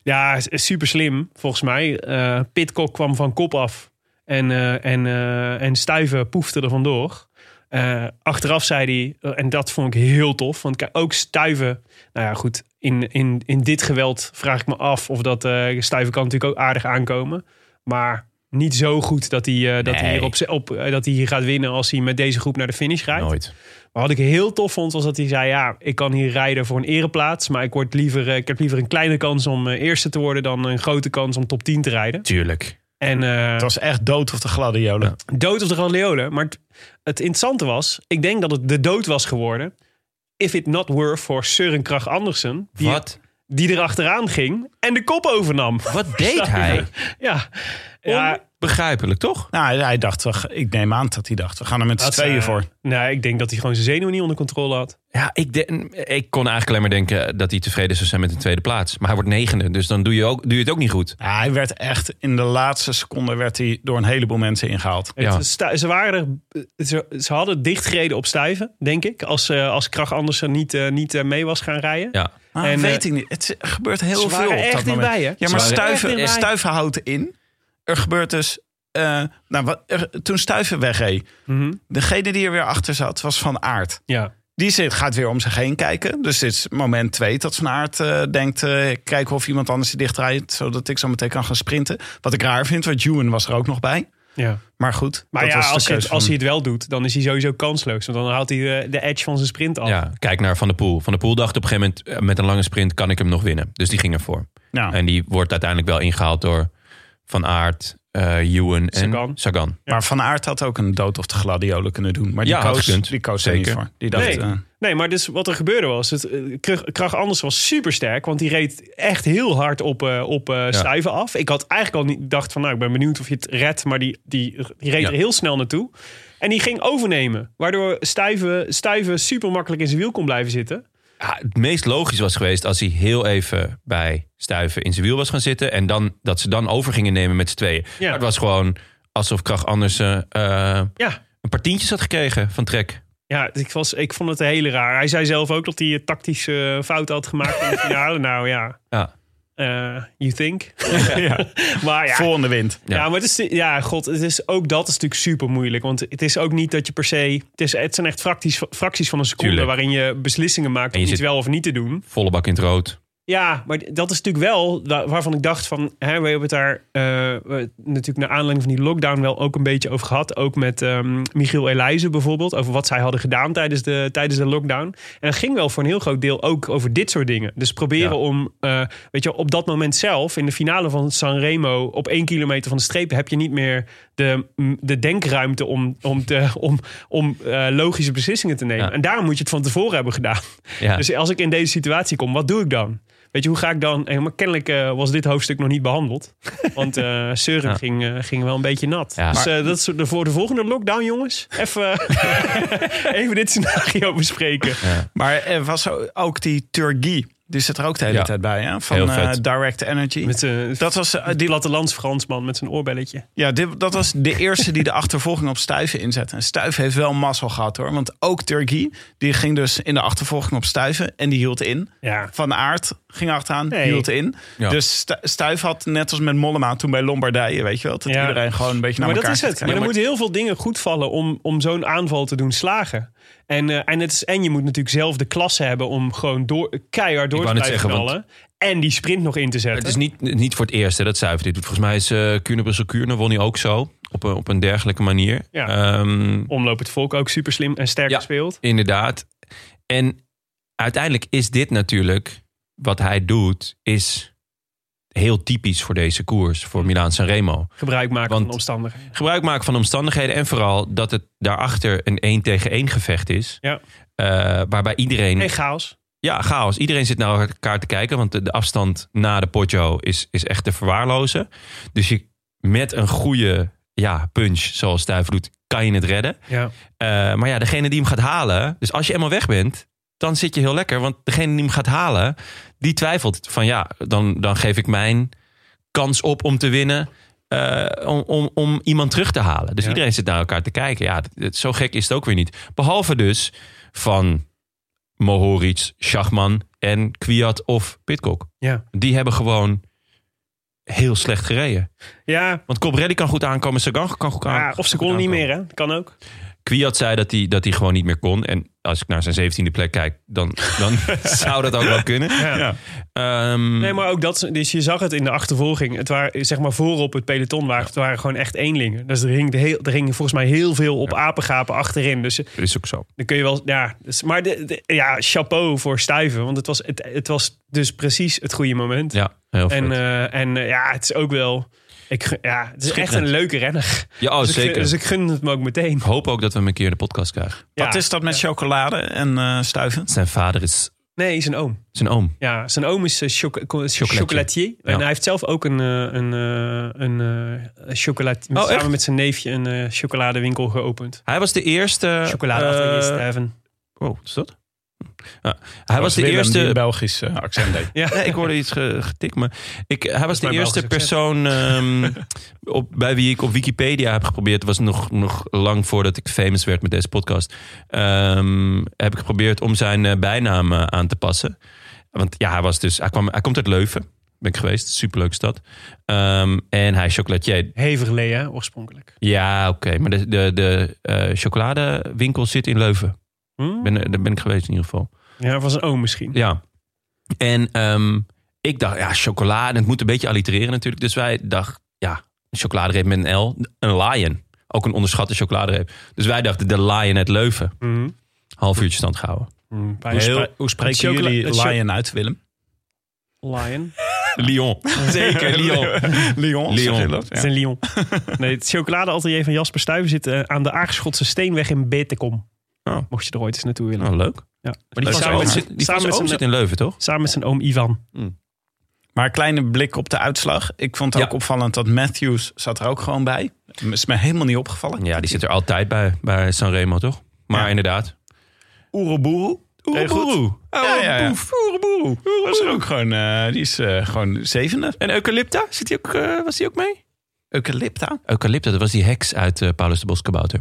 B: ja super slim volgens mij. Eh Pitcock kwam van kop af en, eh, en, eh, en Stuiven poefde er vandoor. Eh, achteraf zei hij, eh, en dat vond ik heel tof, want kijk, ook Stuiven, nou ja goed, in, in, in dit geweld vraag ik me af of dat eh Stuiven kan natuurlijk ook aardig aankomen, maar niet zo goed dat hij, eh, dat hij,
A: Nee.
B: hier, op, z'n- op, eh, dat hij hier gaat winnen als hij met deze groep naar de finish rijdt.
A: Nooit.
B: Maar wat ik heel tof vond, was dat hij zei: Ja, ik kan hier rijden voor een ereplaats. Maar ik, word liever, eh, ik heb liever een kleine kans om eh, eerste te worden dan een grote kans om top 10 te rijden.
A: Tuurlijk.
B: En eh,
F: Het was echt dood of de gladiolen.
B: dood op de gladiolen. Maar het, het interessante was: ik denk dat het de dood was geworden. If it not were for Søren Krach Andersen, die,
A: Wat,
B: die er achteraan ging en de kop overnam.
A: wat deed hij?
B: Ja, ja
A: Begrijpelijk, toch?
F: Nou, hij- hij dacht, toch- ik neem aan dat hij dacht, we gaan er met z'n
B: dat,
F: tweeën
B: eh,
F: voor.
B: Nee, ik denk dat hij gewoon zijn zenuwen niet onder controle had.
A: Ja, ik, de- ik kon eigenlijk alleen maar denken dat hij tevreden zou zijn met een tweede plaats. Maar hij wordt negende, dus dan doe je, ook, doe je het ook niet goed.
F: Ja, hij werd echt, in de laatste seconde werd hij door een heleboel mensen ingehaald.
B: Het-
A: Ja.
B: stu- ze, waren er, eh, ze, ze hadden het dichtgereden op stuiven, denk ik. Als, eh als Krach Andersen niet, eh, niet eh, mee was gaan rijden.
A: Ja.
F: Ah,
B: En,
F: weet
B: eh,
F: ik niet. Het is- er gebeurt heel
B: ze
F: veel
B: waren
F: op
B: echt
F: dat moment.
B: dichtbij, hè?
F: Ja,
B: Ze
F: maar
B: waren echt
F: stuiven,
B: dichtbij.
F: eh, stuiven houdt in. Er gebeurt dus... eh, nou, wat, er- toen Stuiven wegreed,
B: Mhm.
F: degene die er weer achter zat, was Van Aert.
B: ja.
F: Die zit, gaat weer om zich heen kijken. Dus dit is moment twee dat Van Aert eh, denkt... eh, kijken of iemand anders die dichtrijdt... zodat ik zo meteen kan gaan sprinten. Wat ik raar vind, want Ewan was er ook nog bij.
B: ja.
F: Maar goed,
B: Maar
F: dat was
B: ja,
F: de
B: als, hij,
F: keus
B: het- als
F: van-
B: hij het wel doet, dan is hij sowieso kansloos. Want dan haalt hij eh, de edge van zijn sprint af.
A: ja, kijk naar Van der Poel. Van der Poel dacht op een gegeven moment, eh, met een lange sprint kan ik hem nog winnen. Dus die ging ervoor.
F: Nou.
A: En die wordt uiteindelijk wel ingehaald door Van Aert, eh Ewan en
B: Sagan.
A: Sagan.
F: Maar Van Aert had ook een dood of de gladiolen kunnen doen. Maar die
A: Ja, had
F: koos,
A: gekund.
F: die koos er niet
A: Zeker.
F: voor. Die dacht,
B: Nee.
F: eh,
B: Nee, maar dus wat er gebeurde was, het, eh, Krach- Krach Andersen was super sterk, want die reed echt heel hard op, eh, op eh, stuiven af. Ik had eigenlijk al niet gedacht van, nou, ik ben benieuwd of je het redt, maar die, die, die reed
A: Ja.
B: er heel snel naartoe. En die ging overnemen, waardoor stuiven, stuiven super makkelijk in zijn wiel kon blijven zitten.
A: Ja, het meest logisch was geweest als hij heel even bij Stuiven in zijn wiel was gaan zitten. En dan, dat ze dan over gingen nemen met z'n tweeën.
B: Ja.
A: Maar het was gewoon alsof Krach Andersen eh,
B: Ja,
A: een paar tientjes had gekregen van Trek.
B: ja ik, was, ik vond het heel raar. Hij zei zelf ook dat hij eh, tactische fouten had gemaakt in de finale. Nou ja,
A: Ja.
B: eh, you think. maar ja,
F: volgende wind.
B: Ja, maar het is, ja, god, het is, ook dat is natuurlijk super moeilijk. Want het is ook niet dat je per se. Het, is, het zijn echt fracties, fracties van een seconde
A: Tuurlijk.
B: waarin je beslissingen
A: En
B: maakt om
A: je
B: iets
A: zit-
B: wel of niet te doen.
A: Volle bak in het rood.
B: Ja, maar dat is natuurlijk wel da- waarvan ik dacht van... Hè, we hebben het daar eh, we- natuurlijk naar aanleiding van die lockdown wel ook een beetje over gehad. Ook met ehm, Michiel Elijzen bijvoorbeeld. Over wat zij hadden gedaan tijdens de, tijdens de lockdown. En het ging wel voor een heel groot deel ook over dit soort dingen. Dus proberen
A: Ja.
B: om, eh, weet je, wel, op dat moment zelf... in de finale van Sanremo op één kilometer van de streep... heb je niet meer de, de denkruimte om, om, te, om, om eh, logische beslissingen te nemen.
A: Ja.
B: En daarom moet je het van tevoren hebben gedaan.
A: Ja.
B: Dus als ik in deze situatie kom, wat doe ik dan? Weet je, hoe ga ik dan? eh, Maar kennelijk eh, was dit hoofdstuk nog niet behandeld. Want eh Seuren
A: Ja.
B: ging, eh, ging wel een beetje nat.
A: Ja.
B: dus eh, dat is de, voor de volgende lockdown, jongens. Even, eh, even dit scenario bespreken.
F: Maar er was o- ook die Turgi. Die zit er ook de hele
A: Ja.
F: tijd bij, hè? Van
A: Heel vet.
F: eh, Direct Energy.
B: Met eh,
F: dat was, eh,
B: die
F: die,
B: plattelands Fransman met zijn oorbelletje.
F: ja, dit- dat was de eerste die de achtervolging op Stuiven inzette. En Stuiven heeft wel mazzel gehad hoor. Want ook Turgi, die ging dus in de achtervolging op Stuiven en die hield in.
B: Ja.
F: Van Aert ging achteraan,
B: Nee.
F: hield in.
A: Ja.
F: Dus Stu- Stuif had net als met Mollema toen bij Lombardije, weet je wel. Dat
B: Ja.
F: iedereen gewoon een beetje naar
B: Maar dat
F: elkaar
B: is het.
F: zit.
B: Maar er
F: Ja,
B: moeten heel veel dingen goed vallen om, om zo'n aanval te doen slagen. En, eh, en, het is, en je moet natuurlijk zelf de klasse hebben om gewoon door, keihard door
A: Ik
B: te
A: wou net
B: blijven
A: zeggen, want-
B: knallen. En die sprint nog in te zetten.
A: Het is niet, niet voor het eerst hè, dat Zuiver dit doet. Volgens mij is eh Kuurne Brussel Kuurne won hij ook zo. Op een, op een dergelijke manier.
B: Ja.
A: Ehm,
B: Omloop het Volk ook super slim en sterk
A: Ja.
B: gespeeld.
A: inderdaad. En uiteindelijk is dit natuurlijk... Wat hij doet is heel typisch voor deze koers. Voor Milaan Sanremo.
B: Gebruik maken
A: Want-
B: van omstandigheden.
A: Gebruik maken van omstandigheden. En vooral dat het daarachter een één tegen één gevecht is.
B: Ja.
A: Eh, waarbij iedereen...
B: En chaos.
A: Ja, chaos. Iedereen zit naar elkaar te kijken. Want de, de afstand na de potjo is, is echt te verwaarlozen. Dus je, met een goede ja, punch, zoals Stuyven doet, kan je het redden.
B: Ja.
A: Eh, maar ja, degene die hem gaat halen... Dus als je eenmaal weg bent, dan zit je heel lekker. Want degene die hem gaat halen, die twijfelt van... Ja, dan, dan geef ik mijn kans op om te winnen... eh, om, om, om iemand terug te halen. Dus
B: Ja.
A: iedereen zit naar elkaar te kijken. Ja, dat- dat- zo gek is het ook weer niet. Behalve dus van Mohoric, Schachman en Kwiat of Pitcock.
B: Ja.
A: Die hebben gewoon heel slecht gereden.
B: Ja.
A: Want Colbrelli kan goed aankomen, Sagan kan goed
B: ja,
A: aankomen.
B: of ze konden niet meer, hè? Kan ook.
A: Hmm. Kwiat zei dat hij, dat hij gewoon niet meer kon. En als ik naar zijn 17e plek kijk, dan, dan zou dat ook wel kunnen.
B: Ja.
A: Ehm,
B: Nee, maar ook dat. is- Dus je zag het in de achtervolging. Het waren, zeg maar, voorop het peloton waren, het waren gewoon echt eenlingen. Dus er hing, de heel, er hing volgens mij heel veel op apengapen achterin. Dus
A: Dat is ook zo.
B: dan kun je wel. Ja, dus, maar de, de- ja, chapeau voor Stuiven. Want het was, het, het was dus precies het goede moment.
A: Ja, heel
B: en
A: vet.
B: eh, en eh, ja, het is ook wel. Ik, gun- ja, het is echt
A: Schitterend.
B: een leuke renner.
A: ja, oh,
B: dus, Ik,
A: zeker.
B: gun- dus ik gun het me ook meteen.
A: Ik hoop ook dat we hem een keer in de podcast krijgen.
F: Wat is dat met chocolade en eh stuiven?
A: Zijn vader is
B: Nee, zijn oom.
A: zijn oom.
B: Ja, zijn oom is eh, choco- co- chocolatier. En
A: Ja.
B: hij heeft zelf ook een, eh, een, eh, een, eh, chocolat... met- samen
A: Oh, echt?
B: met zijn neefje een eh, chocoladewinkel geopend.
A: Hij was de eerste...
B: Chocoladeatelier
A: eh,
B: Steven.
A: Oh, wat is dat? Ja. Hij was de eerste
F: Belgisch
B: eh,
F: accent deed.
B: Ja.
A: Nee, ik hoorde iets ge- getikt, maar ik, hij was de
B: mijn
A: eerste
B: Belgisch
A: persoon ehm, op, bij wie ik op Wikipedia heb geprobeerd. Het was nog, nog lang voordat ik famous werd met deze podcast. ehm, heb ik geprobeerd om zijn eh, bijnaam eh, aan te passen. Want ja, hij, was dus, hij, kwam, hij komt uit Leuven. Ben ik geweest. Superleuke stad. Ehm, en hij is chocolatier.
B: Heverlee, hè, oorspronkelijk.
A: Ja, oké. maar de, de, de eh, chocoladewinkel zit in Leuven.
B: Hm?
A: Ben, daar ben ik geweest in ieder geval.
B: Ja, van zijn oom misschien.
A: Ja. En ehm, ik dacht, ja, chocolade. Het moet een beetje allitereren natuurlijk. Dus wij dachten, ja, een chocoladereep met een L. Een lion. Ook een onderschatte chocoladereep. Dus wij dachten, de lion uit Leuven.
B: Hm.
A: Half uurtje stand gehouden.
B: Hm, bij
F: Hoe,
B: Sp-
F: spre- hoe spreken
B: Chocola-
F: jullie
B: het cho-
F: Lion uit, Willem?
B: Lion.
A: Lyon. Zeker, Lyon. Lyon.
F: Lyon. Lyon. dat?
B: Het is een Lyon. Nee, het chocoladeatelier van Jasper Stuyven zit eh, aan de Aarschotse Steenweg in Betekom.
A: Oh.
B: Mocht je er ooit eens naartoe willen.
A: Nou, leuk.
B: Ja.
A: Maar die van zijn
B: samen,
A: oom
B: met,
A: zit, die van
B: samen, met
A: zijn oom
B: zijn,
A: zit in Leuven, toch?
B: samen met zijn oom Ivan.
F: Maar een kleine blik op de uitslag. Ik vond het ook
A: Ja.
F: opvallend dat Matthews zat er ook gewoon bij. Is me helemaal niet opgevallen.
A: Ja, die zit er altijd bij, bij Sanremo, toch? Maar
F: Ja.
A: inderdaad.
F: Oeroboeroe.
A: Oeroboeroe.
F: Oh, ja, ja, ja. Was er ook gewoon, eh, die is eh, gewoon zevende.
A: En Eucalypta, zit die ook, eh, was die ook mee?
F: Eucalypta.
A: Eucalypta, dat was die heks uit eh, Paulus de Boskabouter.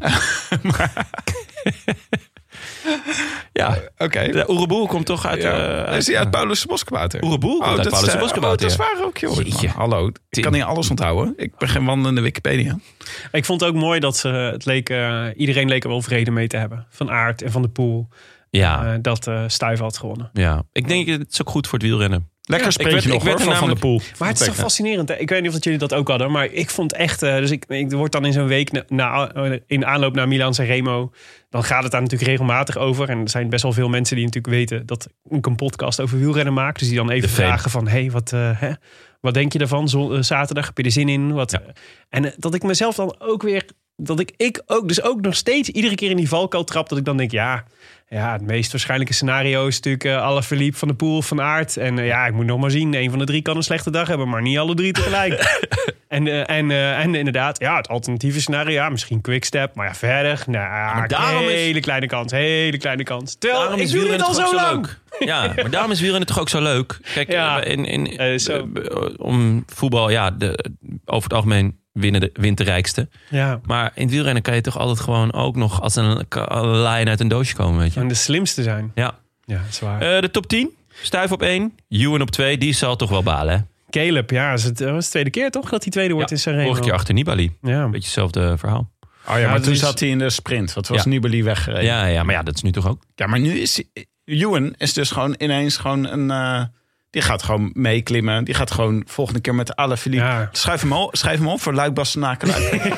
A: ja,
F: Oké.
A: de Oeroboer komt toch uit...
F: Ja.
A: eh,
F: is die uit Paulus de Boskabouter?
A: Oeroboe komt uit
F: dat
A: Paulus
F: is,
A: de
F: eh,
A: Boskabouter,
F: oh, dat
A: ja.
F: is waar ook, joh.
A: Jeetje.
F: Man, hallo, ik
A: Tim.
F: kan niet alles onthouden. Ik ben geen wandelende Wikipedia.
B: Ik vond het ook mooi dat ze, het leek, eh, iedereen leek er wel vrede mee te hebben. Van Aert en Van de Poel.
A: ja, Ah.
B: eh, dat eh Stuyven had gewonnen.
A: ja, ik denk het is ook goed voor het wielrennen.
F: Lekker
A: ik
F: sprintje
A: werd-
F: nog
A: ik werd
F: hoor,
A: er
F: van Van de
A: namelijk-
F: Poel.
B: Maar het is toch
A: Perfect,
B: fascinerend. hè? Ik weet niet of dat jullie dat ook hadden, maar ik vond echt... eh, dus ik, ik word dan in zo'n week na, na- eh, in aanloop naar Milan Sanremo... dan gaat het daar natuurlijk regelmatig over. En er zijn best wel veel mensen die natuurlijk weten... dat ik een podcast over wielrennen maak. Dus die dan even
A: De fame.
B: vragen van... hey, wat, eh, hè, wat denk je daarvan Zo- eh, zaterdag? Heb je er zin in? Wat,
A: Ja.
B: En eh, dat ik mezelf dan ook weer... dat ik, ik ook, dus ook nog steeds iedere keer in die valkuil trap... dat ik dan denk, ja... Ja, het meest waarschijnlijke scenario is natuurlijk eh alle verliep van de pool van aard. En eh, ja, ik moet nog maar zien. Een van de drie kan een slechte dag hebben, maar niet alle drie tegelijk. en, eh, en, eh, en inderdaad, ja, het alternatieve scenario, ja, misschien quickstep. Maar ja, verder, nou,
A: daarom is-
B: hele kleine kans, hele kleine kans. Terwijl,
A: Daarom
B: ik
A: is
B: doe dit
A: wielrennen
B: al
A: toch
B: zo
A: ook zo
B: lang.
A: leuk. Ja, maar daarom is wielrennen toch ook zo leuk. Kijk,
B: Ja.
A: eh, in, in,
B: Eh, zo.
A: eh, om voetbal, ja, de, over het algemeen winnen de, wint de rijkste.
B: Ja,
A: Maar in het wielrennen kan je toch altijd gewoon ook nog als een, ka- een lijn uit een doosje komen, weet je.
B: en de slimste zijn.
A: Ja.
B: Ja, dat is waar.
A: Eh, de top 10. Stuif op 1. Ewan op 2. Die zal toch wel balen, hè?
B: Caleb, ja, is het, eh, was de tweede keer toch dat hij tweede wordt in Sanremo?
A: Vorige keer achter Nibali.
B: Ja.
A: Beetje hetzelfde verhaal.
F: Oh ja, maar
B: dat
F: toen
B: is-
F: zat hij in de sprint. Wat was
A: Ja.
F: Nibali weggereden? Ja.
A: Ja, ja, maar ja, dat is nu toch ook.
F: maar nu is... Ewan is dus gewoon ineens gewoon een... eh, die gaat gewoon meeklimmen. Die gaat gewoon volgende keer met alle Philippe.
B: Ja.
F: Schrijf, hem al, schrijf hem op voor Luik Bastenaken. Luik.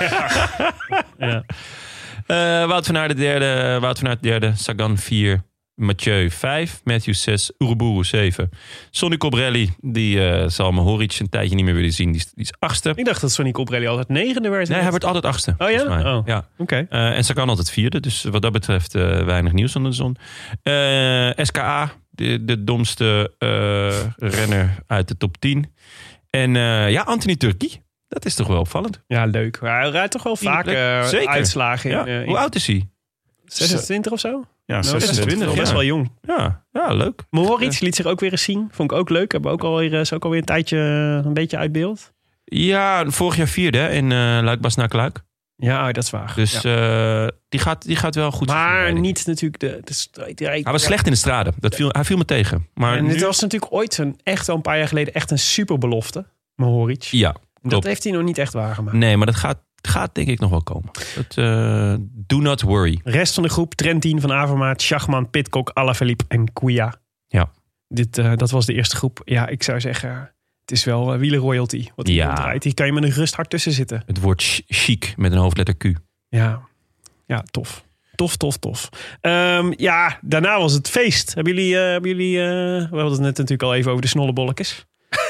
A: Eh Wout van Aert de derde. Wout van Aert de derde. Sagan 4. Mathieu 5. Matthew 6. Uruburu 7. Sonny Cobrelli. Die eh, zal Mohoric een tijdje niet meer willen zien. Die is, die is achtste.
B: Ik dacht dat Sonny Coprelli altijd negende werd.
A: Nee, hij wordt altijd achtste.
B: Oh ja?
A: volgens mij.
B: Oh.
A: ja.
B: Oké.
A: Eh, en Sagan altijd vierde. Dus wat dat betreft eh, weinig nieuws onder de zon. Eh, SKA, de, de domste eh, renner uit de top 10. En eh, ja, Anthony Turki. Dat is toch wel opvallend.
B: Ja, leuk. Maar Hij rijdt toch wel vaak
A: plek.
B: eh,
A: Zeker.
B: uitslagen in,
A: Ja.
B: eh, in
A: Hoe oud is hij?
B: 26 of zo?
F: Ja,
B: Nou,
F: 26.
B: Nog Best
A: ja.
B: wel jong.
A: Ja, ja leuk.
B: Mohoric liet zich ook weer eens zien. Vond ik ook leuk. Hebben ook alweer, is ook alweer een tijdje eh, een beetje uit beeld.
A: Ja, vorig jaar vierde hè, in eh Luikbas naar Kluik.
B: Ja, oh, dat is waar.
A: Dus eh, die, gaat, die gaat wel goed.
B: maar
A: verder, denk ik.
B: niet natuurlijk de... de strijd- hij-
A: Hij was slecht in de straden. Dat viel, hij viel me tegen. Maar
B: En
A: nu,
B: dit was natuurlijk ooit, een, echt al een paar jaar geleden, echt een superbelofte. Mohoric.
A: Ja,
B: dat
A: klopt.
B: heeft hij nog niet echt waargemaakt.
A: Nee, maar dat gaat, gaat denk ik nog wel komen. Dat, eh, do not worry.
B: Rest van de groep, Trentin, Van Avermaat, Schachman, Pitcock, Alaphilippe en Kouya.
A: Ja.
B: Dit, eh, dat was de eerste groep. Ja, ik zou zeggen, het is wel eh, wielerroyalty wat hij
A: Ja.
B: ja. draait. Hier kan je met een gerust hart tussen zitten.
A: Het woord ch- chic met een hoofdletter Q.
B: Ja, ja tof. Tof, tof, tof. Ehm, ja, daarna was het feest. Hebben jullie, eh, hebben jullie eh, we hadden het net natuurlijk al even over de snollebolletjes.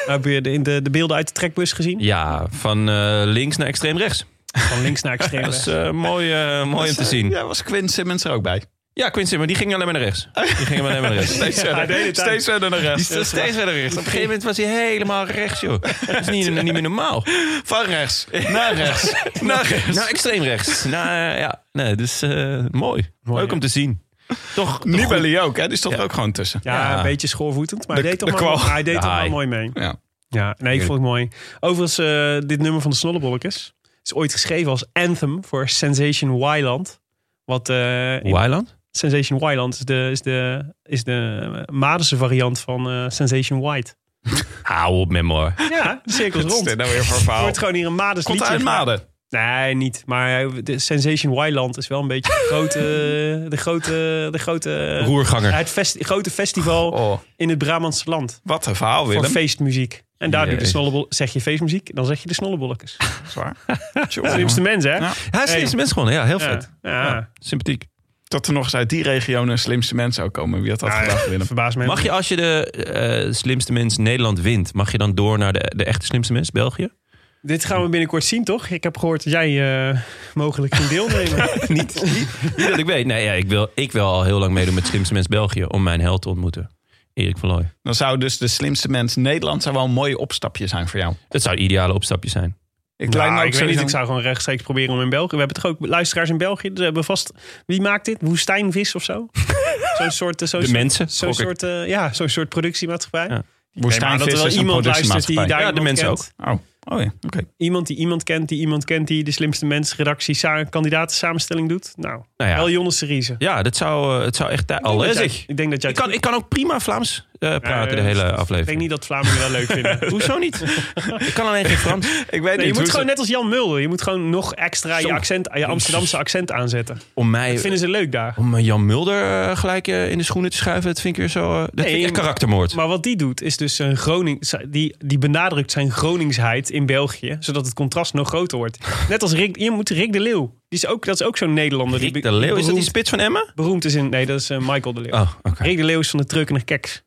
B: Heb je de, de, de beelden uit de trekbus gezien?
A: Ja, van eh, links naar extreem rechts.
B: Van links naar extreem.
A: Dat is eh, mooi, eh, mooi om te zien.
F: Ja, was Quinn Simmons er ook bij.
A: Ja, Quincy, maar die ging alleen maar naar rechts. Die ging alleen maar naar rechts.
F: Steeds verder. Steeds verder naar rechts.
A: steeds verder rechts. Op een gegeven moment was hij helemaal rechts, joh. Dat is niet, niet meer normaal.
F: Van rechts. Naar rechts. naar rechts.
A: Nou, extreem rechts. Nou, eh, ja. Nee, dus eh, mooi. Leuk
B: hè?
A: om te zien. Toch, toch goed.
F: Nibali ook, hè? Die stond
A: Ja.
F: er ook gewoon tussen.
B: Ja,
A: Ja.
B: een beetje schoorvoetend, maar
F: De-
B: hij deed
F: de
B: toch, wel,
F: kwal.
B: hij deed toch wel
A: Ai.
B: mooi mee.
F: Ja.
B: Ja, nee, ik vond het mooi. Overigens, eh, dit nummer van de Snollebolletjes is ooit geschreven als anthem voor Sensation Wyland. Wat eh, in-
A: Weiland?
B: Sensation Wyland is de, is de, is de Madense variant van eh, Sensation White.
A: Hou op, memoir.
B: Ja, de cirkels
F: Wat is
B: rond.
F: dit
B: Er
F: nou weer voor verhaal?
B: wordt gewoon hier een Madens
F: Komt
B: liedje
F: uit
B: gemaakt.
F: Maden.
B: Nee, niet. Maar eh, de Sensation Wyland is wel een beetje de grote... De grote, de grote
A: Roerganger.
B: het fest- grote festival
F: Oh,
B: in het Brabantse land.
F: wat een verhaal,
B: voor
F: Willem.
B: feestmuziek. En daar doe je de
A: Jezus.
B: snollebol. Zeg je feestmuziek, dan zeg je de snollebolletjes.
F: Zwaar.
B: Slimste mensen, hè?
F: Ja.
A: Hij is
B: Hey.
A: hey. mens gewoon. Ja, heel
B: Ja.
A: vet.
B: Ja.
A: Ja, sympathiek.
F: Dat er nog eens uit die regionen slimste mensen ook komen. Wie had dat gedacht, Willem?
B: Verbaas me.
A: Mag je als je de eh, slimste mens Nederland wint, mag je dan door naar de, de echte slimste mens België?
B: Dit gaan we binnenkort zien, toch? Ik heb gehoord dat jij eh, mogelijk ging deelnemen.
A: niet, niet, niet dat ik weet. Nee, ja, ik, wil, ik wil al heel lang meedoen met slimste mens België om mijn held te ontmoeten. Erik van Looy.
F: Dan zou dus de slimste mens Nederland zou wel een mooi opstapje zijn voor jou.
A: Dat zou een ideale opstapje zijn.
F: Ik
B: Nou,
F: lijkt me ook
B: ik weet niet,
F: sowieso-
B: ik zou gewoon rechtstreeks proberen om in België. We hebben toch ook luisteraars in België. Dus we hebben vast. Wie maakt dit? Woestijnvis of zo? zo'n soort. eh, Zo'n
A: De
B: soort-
A: mensen.
B: Zo'n
A: gok ik.
B: soort, eh, ja, zo'n soort productiemaatschappij.
A: Ja.
B: Nee, maar dat
F: Woestijnvis
B: er wel
F: is een
B: iemand luistert die
F: productiemaatschappij.
B: daar
A: Ja, de
B: iemand
A: mensen
B: kent.
A: ook.
F: Oh, oh ja, oké.
B: Iemand die iemand kent, die iemand kent, die de slimste mensen redactie sa- kandidaten samenstelling doet. Nou,
A: Nou ja.
B: wel Jonne Serize.
A: Ja, dat zou, eh, het zou echt... tij- Al
B: Ik
A: is
B: denk dat jij-
A: ik.
B: Ik denk dat jij
A: Ik kan, ik kan ook prima Vlaams eh, praten de
B: Eh,
A: hele
B: Ik denk
A: aflevering.
B: niet dat Vlamingen dat leuk vinden.
A: Hoezo niet? ik kan alleen geen Frans.
F: Ik weet
B: Nee, je
F: niet.
B: moet
F: hoe
B: gewoon
F: ze-
B: net als Jan Mulder. Je moet gewoon nog extra je,
A: Zo.
B: accent, je Amsterdamse accent aanzetten.
A: Om
B: Dat
A: mij...
B: vinden ze leuk daar.
A: Om eh, Jan Mulder eh, gelijk eh, in de schoenen te schuiven, dat vind ik weer zo... eh, dat vind ik echt karaktermoord.
B: Maar wat die doet, is dus een Groning, die, die benadrukt zijn Groningsheid in België. Zodat het contrast nog groter wordt. Net als Rick, je moet Rick de Leeuw. Die is ook, dat is ook zo'n Nederlander. die
A: Rick
B: be-
A: de Leeuw, is dat die
B: beroemd,
A: spits van Emmen?
B: beroemd is in... Nee, dat is eh, Michael de Leeuw.
A: Oh, oké.
B: Rick de Leeuw is van de truck en de keks.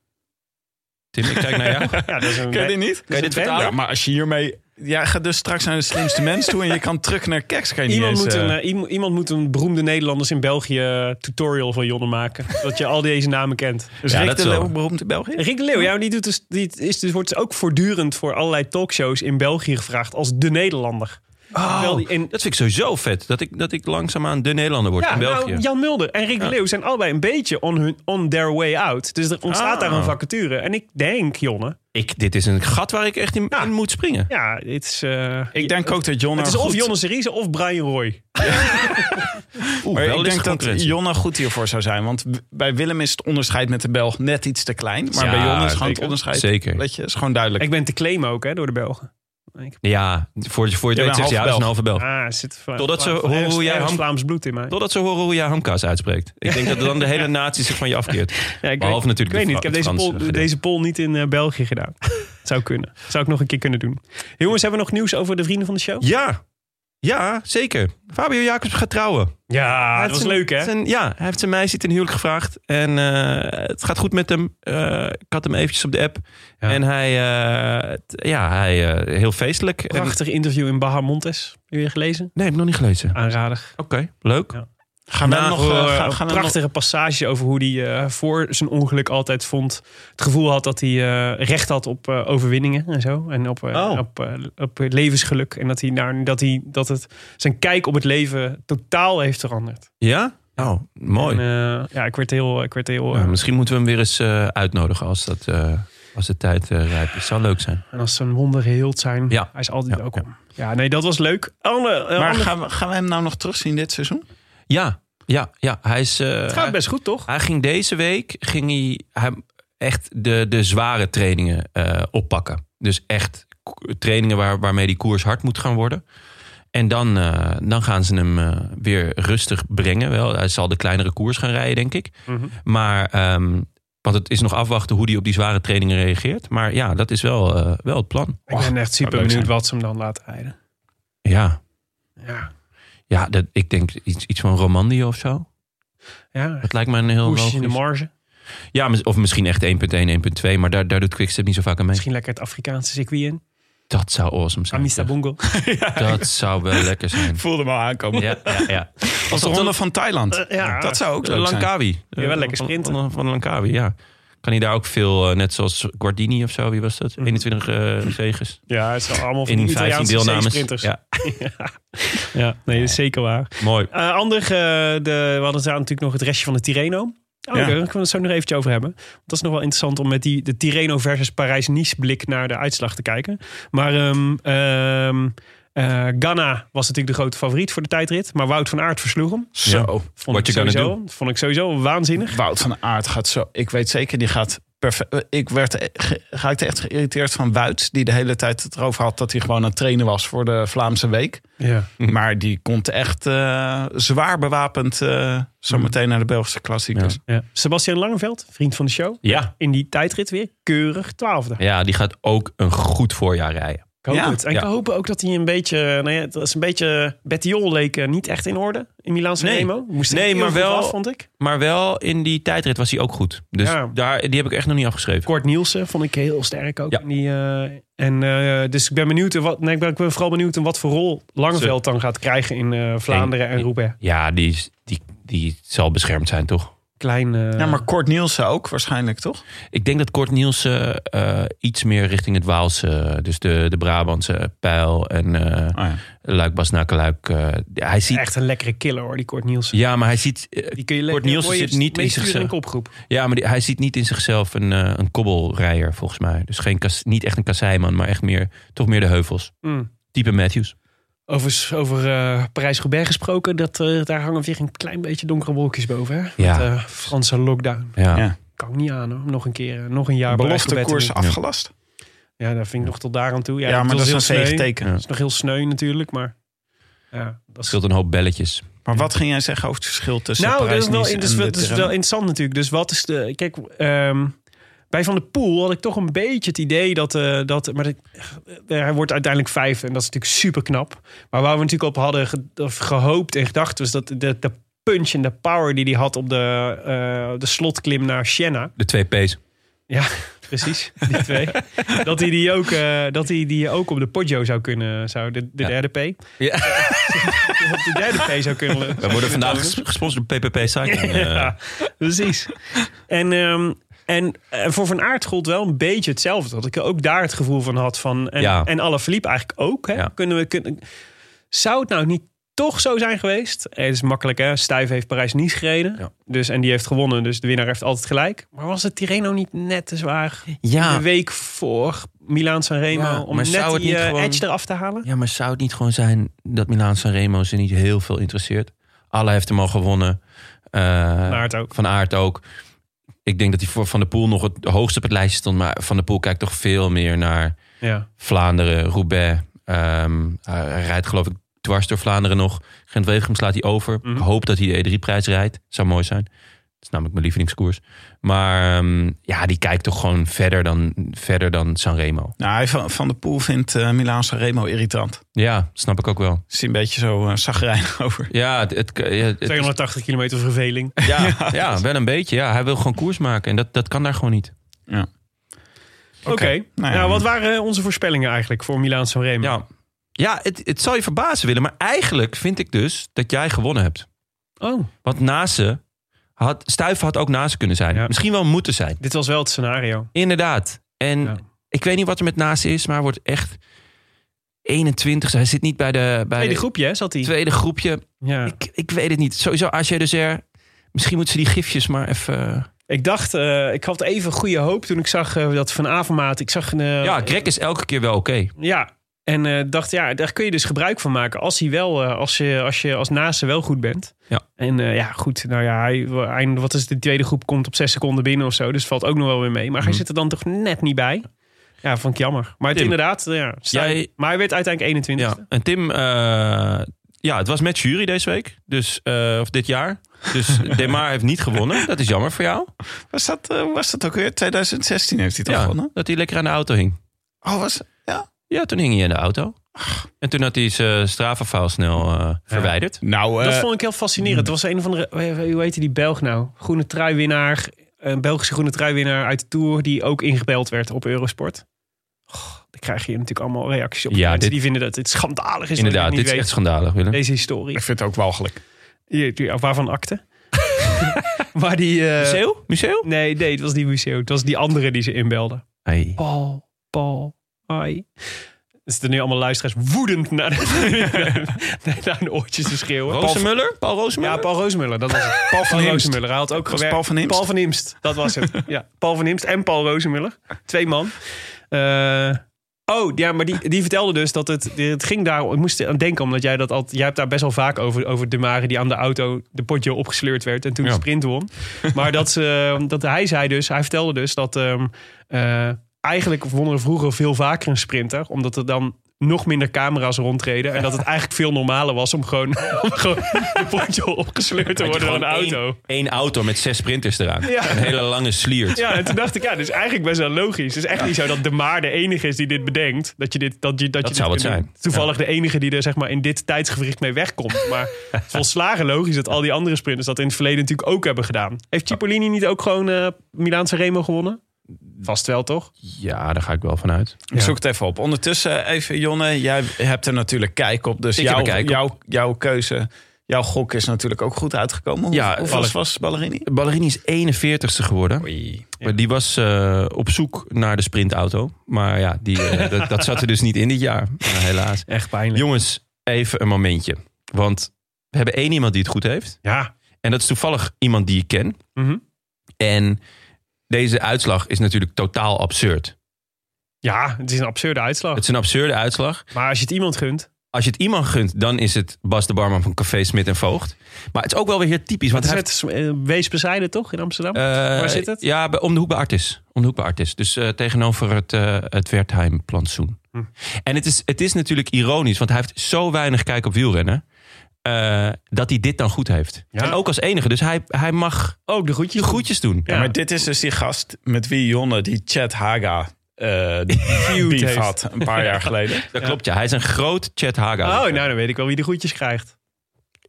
A: Tim, ik kijk naar jou.
B: Ja, dat is een...
F: Ken je dit niet?
B: Kan je dit vertalen?
F: Ja, maar als je hiermee... Ja, gaat dus straks naar de slimste mens toe en je kan terug naar keks. Kan je
B: Iemand
F: niet
B: moet,
F: eens,
B: een,
F: eh,
B: eh, iem- iemand moet een beroemde Nederlanders in België eh, tutorial van Jonne maken. dat je al deze namen kent.
F: dus
A: Ja,
F: Rick
A: dat
F: de
A: is wel.
F: Leeuw, beroemd in België?
B: Rick de Leeuw, ja, die, doet dus, die is dus, wordt ook voortdurend voor allerlei talkshows in België gevraagd als de Nederlander.
A: Oh.
B: Terwijl die in-
A: Dat vind ik sowieso vet, dat ik, dat ik langzaamaan de Nederlander word
B: ja,
A: in
B: nou,
A: België.
B: Jan Mulder en Rick de Leeuw zijn allebei een beetje on, hun, on their way out. Dus er ontstaat
A: Ah.
B: daar een vacature. En ik denk, Jonne,
A: ik, dit is een gat waar ik echt in, in moet springen.
B: ja, het is, eh,
F: Ik denk ook dat Jonna
B: het is of
F: goed-
B: Jonne Serize of Brian Roy.
A: Oeh, wel
F: Maar ik
A: is
F: denk
A: het
F: dat
A: concurrentie.
F: Jonna goed hiervoor zou zijn. Want w- bij Willem is het onderscheid met de Belg net iets te klein. Maar
A: Ja,
F: bij Jonna is gewoon het
A: zeker.
F: onderscheid.
A: Zeker.
F: Weet je, is gewoon duidelijk.
B: Ik ben te claimen ook hè, door de Belgen. Ik,
A: Ja, voor, voor je
F: Je
A: het weet
F: bent
A: zegt ze, ja, dat is een
F: half
A: halve Belg.
B: ah, er zit Vla-
A: Totdat ze-
B: Vla-
A: hoe-
B: ergens-
A: hoe jij
B: ergens
A: hem-
B: Vlaams bloed in mij.
A: Totdat ze horen hoe jij hamkaas uitspreekt. Ik denk dat dan de hele natie zich van je afkeert.
B: Ja, ik
A: Behalve
B: weet,
A: natuurlijk
B: Ik weet
A: de
B: niet, ik heb
A: Fra-
B: deze
A: het Franse
B: poll,
A: gedeelte.
B: deze poll niet in eh, België gedaan. Zou kunnen. Zou ik nog een keer kunnen doen. Jongens, hebben we nog nieuws over de vrienden van de show?
A: Ja, ja, zeker. Fabio Jacobs gaat trouwen.
B: Ja,
A: Hij
B: Ah, dat
A: heeft
B: was
A: zijn-
B: leuk hè?
A: zijn- ja, hij heeft zijn meisje ten huwelijk gevraagd. En eh, het gaat goed met hem. Eh, ik had hem eventjes op de app. En hij, eh, t- ja, hij eh, heel feestelijk. En-
B: Prachtig interview in Baha Montes. Heb je weer gelezen?
A: nee, heb ik nog niet gelezen.
B: Aanradig.
A: Ah, Oké, leuk.
B: Ja.
F: gaan we
B: Nou,
F: nog...
B: voor,
F: eh,
B: eh,
F: gaan, gaan we nog
B: prachtige passages over hoe hij eh, voor zijn ongeluk altijd vond. Het gevoel had dat hij eh, recht had op eh, overwinningen en zo. En op, eh,
A: Oh.
B: op, eh, op levensgeluk. En dat, hij, nou, dat, hij, dat het zijn kijk op het leven totaal heeft veranderd.
A: Ja? Oh, mooi.
B: En, eh, ja, ik werd heel... Ik werd heel
A: Ja,
B: eh,
A: misschien moeten we hem weer eens eh, uitnodigen als, dat, eh, als de tijd eh, rijp is. Zou leuk zijn.
B: En eh, als ze een wonder geheeld zijn,
A: Ja.
B: hij is altijd
A: Ja,
B: welkom. Ja. nee, dat was leuk. Anne, eh,
F: maar
B: Anne,
F: gaan we, gaan we hem nou nog terugzien dit seizoen?
A: Ja, ja, ja. Hij is, eh,
B: het
A: hij-
B: gaat best goed, toch?
A: Hij ging deze week ging hij, hij echt de, de zware trainingen eh, oppakken. Dus echt k- trainingen waar, waarmee die koers hard moet gaan worden. En dan, eh, dan gaan ze hem eh, weer rustig brengen. Wel, hij zal de kleinere koers gaan rijden, denk ik.
B: Mhm.
A: Maar, ehm, want het is nog afwachten hoe hij op die zware trainingen reageert. Maar ja, dat is wel, eh, wel het plan.
B: Ik ben echt super
F: leuk
B: benieuwd
F: zijn.
B: wat ze hem dan laten rijden.
A: Ja,
B: Ja,
A: ja dat, ik denk iets, iets van Romandie of zo.
B: ja.
A: Dat lijkt me een heel
B: Push in de
A: logisch-
B: marge.
A: Ja, mis- of misschien echt 1.1, 1.2. Maar daar, daar doet Quickstep niet zo vaak aan mee.
B: Misschien lekker het Afrikaanse circuit in.
A: Dat zou awesome zijn.
B: Amista Bongo.
A: Dat zou wel lekker zijn.
F: Voelde me al aankomen.
A: Ja, ja, ja.
F: Als de ronde van Thailand.
B: Eh, ja.
F: Dat zou ook leuk zijn.
A: Lankawi.
B: Ah, Ja, wel lekker sprinten.
A: Van, van, van Lankawi, ja. Kan hij daar ook veel, eh, net zoals Guardini of zo, wie was dat? 21 eh zeges.
B: Ja, het zijn allemaal van Mhm. die
A: In 15
B: Italiaanse
A: deelnames.
B: zeesprinters. Ja.
A: Ja,
B: nee, dat is zeker waar.
A: mooi.
B: Eh, ander, eh, de, we hadden daar natuurlijk nog het restje van de Tirreno. Oh,
F: Ja.
B: Daar kunnen we het zo nog eventjes over hebben. Want dat is nog wel interessant om met die, de Tirreno versus Parijs-Nice blik naar de uitslag te kijken. Maar ehm, ehm, eh, Ghana was natuurlijk de grote favoriet voor de tijdrit. Maar Wout van Aert versloeg hem.
F: Zo.
B: Vond
A: What
B: ik,
A: you gonna
B: sowieso, vond ik sowieso waanzinnig.
F: Wout van Aert gaat zo. Ik weet zeker, die gaat perfect. Ik werd e- ge- raakte echt geïrriteerd van Wout. Die de hele tijd het erover had dat hij gewoon aan het trainen was voor de Vlaamse week.
B: Ja.
F: Maar die komt echt eh, zwaar bewapend eh, zo
B: Mhm.
F: meteen naar de Belgische klassiekers.
B: Sebastian Langeveld, vriend van de show.
A: Ja.
B: In die tijdrit weer keurig twaalfde.
A: ja, die gaat ook een goed voorjaar rijden.
B: Ik hoop
F: Ja,
B: het. En ik
A: ja.
B: hoop ook dat hij een beetje... Nou ja, het was een beetje... Bettiol leek eh, niet echt in orde in Milaanse
A: Nee.
B: Remo. Moest er
A: Nee,
B: heel
A: maar
B: goed
A: wel-
B: af, vond ik.
A: Maar wel in die tijdrit was hij ook goed. Dus
B: Ja.
A: daar, die heb ik echt nog niet afgeschreven.
B: Kort Nielsen vond ik heel sterk ook.
A: Ja.
B: in Die, eh, en, eh, dus ik ben benieuwd in wat. Nee, ik, ben, ik ben vooral benieuwd in wat voor rol Langeveld dan gaat krijgen in eh, Vlaanderen en
A: Nee.
B: Roubaix.
A: Ja, die, is- die, die zal beschermd zijn, toch?
B: Klein. eh,
F: Ja, maar Kort Nielsen ook waarschijnlijk,
B: Oh
F: toch?
A: Ik denk dat Kort Nielsen eh, iets meer richting het Waalse, dus de, de Brabantse pijl en eh
F: ja.
A: Luik Bas Nakeluik. eh, hij ziet,
B: Echt een lekkere killer hoor, die Kort Nielsen.
A: Ja, maar hij ziet, eh,
B: Die kun je
A: Cort Nielsen
B: mooi
A: zit niet in
B: meesturen
A: zichzelf.
B: een kopgroep.
A: ja, maar die- hij ziet niet in zichzelf een, eh, een kobbelrijder, volgens mij. Dus geen kas, niet echt een kasseiman, maar echt meer, toch meer de heuvels.
B: Mm.
A: Type Matthews.
B: Over, over eh, Parijs-Roubaix gesproken, dat, eh, daar hangen weer een klein beetje donkere wolkjes boven. Hè?
A: Ja.
B: Met, eh, Franse lockdown.
A: Ja.
F: Ja.
B: kan ik niet aan hoor. Nog een keer, eh, nog een jaar
F: Belofte koers
B: beleidsdebat te
F: afgelast.
B: doen. Ja, dat vind ik nog tot daar aan toe. Ja,
F: Ja, maar dat is een
B: heel
F: zege
B: sneu.
F: teken.
A: Ja.
B: Dat is nog heel sneu natuurlijk, maar ja, dat is
A: scheelt een hoop belletjes.
F: Maar wat ging jij zeggen over het verschil tussen
B: Nou, dat is, wel,
F: Parijs-Nice
B: in- dat is
F: en
B: wel-
F: de
B: dat is wel
F: terreinen?
B: interessant natuurlijk. Dus wat is de... Kijk, ehm, bij Van der Poel had ik toch een beetje het idee dat... eh, dat maar dat- eh, hij wordt uiteindelijk vijfde en dat is natuurlijk super knap. Maar waar we natuurlijk op hadden ge- of gehoopt en gedacht... was dat de, de punch en de power die hij had op de, eh, de slotklim naar Siena...
A: De twee P's.
B: Ja, precies. Die twee. dat hij die ook, eh, dat hij die ook op de Poggio zou kunnen... Zou, de de
A: Ja.
B: derde P.
A: Ja.
B: Op de derde P zou kunnen...
A: We worden vandaag ges- gesponsord door PPP Cycling. eh.
B: Ja, precies. En, ehm, en eh, voor Van Aert gold wel een beetje hetzelfde. Dat ik ook daar het gevoel van had van... En,
A: Ja.
B: en alle verliep eigenlijk ook. Hè?
A: Ja.
B: Kunnen we, kunnen, zou het nou niet toch zo zijn geweest? Eh, Het is makkelijk hè. Stuyf heeft Parijs-Nice gereden.
A: Ja.
B: Dus, en die heeft gewonnen. Dus de winnaar heeft altijd gelijk. Maar was het Tirreno niet net te zwaar?
A: Ja.
B: De week voor Milaan Sanremo.
A: Ah. Ja,
B: om
A: maar
B: net
A: zou het
B: die
A: niet
B: eh,
A: gewoon-
B: edge eraf te halen?
A: Ja, maar zou het niet gewoon zijn dat Milaan Sanremo ze niet heel veel interesseert? Alle heeft hem al gewonnen. Eh,
B: Van Aert ook.
A: Van Aert ook. Ik denk dat hij voor Van der Poel nog het hoogst op het lijstje stond. Maar Van der Poel kijkt toch veel meer naar
B: Ja.
A: Vlaanderen, Roubaix. Ehm, hij hij rijdt geloof ik dwars door Vlaanderen nog. Gent Wevelgem slaat hij over.
B: Mhm.
A: Ik hoop dat hij de E3-prijs rijdt. Zou mooi zijn. Dat is namelijk mijn lievelingskoers. Maar ehm, ja, die kijkt toch gewoon verder dan, verder dan Sanremo.
F: Nou, hij van, van de Poel vindt eh Milaan Sanremo irritant.
A: Ja, snap ik ook wel.
F: Is hij een beetje zo eh zagrijnig over.
A: Ja, het, het, ja, het,
B: 280 kilometer verveling.
A: Ja, ja, wel een beetje. Ja. Hij wil gewoon koers maken en dat, dat kan daar gewoon niet.
B: Oké.
F: Nou ja.
B: Nou, wat waren onze voorspellingen eigenlijk voor Milaan Sanremo?
A: Ja, ja het, het zal je verbazen willen, maar eigenlijk vind ik dus dat jij gewonnen hebt.
B: Oh.
A: Want Nase had, Stuiven had ook Nase kunnen zijn.
B: Ja.
A: Misschien wel moeten zijn.
B: Dit was wel het scenario.
A: Inderdaad. En
B: Ja.
A: ik weet niet wat er met Nase is, maar hij wordt echt 21. Hij zit niet bij de, bij
B: Tweede
A: de-
B: groepje, hè, zat hij?
A: tweede groepje.
B: Ja. Ik,
A: Ik, ik weet het niet. Sowieso AJ dus er. Misschien moeten ze die gifjes maar even...
B: dacht, eh, ik had even goede hoop toen ik zag eh, dat van Avermaat. Ik zag een. eh,
A: ja, Greg is elke keer wel oké.
B: ja. En eh, dacht, ja, daar kun je dus gebruik van maken als hij wel, eh, als je als, je als naaste wel goed bent.
A: Ja.
B: En eh, ja, goed, nou ja, hij, hij- wat is de tweede groep komt op zes seconden binnen of zo, dus valt ook nog wel weer mee. Maar hij zit er dan toch net niet bij. Ja, vond ik jammer. Maar het
A: Mhm. Tim.
B: inderdaad, eh, ja, sta-
A: Jij-
B: maar hij werd uiteindelijk 21ste.
A: Ja, en Tim, eh, ja, het was met jury deze week, dus, eh, of dit jaar. Dus Demar heeft niet gewonnen. Dat is jammer voor jou.
F: Was dat, eh, was dat ook weer? 2016 heeft hij toch
A: Ja,
F: gewonnen?
A: dat hij lekker aan de auto hing.
F: Oh, was ja.
A: Ja, toen hing hij in de auto. En toen had hij zijn strafafval snel eh, verwijderd.
F: Nou,
B: Dat
F: eh,
B: vond ik heel fascinerend. Er was een van de. Hoe heette die Belg nou? Groene truiwinnaar. Een Belgische groene truiwinnaar uit de Tour. Die ook ingebeld werd op Eurosport. Goh, daar krijg je natuurlijk allemaal reacties op.
A: Ja,
B: mensen
A: dit-
B: die vinden dat dit schandalig is.
A: Inderdaad,
B: dat ik
A: dit
B: dit
A: is
B: niet
A: echt
B: weet,
A: schandalig, Willem.
B: Deze historie.
F: ik vind het ook walgelijk.
B: Hier, hier, Waarvan akte? maar die. eh,
A: Museeuw? Museeuw?
B: Nee, nee, het was niet Museo. Het was die andere die ze inbelden.
A: Hey.
B: Paul, Paul, hi. Er zitten nu allemaal luisteraars woedend naar, naar hun oortjes te schreeuwen.
A: Roosemuller? Paul
B: Ja,
A: Roosemuller?
B: Paul Roosmuller, dat was het. Paul
F: Imst.
B: Roosmuller, hij had ook
F: Was
B: gewerkt.
F: Paul van Imst?
B: Paul van Imst, dat was het. ja, Paul van Imst en Paul Roosmuller. Twee man. Eh, oh, ja, maar die, die vertelde dus dat het, het ging daar... Ik moest aan denken, omdat jij dat altijd... Jij hebt daar best wel vaak over, over de Mare die aan de auto de potje opgesleurd werd... en toen
A: Ja.
B: de sprint won. Maar dat, ze, dat hij zei dus, hij vertelde dus dat... ehm, eh, eigenlijk wonnen er vroeger veel vaker een sprinter, omdat er dan nog minder camera's rondreden. En dat het eigenlijk veel normaler was om gewoon, om gewoon de potje opgesleurd te worden door een auto.
A: Eén auto met zes sprinters eraan.
B: Ja.
A: Een hele lange sliert.
B: Ja, en toen dacht ik, ja, dat is eigenlijk best wel logisch. Het is echt niet zo dat De Maar de enige is die dit bedenkt. Dat je dit, dat je, dat je dit
A: zou het
B: kunt doen.
A: zijn.
B: Toevallig de enige die er zeg maar, in dit tijdsgewricht mee wegkomt. Maar het is volslagen logisch dat al die andere sprinters dat in het verleden natuurlijk ook hebben gedaan. Heeft Cipollini niet ook gewoon eh Milaanse Remo gewonnen? Vast wel, toch?
A: Ja, daar ga ik wel vanuit.
F: Ik zoek het even op. Ondertussen even, Jonne, jij hebt er natuurlijk kijk op. Dus
A: Ik heb er
F: jouw,
A: kijk op.
F: jouw, jouw keuze, jouw gok is natuurlijk ook goed uitgekomen. Hoe,
A: Ja,
F: hoeveel
A: vallen-
F: was Ballerini?
A: Ballerini is 41ste geworden.
F: Oei.
A: Maar Die was eh, op zoek naar de sprintauto. Maar ja, die, eh, dat, dat zat er dus niet in dit jaar. Maar helaas.
B: Echt pijnlijk.
A: Jongens, even een momentje. Want we hebben één iemand die het goed heeft.
B: Ja.
A: En dat is toevallig iemand die ik ken.
B: Mhm.
A: En deze uitslag is natuurlijk totaal absurd.
B: Ja, het is een absurde uitslag.
A: Het is een absurde uitslag.
B: Maar als je het iemand gunt,
A: Als je het iemand gunt, dan is het Bas de Barman van Café Smit en Voogd. Maar het is ook wel weer heel typisch. Want
B: Het is
A: hij
B: net als, eh, Wees bezijden, toch, in Amsterdam?
A: Eh,
B: Waar zit het?
A: Ja, bij- om de hoek bij Artis. Om de hoek bij Artis. Dus eh, tegenover het, eh het Wertheim-plantsoen.
B: Hm.
A: En het is, het is natuurlijk ironisch, want hij heeft zo weinig kijk op wielrennen. eh, dat hij dit dan goed heeft.
B: Ja.
A: En ook als enige. Dus hij, hij mag
B: Ook Oh, de
A: je
B: goedjes.
A: groetjes doen.
B: Ja.
F: Maar dit is dus die gast met wie Jonne die Chad Haga eh beef
B: heeft.
F: had een paar jaar geleden.
A: Dat klopt, ja. Hij is een groot Chet Haga.
B: Oh, nou dan weet ik wel wie de goedjes krijgt.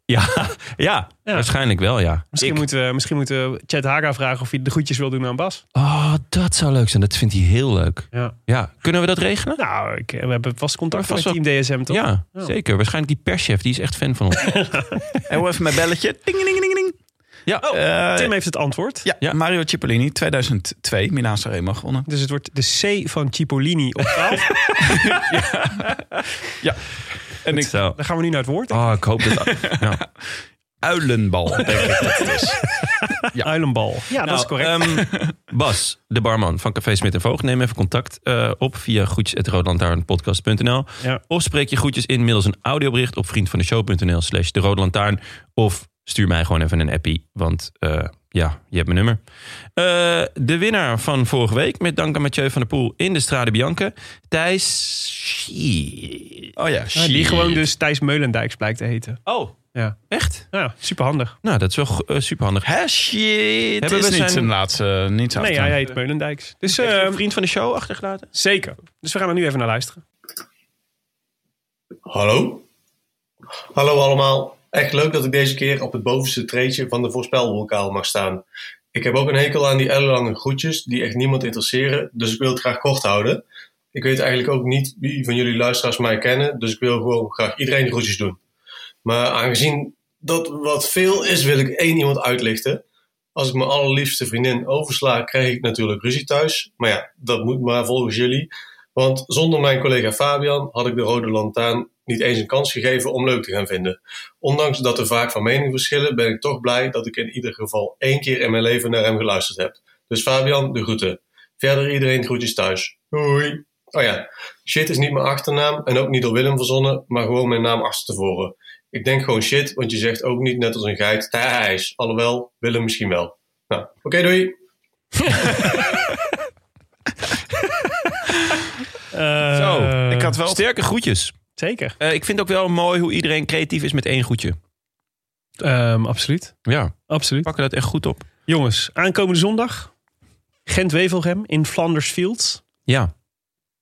A: ja, ja,
B: Ja.
A: waarschijnlijk wel, ja.
B: Misschien,
A: Ik-
B: moeten we, misschien moeten we Chet Haga vragen of hij de goedjes wil doen aan Bas.
A: Oh, dat zou leuk zijn. Dat vindt hij heel leuk.
B: Ja.
A: Ja, kunnen we dat regelen?
B: Nou, ik, we hebben vast contact
A: Vast
B: met Team DSM, toch? Oh.
A: Ja,
B: Ja.
A: zeker. Waarschijnlijk die perschef, die is echt fan van ons.
F: En hoe even mijn belletje. Ding, ding, ding, ding.
A: ja,
B: Oh.
F: Eh,
B: Tim heeft het antwoord.
F: ja,
A: Ja.
F: Mario Cipollini, 2002, Milaan Sanremo gewonnen.
B: Dus het wordt de C van Cipollini op 12.
F: En ik,
A: zo.
B: Dan gaan we nu naar het woord.
A: Oh, ik hoop dat... ja.
F: uilenbal, denk ik dat het is.
B: Uilenbal. Ja, dat is correct.
A: Nou, ehm, Bas, de barman van Café Smit en Voogd, neem even contact eh, op via groetjes.roodlantaarnpodcast.nl.
B: Ja.
A: Of spreek je groetjes in middels een audiobericht op vriendvandeshow.nl slash de Rode Lantaarn. Of stuur mij gewoon even een appie, want eh, ja, je hebt mijn nummer. Eh, de winnaar van vorige week, met dank aan Mathieu van der Poel in de Strade Bianca, Thijs... Schie-
F: Oh ja,
B: Ja,
F: shit.
B: die gewoon dus Thijs Meulendijks blijkt te heten.
A: Oh,
B: Ja,
A: echt?
B: ja superhandig.
A: Nou, dat is wel go- eh, superhandig.
F: Hè, shit.
A: Hebben
F: is
A: we
F: niet
A: zijn-
F: zijn laatste, niet zijn
B: Nee, hij
F: achternaam.
B: heet Meulendijks. Dus
A: Heb je
B: eh,
A: een vriend van de show achtergelaten?
B: zeker. Dus we gaan er nu even naar luisteren.
G: Hallo? Hallo allemaal. Echt leuk dat ik deze keer op het bovenste treedtje van de voorspelbokaal mag staan. Ik heb ook een hekel aan die ellenlange groetjes die echt niemand interesseren, dus ik wil het graag kort houden. Ik weet eigenlijk ook niet wie van jullie luisteraars mij kennen, dus ik wil gewoon graag iedereen groetjes doen. Maar aangezien dat wat veel is, wil ik één iemand uitlichten. Als ik mijn allerliefste vriendin oversla, krijg ik natuurlijk ruzie thuis. Maar ja, dat moet maar volgens jullie. Want zonder mijn collega Fabian had ik de Rode Lantaarn niet eens een kans gegeven om leuk te gaan vinden. Ondanks dat we vaak van mening verschillen, ben ik toch blij dat ik in ieder geval één keer in mijn leven naar hem geluisterd heb. Dus Fabian, de groeten. Verder iedereen groetjes thuis. Hoi. Oh ja, shit is niet mijn achternaam en ook niet door Willem verzonnen, maar gewoon mijn naam achterstevoren. Ik denk gewoon shit, want je zegt ook niet net als een geit Thijs. Alhoewel, Willem misschien wel. Nou, oké, doei.
A: Zo,
F: ik had wel-
A: Eh, Sterke groetjes.
B: Ehm, Zeker.
A: Eh, ik vind ook wel mooi hoe iedereen creatief is met één goedje.
B: Ehm, absoluut.
A: Ja,
B: Absoluut.
A: pakken dat echt goed op.
B: Jongens, aankomende zondag. Gent-Wevelgem in Flanders Fields.
A: Ja.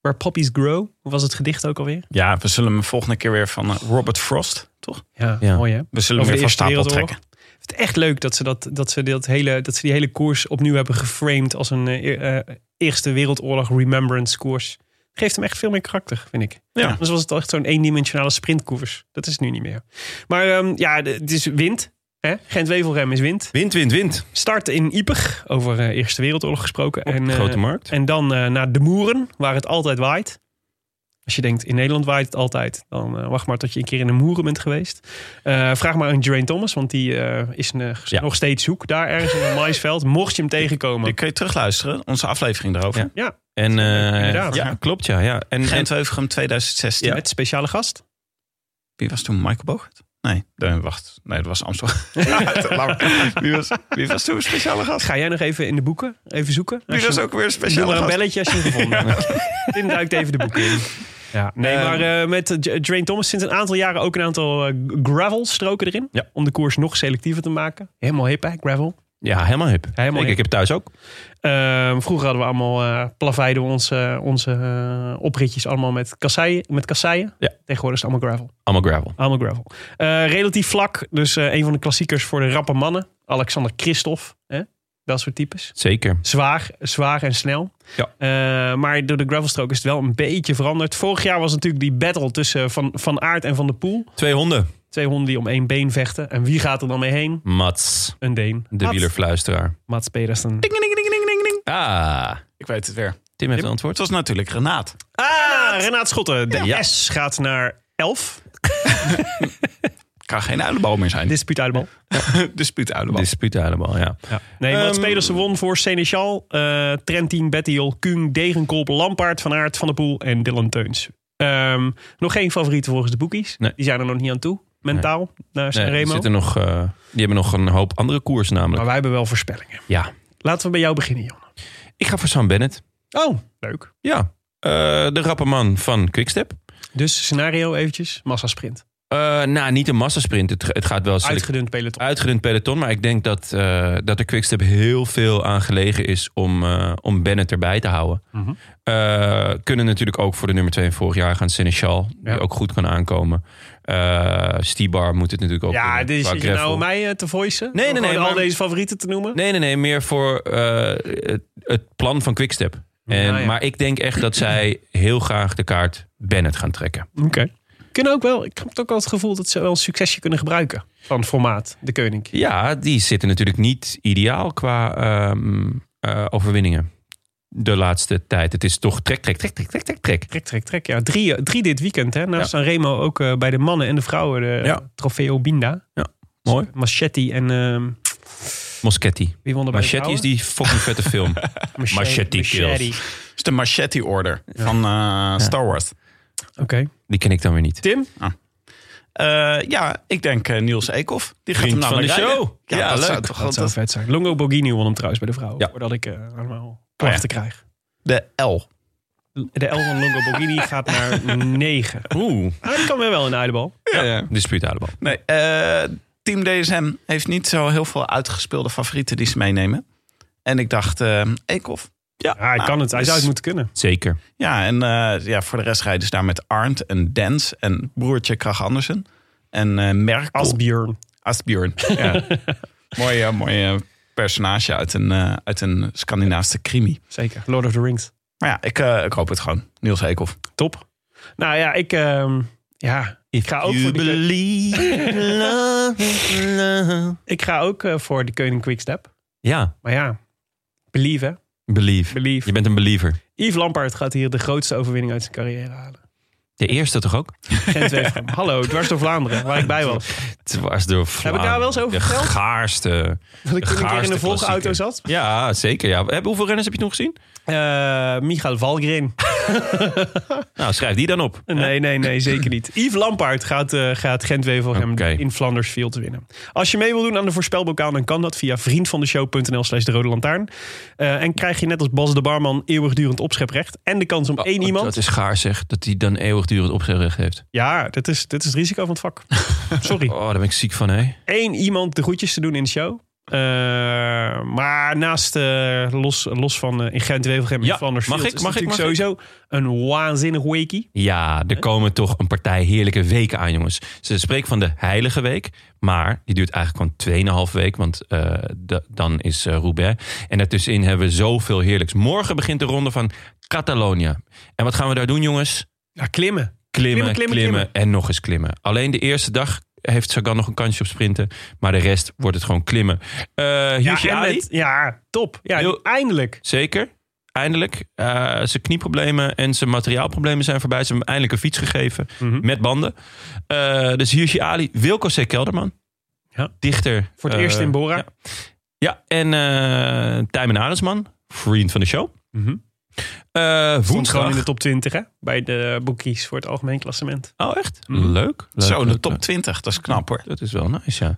B: Waar poppies grow. Hoe was het gedicht ook alweer?
F: Ja, we zullen hem volgende keer weer van eh, Robert Frost, toch?
B: Ja,
A: Ja.
B: mooi hè?
F: We zullen
B: Over
F: hem
B: de
F: weer van
B: Eerste
F: stapel
B: Wereldoorlog.
F: trekken.
B: Het is echt leuk dat ze, dat, dat, ze dat hele, dat ze die hele koers opnieuw hebben geframed als een eh, eer- eh, Eerste Wereldoorlog remembrance koers. Geeft hem echt veel meer karakter, vind ik.
F: Ja.
B: Anders was het al echt zo'n eendimensionale sprintkoers. Dat is nu niet meer. Maar ehm, ja, de- het is wind. hè? Gent-Wevelgem is wind.
A: Wind, wind, wind.
B: Start in Ypres, over eh, Eerste Wereldoorlog gesproken.
A: Op
B: en,
A: de
B: eh,
A: grote markt.
B: en dan eh, naar de Moeren, waar het altijd waait. Als je denkt, in Nederland waait het altijd. Dan eh, wacht maar tot je een keer in de Moeren bent geweest. Eh, vraag maar aan Geraint Thomas, want die eh, is eh,
A: Ja.
B: nog steeds zoek. Daar ergens in een maisveld, mocht je hem tegenkomen.
F: Die kun je terugluisteren, onze aflevering daarover.
A: Ja.
B: Ja,
A: En eh,
B: Inderdaad.
A: ja, klopt ja. ja. En, en
F: Gent-Wevergem 2016.
B: met speciale gast.
F: Wie was toen Michael Bogert? Nee, nee, wacht. Nee, dat was Amsterdam. Laat maar. wie, was, wie was toen een speciale gast?
B: Ga jij nog even in de boeken, even zoeken?
F: Wie
B: Als je-
F: was ook weer een
B: Doe
F: speciale
B: maar een
F: gast?
B: belletje als je hem gevonden hebt. Tim duikt even de boeken in. Ja, nee,
F: Ehm.
B: maar eh, met Drain Thomas sinds een aantal jaren ook een aantal eh, gravel-stroken erin.
A: Ja.
B: Om de koers nog selectiever te maken. Helemaal hip, hè, gravel.
A: ja, helemaal hip.
B: Helemaal
A: ik, ik
B: hip.
A: heb thuis ook.
B: Ehm, vroeger hadden we allemaal, eh plaveiden we onze, onze eh, opritjes allemaal met kasseien. Met kasseien.
A: Ja.
B: Tegenwoordig is het allemaal gravel.
A: Allemaal gravel.
B: Allemaal gravel. Eh, relatief vlak, dus eh, een van de klassiekers voor de rappe mannen. Alexander Christophe, hè? dat soort types.
A: Zeker.
B: Zwaar, zwaar en snel.
A: Ja.
B: Eh, maar door de gravelstrook is het wel een beetje veranderd. Vorig jaar was natuurlijk die battle tussen eh, Van, van Aert en Van der Poel.
A: Twee honden.
B: Twee honden die om één been vechten. En wie gaat er dan mee heen?
A: Mats,
B: Een Deen.
A: de
B: Mats-
A: wielerfluisteraar.
B: Mats Pedersen.
A: Ah,
F: Ik weet het weer.
A: Tim heeft een
F: Het
A: antwoord.
F: was natuurlijk Renaat.
B: Ah, Renaat Schotten. De
A: Ja.
B: S gaat naar 11.
F: Kan geen uilenbal meer zijn.
B: Dispuut uit de bal.
F: Dispuut uilenbal.
A: Dispuut helemaal, ja.
B: Nee, Mats
A: Ehm,
B: Pedersen won voor Seneschal, eh Trentin, Bettiol, Kuhn, Degenkolb, Lampaard, Van Aert, Van der Poel en Dylan Teuns. Ehm, nog geen favorieten volgens de boekies.
A: Nee.
B: Die zijn er nog niet aan toe, mentaal, naar
A: Nee, die,
B: Sanremo.
A: zitten nog, eh, die hebben nog een hoop andere koers
B: Maar
A: namelijk.
B: wij hebben wel voorspellingen.
A: Ja.
B: Laten we bij jou beginnen, Jan.
A: Ik ga voor Sam Bennett.
B: Oh, leuk.
A: Ja. Eh, de rappe man van Quickstep.
B: Dus scenario eventjes, massasprint.
A: Eh nou, niet een massasprint. Het, het gaat wel select-
B: Uitgedund peloton.
A: uitgedund peloton. Maar ik denk dat, eh, dat de Quickstep heel veel aan gelegen is om, eh, om Bennett erbij te houden.
B: Mhm.
A: Eh, kunnen natuurlijk ook voor de nummer 2 vorig jaar gaan Seneschal.
B: Ja.
A: Die ook goed kan aankomen. Eh Stibar moet het natuurlijk ook
B: Ja,
A: kunnen,
B: dit is
A: qua
B: zit je nou
A: gravel.
B: om mij eh, te voicen?
A: nee,
B: Om gewoon
A: nee,
B: al
A: maar-
B: deze favorieten te noemen?
A: Nee, nee, nee. Meer voor eh, het, het plan van Quickstep. En,
B: Ja, ja.
A: Maar ik denk echt dat zij heel graag de kaart Bennett gaan trekken.
B: Oké. Kunnen ook wel, ik heb ook wel het gevoel dat ze wel een succesje kunnen gebruiken. Van het formaat, de koning.
A: Ja, die zitten natuurlijk niet ideaal qua ehm, eh, overwinningen. De laatste tijd. Het is toch trek, trek, trek, trek, trek, trek, trek.
B: Trek, trek, trek. Ja, drie, eh, drie dit weekend. Hè? Naast
A: Ja.
B: Sanremo ook eh, bij de mannen en de vrouwen. De
A: Ja.
B: Trofeo Binda.
A: Ja, mooi.
B: Machetti en ehm,
A: Moschetti.
B: wie won er bij de
A: Machetti is die fucking vette film.
B: vrouwen? Machete-
A: Machetti kills.
F: Dat is de Machete Order van eh, Star Wars.
B: Oké.
A: Die ken ik dan weer niet.
B: Tim?
F: Eh, ja, ik denk eh, Niels Eekhoff. Die gaat
A: Vriend
F: hem
A: van de
F: namelijk rijden.
A: show.
F: Ja,
A: Ja,
F: dat
A: leuk.
F: Zou toch
B: Dat zou
F: altijd-
B: vet zijn. Longo Borghini won hem trouwens bij de vrouwen.
A: Ja. Nou
B: Voordat ik eh, allemaal klachten krijg.
F: de L.
B: De L van Longo Borghini gaat naar 9.
A: Oeh.
B: Ah, die kan weer wel in de eidebal.
F: Ja.
A: Dispuut uit de bal.
F: Nee, eh, Team DSM heeft niet zo heel veel uitgespeelde favorieten die ze meenemen. En ik dacht, eh Eekhoff. Ja,
B: Ja, hij
F: nou,
B: kan het. Hij
F: dus-
B: zou het moeten kunnen.
A: Zeker.
F: Ja, en eh, ja, voor de rest rijden ze daar met Arndt en Dens en broertje Krach Andersen. En eh Merkel.
B: Asbjörn.
F: Asbjörn. Ja. mooi, eh, mooi eh, personage uit een, eh, uit een Scandinavische krimi.
B: Zeker. Lord of the Rings.
F: Maar ja, ik, eh, ik hoop het gewoon. Niels Eekhoff.
B: Top. Nou ja, ik... ehm, ja, ik ga ook voor de... Ik ga ook eh, voor de Koning Quickstep.
A: Ja,
B: Maar ja, believe hè.
A: believe.
B: Believe.
A: Je bent een believer.
B: Yves Lampaard gaat hier de grootste overwinning uit zijn carrière halen.
A: De eerste toch ook?
B: Gent Wevergem. Hallo, dwars door Vlaanderen, waar ik bij was.
A: Dwars door Vlaanderen.
B: daar wel eens over
A: De
B: verteld?
A: gaarste.
B: Dat ik toen een keer in
A: gaarste
B: de volgauto
A: klassieker.
B: zat.
A: Ja, zeker. Ja. Heb- Hoeveel renners heb je nog gezien?
B: Eh Michael Valgren.
A: Nou, schrijf die dan op.
B: Nee, nee, nee, zeker niet. Yves Lampaard gaat, eh, gaat Gent Wevelgem
A: Oké.
B: in Flanders Field winnen. Als je mee wil doen aan de voorspelbokaal, dan kan dat via vriendvandeshow.nl slash de rode lantaarn. Eh, en krijg je net als Bas de Barman eeuwigdurend opscheprecht. En de kans om één
A: Oh,
B: iemand...
A: Dat is gaar zeg, dat hij dan eeuwigdurend opzegrecht heeft.
B: Ja, dit is, dit is het risico van het vak. Sorry.
A: Oh, daar ben ik ziek van, hè.
B: één iemand de groetjes te doen in de show. Eh, maar naast, eh, los, los van eh, in Gent, Wevelgem en
A: Ja,
B: Flanders
A: mag
B: Field
A: ik,
B: is
A: mag ik,
B: natuurlijk
A: mag ik?
B: sowieso een waanzinnig weekie.
A: Ja, er komen toch een partij heerlijke weken aan, jongens. Ze spreken van de heilige week, maar die duurt eigenlijk gewoon 2,5 week, want eh, da- dan is eh Roubaix. En daartussenin hebben we zoveel heerlijks. Morgen begint de ronde van Catalonië. En wat gaan we daar doen, jongens?
B: Ja, klimmen.
A: Klimmen,
B: Klimmen,
A: klimmen,
B: klimmen,
A: en nog eens klimmen. Alleen de eerste dag heeft Sagan nog een kansje op sprinten, maar de rest wordt het gewoon klimmen. Eh Hirschi
B: en
A: Ali?
B: met- ja top. Ja,
A: Heel-
B: eindelijk.
A: Zeker. Eindelijk. Eh, zijn knieproblemen en zijn materiaalproblemen zijn voorbij. Ze hebben hem eindelijk een fiets gegeven
B: Mhm.
A: met banden. Eh, dus Hirschi Ali, Wilco C. Kelderman.
B: Ja.
A: Dichter.
B: Voor het
A: eh,
B: eerst in Bora.
A: Ja, ja en eh Tijmen Adelsman. Vriend van de show.
B: Mhm.
A: Eh,
B: Stond gewoon
A: woensdag.
B: in de top 20 hè? bij de boekies voor het algemeen klassement.
A: Oh, echt?
B: Mhm.
A: Leuk. leuk.
F: Zo, de
A: leuk,
F: top
A: leuk.
F: 20. Dat is knap hoor.
A: Dat is wel nice, ja.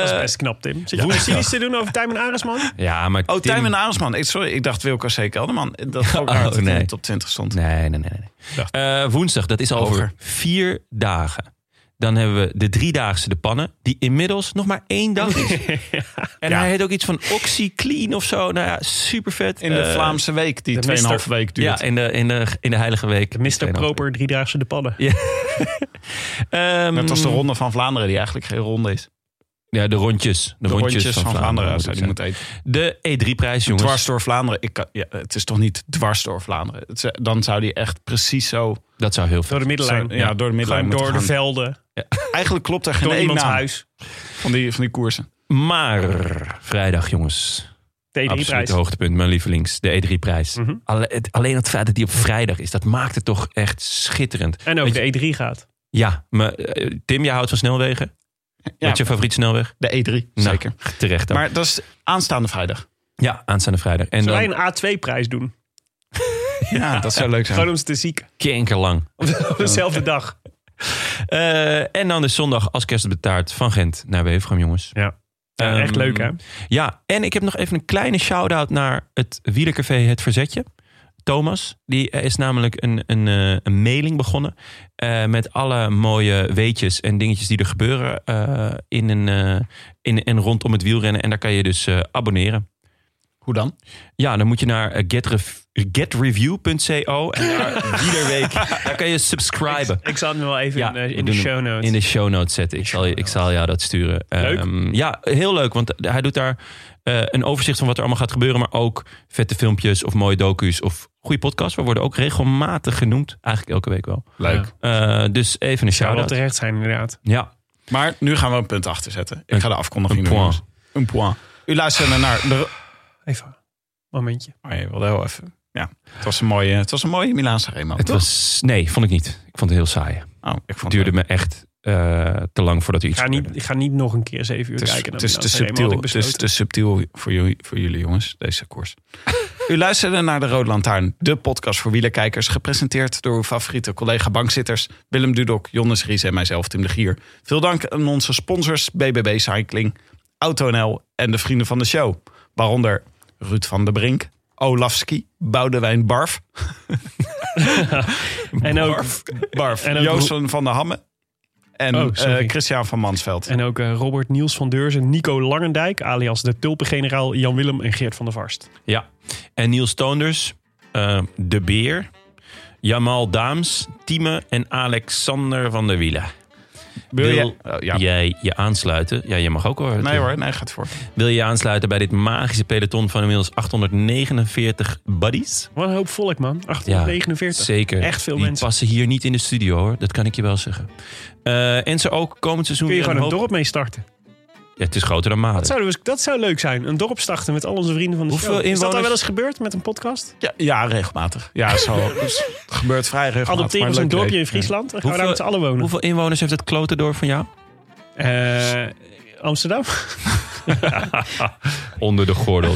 B: Dat is
A: Eh,
B: best knap, Tim. Zit je iets cynisch te doen over Tijmen Aresman?
A: Ja, maar
F: Oh,
A: Tim-
F: Tijmen Arendsman. Ik, sorry, ik dacht Wilco C. Kelderman. Dat is ook
A: Oh,
F: raar dat hij in
A: nee.
F: de top 20 stond.
A: Nee, nee, nee. nee. Eh, woensdag, dat is al over
F: Hoger.
A: vier dagen. Dan hebben we de driedaagse de pannen, die inmiddels nog maar één dag is. En hij heet ook iets van OxyClean of zo. Nou ja, super vet.
F: In de
A: Eh,
F: Vlaamse week, die 2,5
B: mister-
F: week duurt.
A: Ja, in de, in, de, in de Heilige Week.
B: De Mr. Proper, driedaagse de pannen.
A: Ehm,
F: Net als de Ronde van Vlaanderen, die eigenlijk geen ronde is.
A: Ja, de rondjes. De,
F: De
A: rondjes, van, Vlaanderen. moet
F: zou
A: het
F: die
A: zijn.
F: moeten eten.
A: de E3-prijs, jongens.
F: Dwars door Vlaanderen. Ik kan, ja, het is toch niet dwars door Vlaanderen? Het is- dan zou die echt precies zo...
A: Dat zou heel
B: Door
A: vet
B: de middenlijn.
F: zo- ja, door de middenlijn
B: Gewoon door de
F: moeten gaan.
B: velden.
F: Eigenlijk klopt er geen
B: Door
F: één
B: iemands
F: naam
B: huis.
F: Van, die, van die koersen.
A: Maar vrijdag, jongens.
B: De
A: Absoluut
B: E3-prijs.
A: hoogtepunt, mijn lievelings. De E3-prijs.
B: E Mhm.
A: Alle- het- alleen het feit dat die op vrijdag is, dat maakt het toch echt schitterend.
B: En ook
A: Weet
B: de E3 gaat.
A: Ja, maar eh, Tim, jij houdt van snelwegen?
F: Ja.
A: Wat is je favoriet snelweg?
F: De E3,
A: Nou,
F: zeker.
A: Terecht dan.
F: Maar dat is aanstaande vrijdag.
A: ja, aanstaande vrijdag. En
B: Zullen wij
A: dan,
B: een A2-prijs doen?
F: Ja, dat zou leuk
B: Gewoon
F: zijn.
B: om ze te ziek.
A: Kankerlang.
B: Op dezelfde dag.
A: Eh, en dan is zondag als kerstbetaard van Gent naar Wevergem, jongens.
B: Ja. Ja,
A: Ehm,
B: echt leuk, hè?
A: Ja, en ik heb nog even een kleine shout-out naar het wielercafé Het Verzetje. Thomas, die eh, is namelijk een, een, eh, een mailing begonnen eh, met alle mooie weetjes en dingetjes die er gebeuren eh, in, een, eh, in en rondom het wielrennen. En daar kan je dus eh, abonneren.
F: Hoe dan?
A: Ja, dan moet je naar eh, getrev- getreview.co en daar iedere week daar kan je subscriben.
B: Ik zal het nu wel even in, eh,
A: we
B: in de
A: doen hem
B: show notes.
A: In de show notes zetten. Ik zal, je- ik zal jou dat sturen.
B: Leuk.
A: Ehm, ja, heel leuk. Want hij doet daar eh, een overzicht van wat er allemaal gaat gebeuren. Maar ook vette filmpjes of mooie docu's of goede podcasts. We worden ook regelmatig genoemd. Eigenlijk elke week wel.
F: Leuk.
A: Eh, dus even een
B: Zou wel
A: shout-out.
B: terecht zijn, inderdaad.
A: Ja,
F: Maar nu gaan we een punt achter zetten. Ik ga de afkondiging
A: Een
F: doen.
A: point.
F: jongens. Een point. U luisterde naar de...
B: Even. Momentje.
F: Oh, je wilde heel even... Ja, het was een mooie, het was een mooie Milaanse remo.
A: het
F: toch?
A: was... Nee, vond ik niet. Ik vond het heel saai.
F: Oh, ik
A: Het
F: vond
A: duurde
F: het...
A: me echt eh, te lang voordat u
B: Ik
A: iets
B: ga niet,
A: gebeurde.
B: ik ga niet nog een keer zeven uur
F: Het is,
B: kijken.
F: het
B: naar
F: is
B: Milan
F: te
B: Sanremo, had
F: subtiel.
B: ik
F: Het is
B: besloten.
F: te subtiel voor jullie, voor jullie jongens, deze koers. U luisterde naar de Rode Lantaarn, de podcast voor wielerkijkers. Gepresenteerd door uw favoriete collega bankzitters Willem Dudok, Jonnes Ries en mijzelf, Tim de Gier. Veel dank aan onze sponsors BBB Cycling, AutoNL en de vrienden van de show. Waaronder Ruud van der Brink, Olafski, Boudewijn Barf,
B: En ook,
F: Barf
B: En ook
F: Joosten van der Hamme en
B: Oh, sorry.
F: eh, Christian van Mansveld.
B: en ook eh, Robert Niels van Deurzen, Nico Langendijk, alias de tulpengeneraal Jan Willem en Geert van der Varst.
A: Ja. En Niels Toonders, eh, De Beer, Jamal Daams, Tieme en Alexander van der Wielen.
F: Wil je...
A: Wil-
F: Oh, ja.
A: jij je aansluiten. Ja, je mag ook hoor.
F: Nee hoor, nee, gaat voor.
A: Wil je je aansluiten bij dit magische peloton van inmiddels 849 buddies?
B: Wat een hoop volk, man. 849.
A: Zeker.
B: Echt veel
A: Die
B: mensen.
A: passen hier niet in de studio hoor. Dat kan ik je wel zeggen. Eh, en ze ook komend seizoen
B: Kun je
A: weer
B: gewoon een
A: hoop-
B: dorp mee starten.
A: Ja, het is groter dan
B: Dat
A: Maden.
B: zou, dus- dat zou leuk zijn. Een dorp starten met al onze vrienden van de
A: Hoeveel
B: show. Is dat
A: inwoners-
B: al wel eens gebeurd met een podcast?
F: Ja, ja, regelmatig. Ja, zo. dus het gebeurt vrij regelmatig.
B: Adopteren
F: maar
B: we een
F: leuk
B: dorpje
F: idee.
B: in Friesland. Dan gaan we
A: Hoeveel-
B: daar met z'n allen wonen.
A: Hoeveel inwoners heeft dat klote dorp van jou?
B: Eh, Amsterdam?
A: Onder de gordel.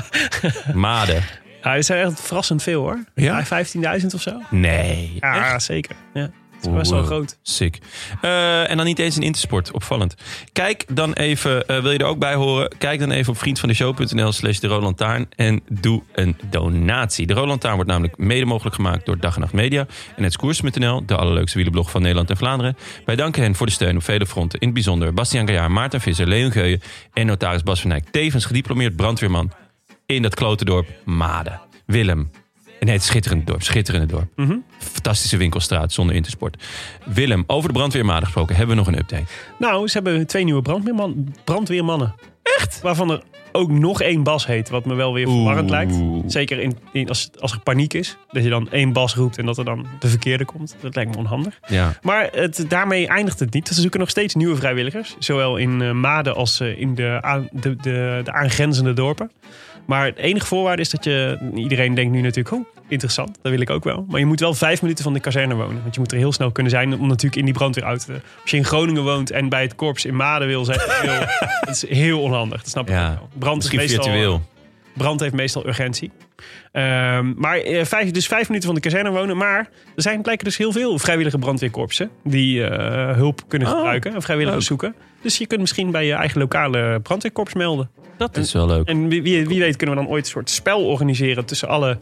A: Maden.
B: Ja, er zijn echt verrassend veel hoor.
A: Ja?
B: 15.000 of zo.
A: Nee.
B: Ja, zeker. Ja. Het is best wel
A: Oh, Wow.
B: groot.
A: Sick. Eh, en dan niet eens in Intersport. Opvallend. Kijk dan even, eh, wil je er ook bij horen? Kijk dan even op vriendvandeshow.nl slash de Roland Taarn en doe een donatie. De Roland Taarn wordt namelijk mede mogelijk gemaakt door Dag en Nacht Media en het Koers.nl, de allerleukste wielenblog van Nederland en Vlaanderen. Wij danken hen voor de steun op vele fronten. In het bijzonder Bastiaan Gajaar, Maarten Visser, Leon Geuyen en notaris Bas van Eyck. Tevens gediplomeerd brandweerman in dat klotendorp Maden. Willem. Nee, het schitterende dorp. Schitterende dorp. Fantastische winkelstraat zonder intersport. Willem, over de brandweermaden gesproken, hebben we nog een update.
B: Nou, ze hebben twee nieuwe brandweerman, brandweermannen. Echt? Waarvan er ook nog één Bas heet. Wat me wel weer verwarrend lijkt. Zeker in, in- als, als er paniek is. Dat je dan één Bas roept en dat er dan de verkeerde komt. Dat lijkt me onhandig.
A: Ja.
B: Maar het, daarmee eindigt het niet. Ze zoeken nog steeds nieuwe vrijwilligers. Zowel in eh, Maden als eh, in de, aan- de, de, de aangrenzende dorpen. Maar het enige voorwaarde is dat je... Iedereen denkt nu natuurlijk, oh, interessant. Dat wil ik ook wel. Maar je moet wel vijf minuten van de kazerne wonen. Want je moet er heel snel kunnen zijn om natuurlijk in die brandweerauto te... Als je in Groningen woont en bij het korps in Maden wil zijn... wil- dat is heel onhandig. Dat snap ik ook
A: ja.
B: wel. Brand is
A: Misschien
B: meestal...
A: virtueel.
B: Brand heeft meestal urgentie. Ehm, maar eh, vijf, dus vijf minuten van de kazerne wonen. Maar er zijn blijkbaar dus heel veel vrijwillige brandweerkorpsen. die eh, hulp kunnen
A: Oh,
B: gebruiken en vrijwilligers zoeken. Dus je kunt misschien bij je eigen lokale brandweerkorps melden.
A: Dat is wel leuk.
B: En wie, wie, wie weet kunnen we dan ooit een soort spel organiseren. tussen alle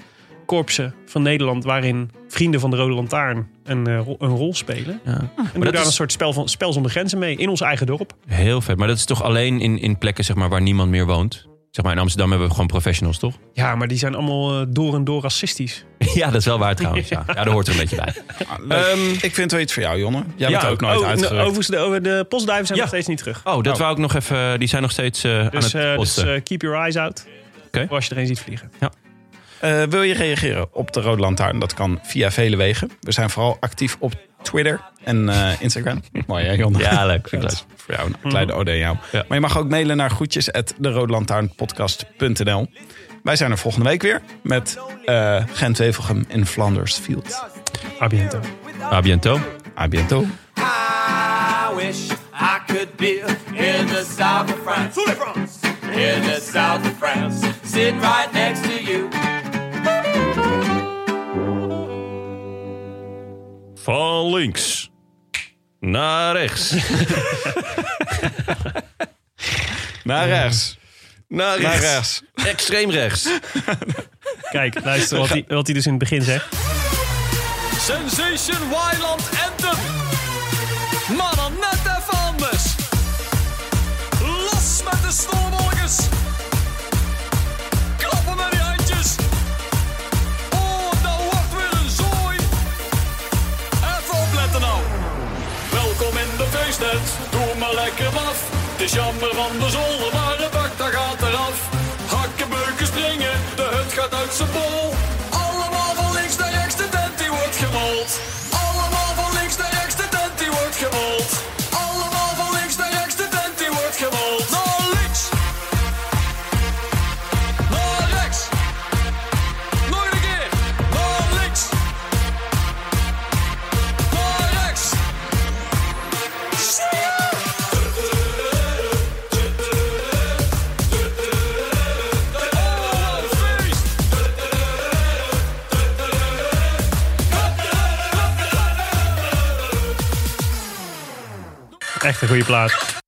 B: korpsen van Nederland. waarin vrienden van de Rode Lantaarn een, eh, ro- een rol spelen.
A: Ja. Maar
B: En doen
A: dat
B: daar
A: is
B: een soort spel, van, spel zonder grenzen mee in ons eigen dorp.
A: heel vet. Maar dat is toch alleen in, in plekken zeg maar, waar niemand meer woont? Zeg maar, in Amsterdam hebben we gewoon professionals, toch?
B: Ja, maar die zijn allemaal eh, door en door racistisch.
A: Ja, dat is wel waar trouwens. Ja, ja daar hoort er een beetje bij.
F: Ah, leuk. ik vind wel iets voor jou, Jonne. Jij
A: Ja,
F: bent ook nooit
B: oh, nou,
F: uitgerukt.
B: overigens, de, over de postduiven zijn
A: Ja.
B: nog steeds niet terug.
A: Oh, dat wou ik nog even. Die zijn nog steeds eh,
B: Dus,
A: aan het
B: eh, dus
A: posten.
B: eh, keep your eyes out.
A: Oké.
B: Voor Als je er een ziet vliegen.
F: Eh, wil je reageren op de Rode Lantaarn? Dat kan via vele wegen. We zijn vooral actief op Twitter en eh, Instagram. Mooi hè, Jonne?
A: ja, leuk. Vind ik
F: Dat
A: leuk.
F: is voor jou een kleine ode aan jou.
A: Ja.
F: Maar je mag ook mailen naar groetjes at deroodlantaarnpodcast.nl. Wij zijn er volgende week weer met eh Gent-Wevelgem in Flanders Field.
B: Abiento.
A: A bientôt.
F: A bientôt.
E: I wish I could be in the south of France. In the south of France. Sit right next to you.
A: Van links naar rechts.
F: Naar rechts.
A: Naar
F: Naar
A: rechts.
F: rechts.
A: Extreem rechts.
B: Kijk, luister wat hij, wat hij dus in het begin zegt.
G: Sensation Wyland Anthem. Maar dan net even anders. Los met de stormolkers. Klappen met die handjes. Oh, dat wordt weer een zooi. Even opletten nou. Welkom in de feestnet. Doe maar lekker wat. Het is jammer van de zolder, maar de bak daar gaat eraf. Hakken, beuken, springen. De hut gaat uit zijn bol. Allemaal van links naar rechts, de tent die wordt gemold. Allemaal van links naar rechts, de tent die wordt gemold. Allemaal van links naar rechts, de tent die wordt gemold. Naar links. Naar rechts. Nog een keer. Naar links. Naar rechts. Zie je? Oh, feest.
B: Echt een goede plaat.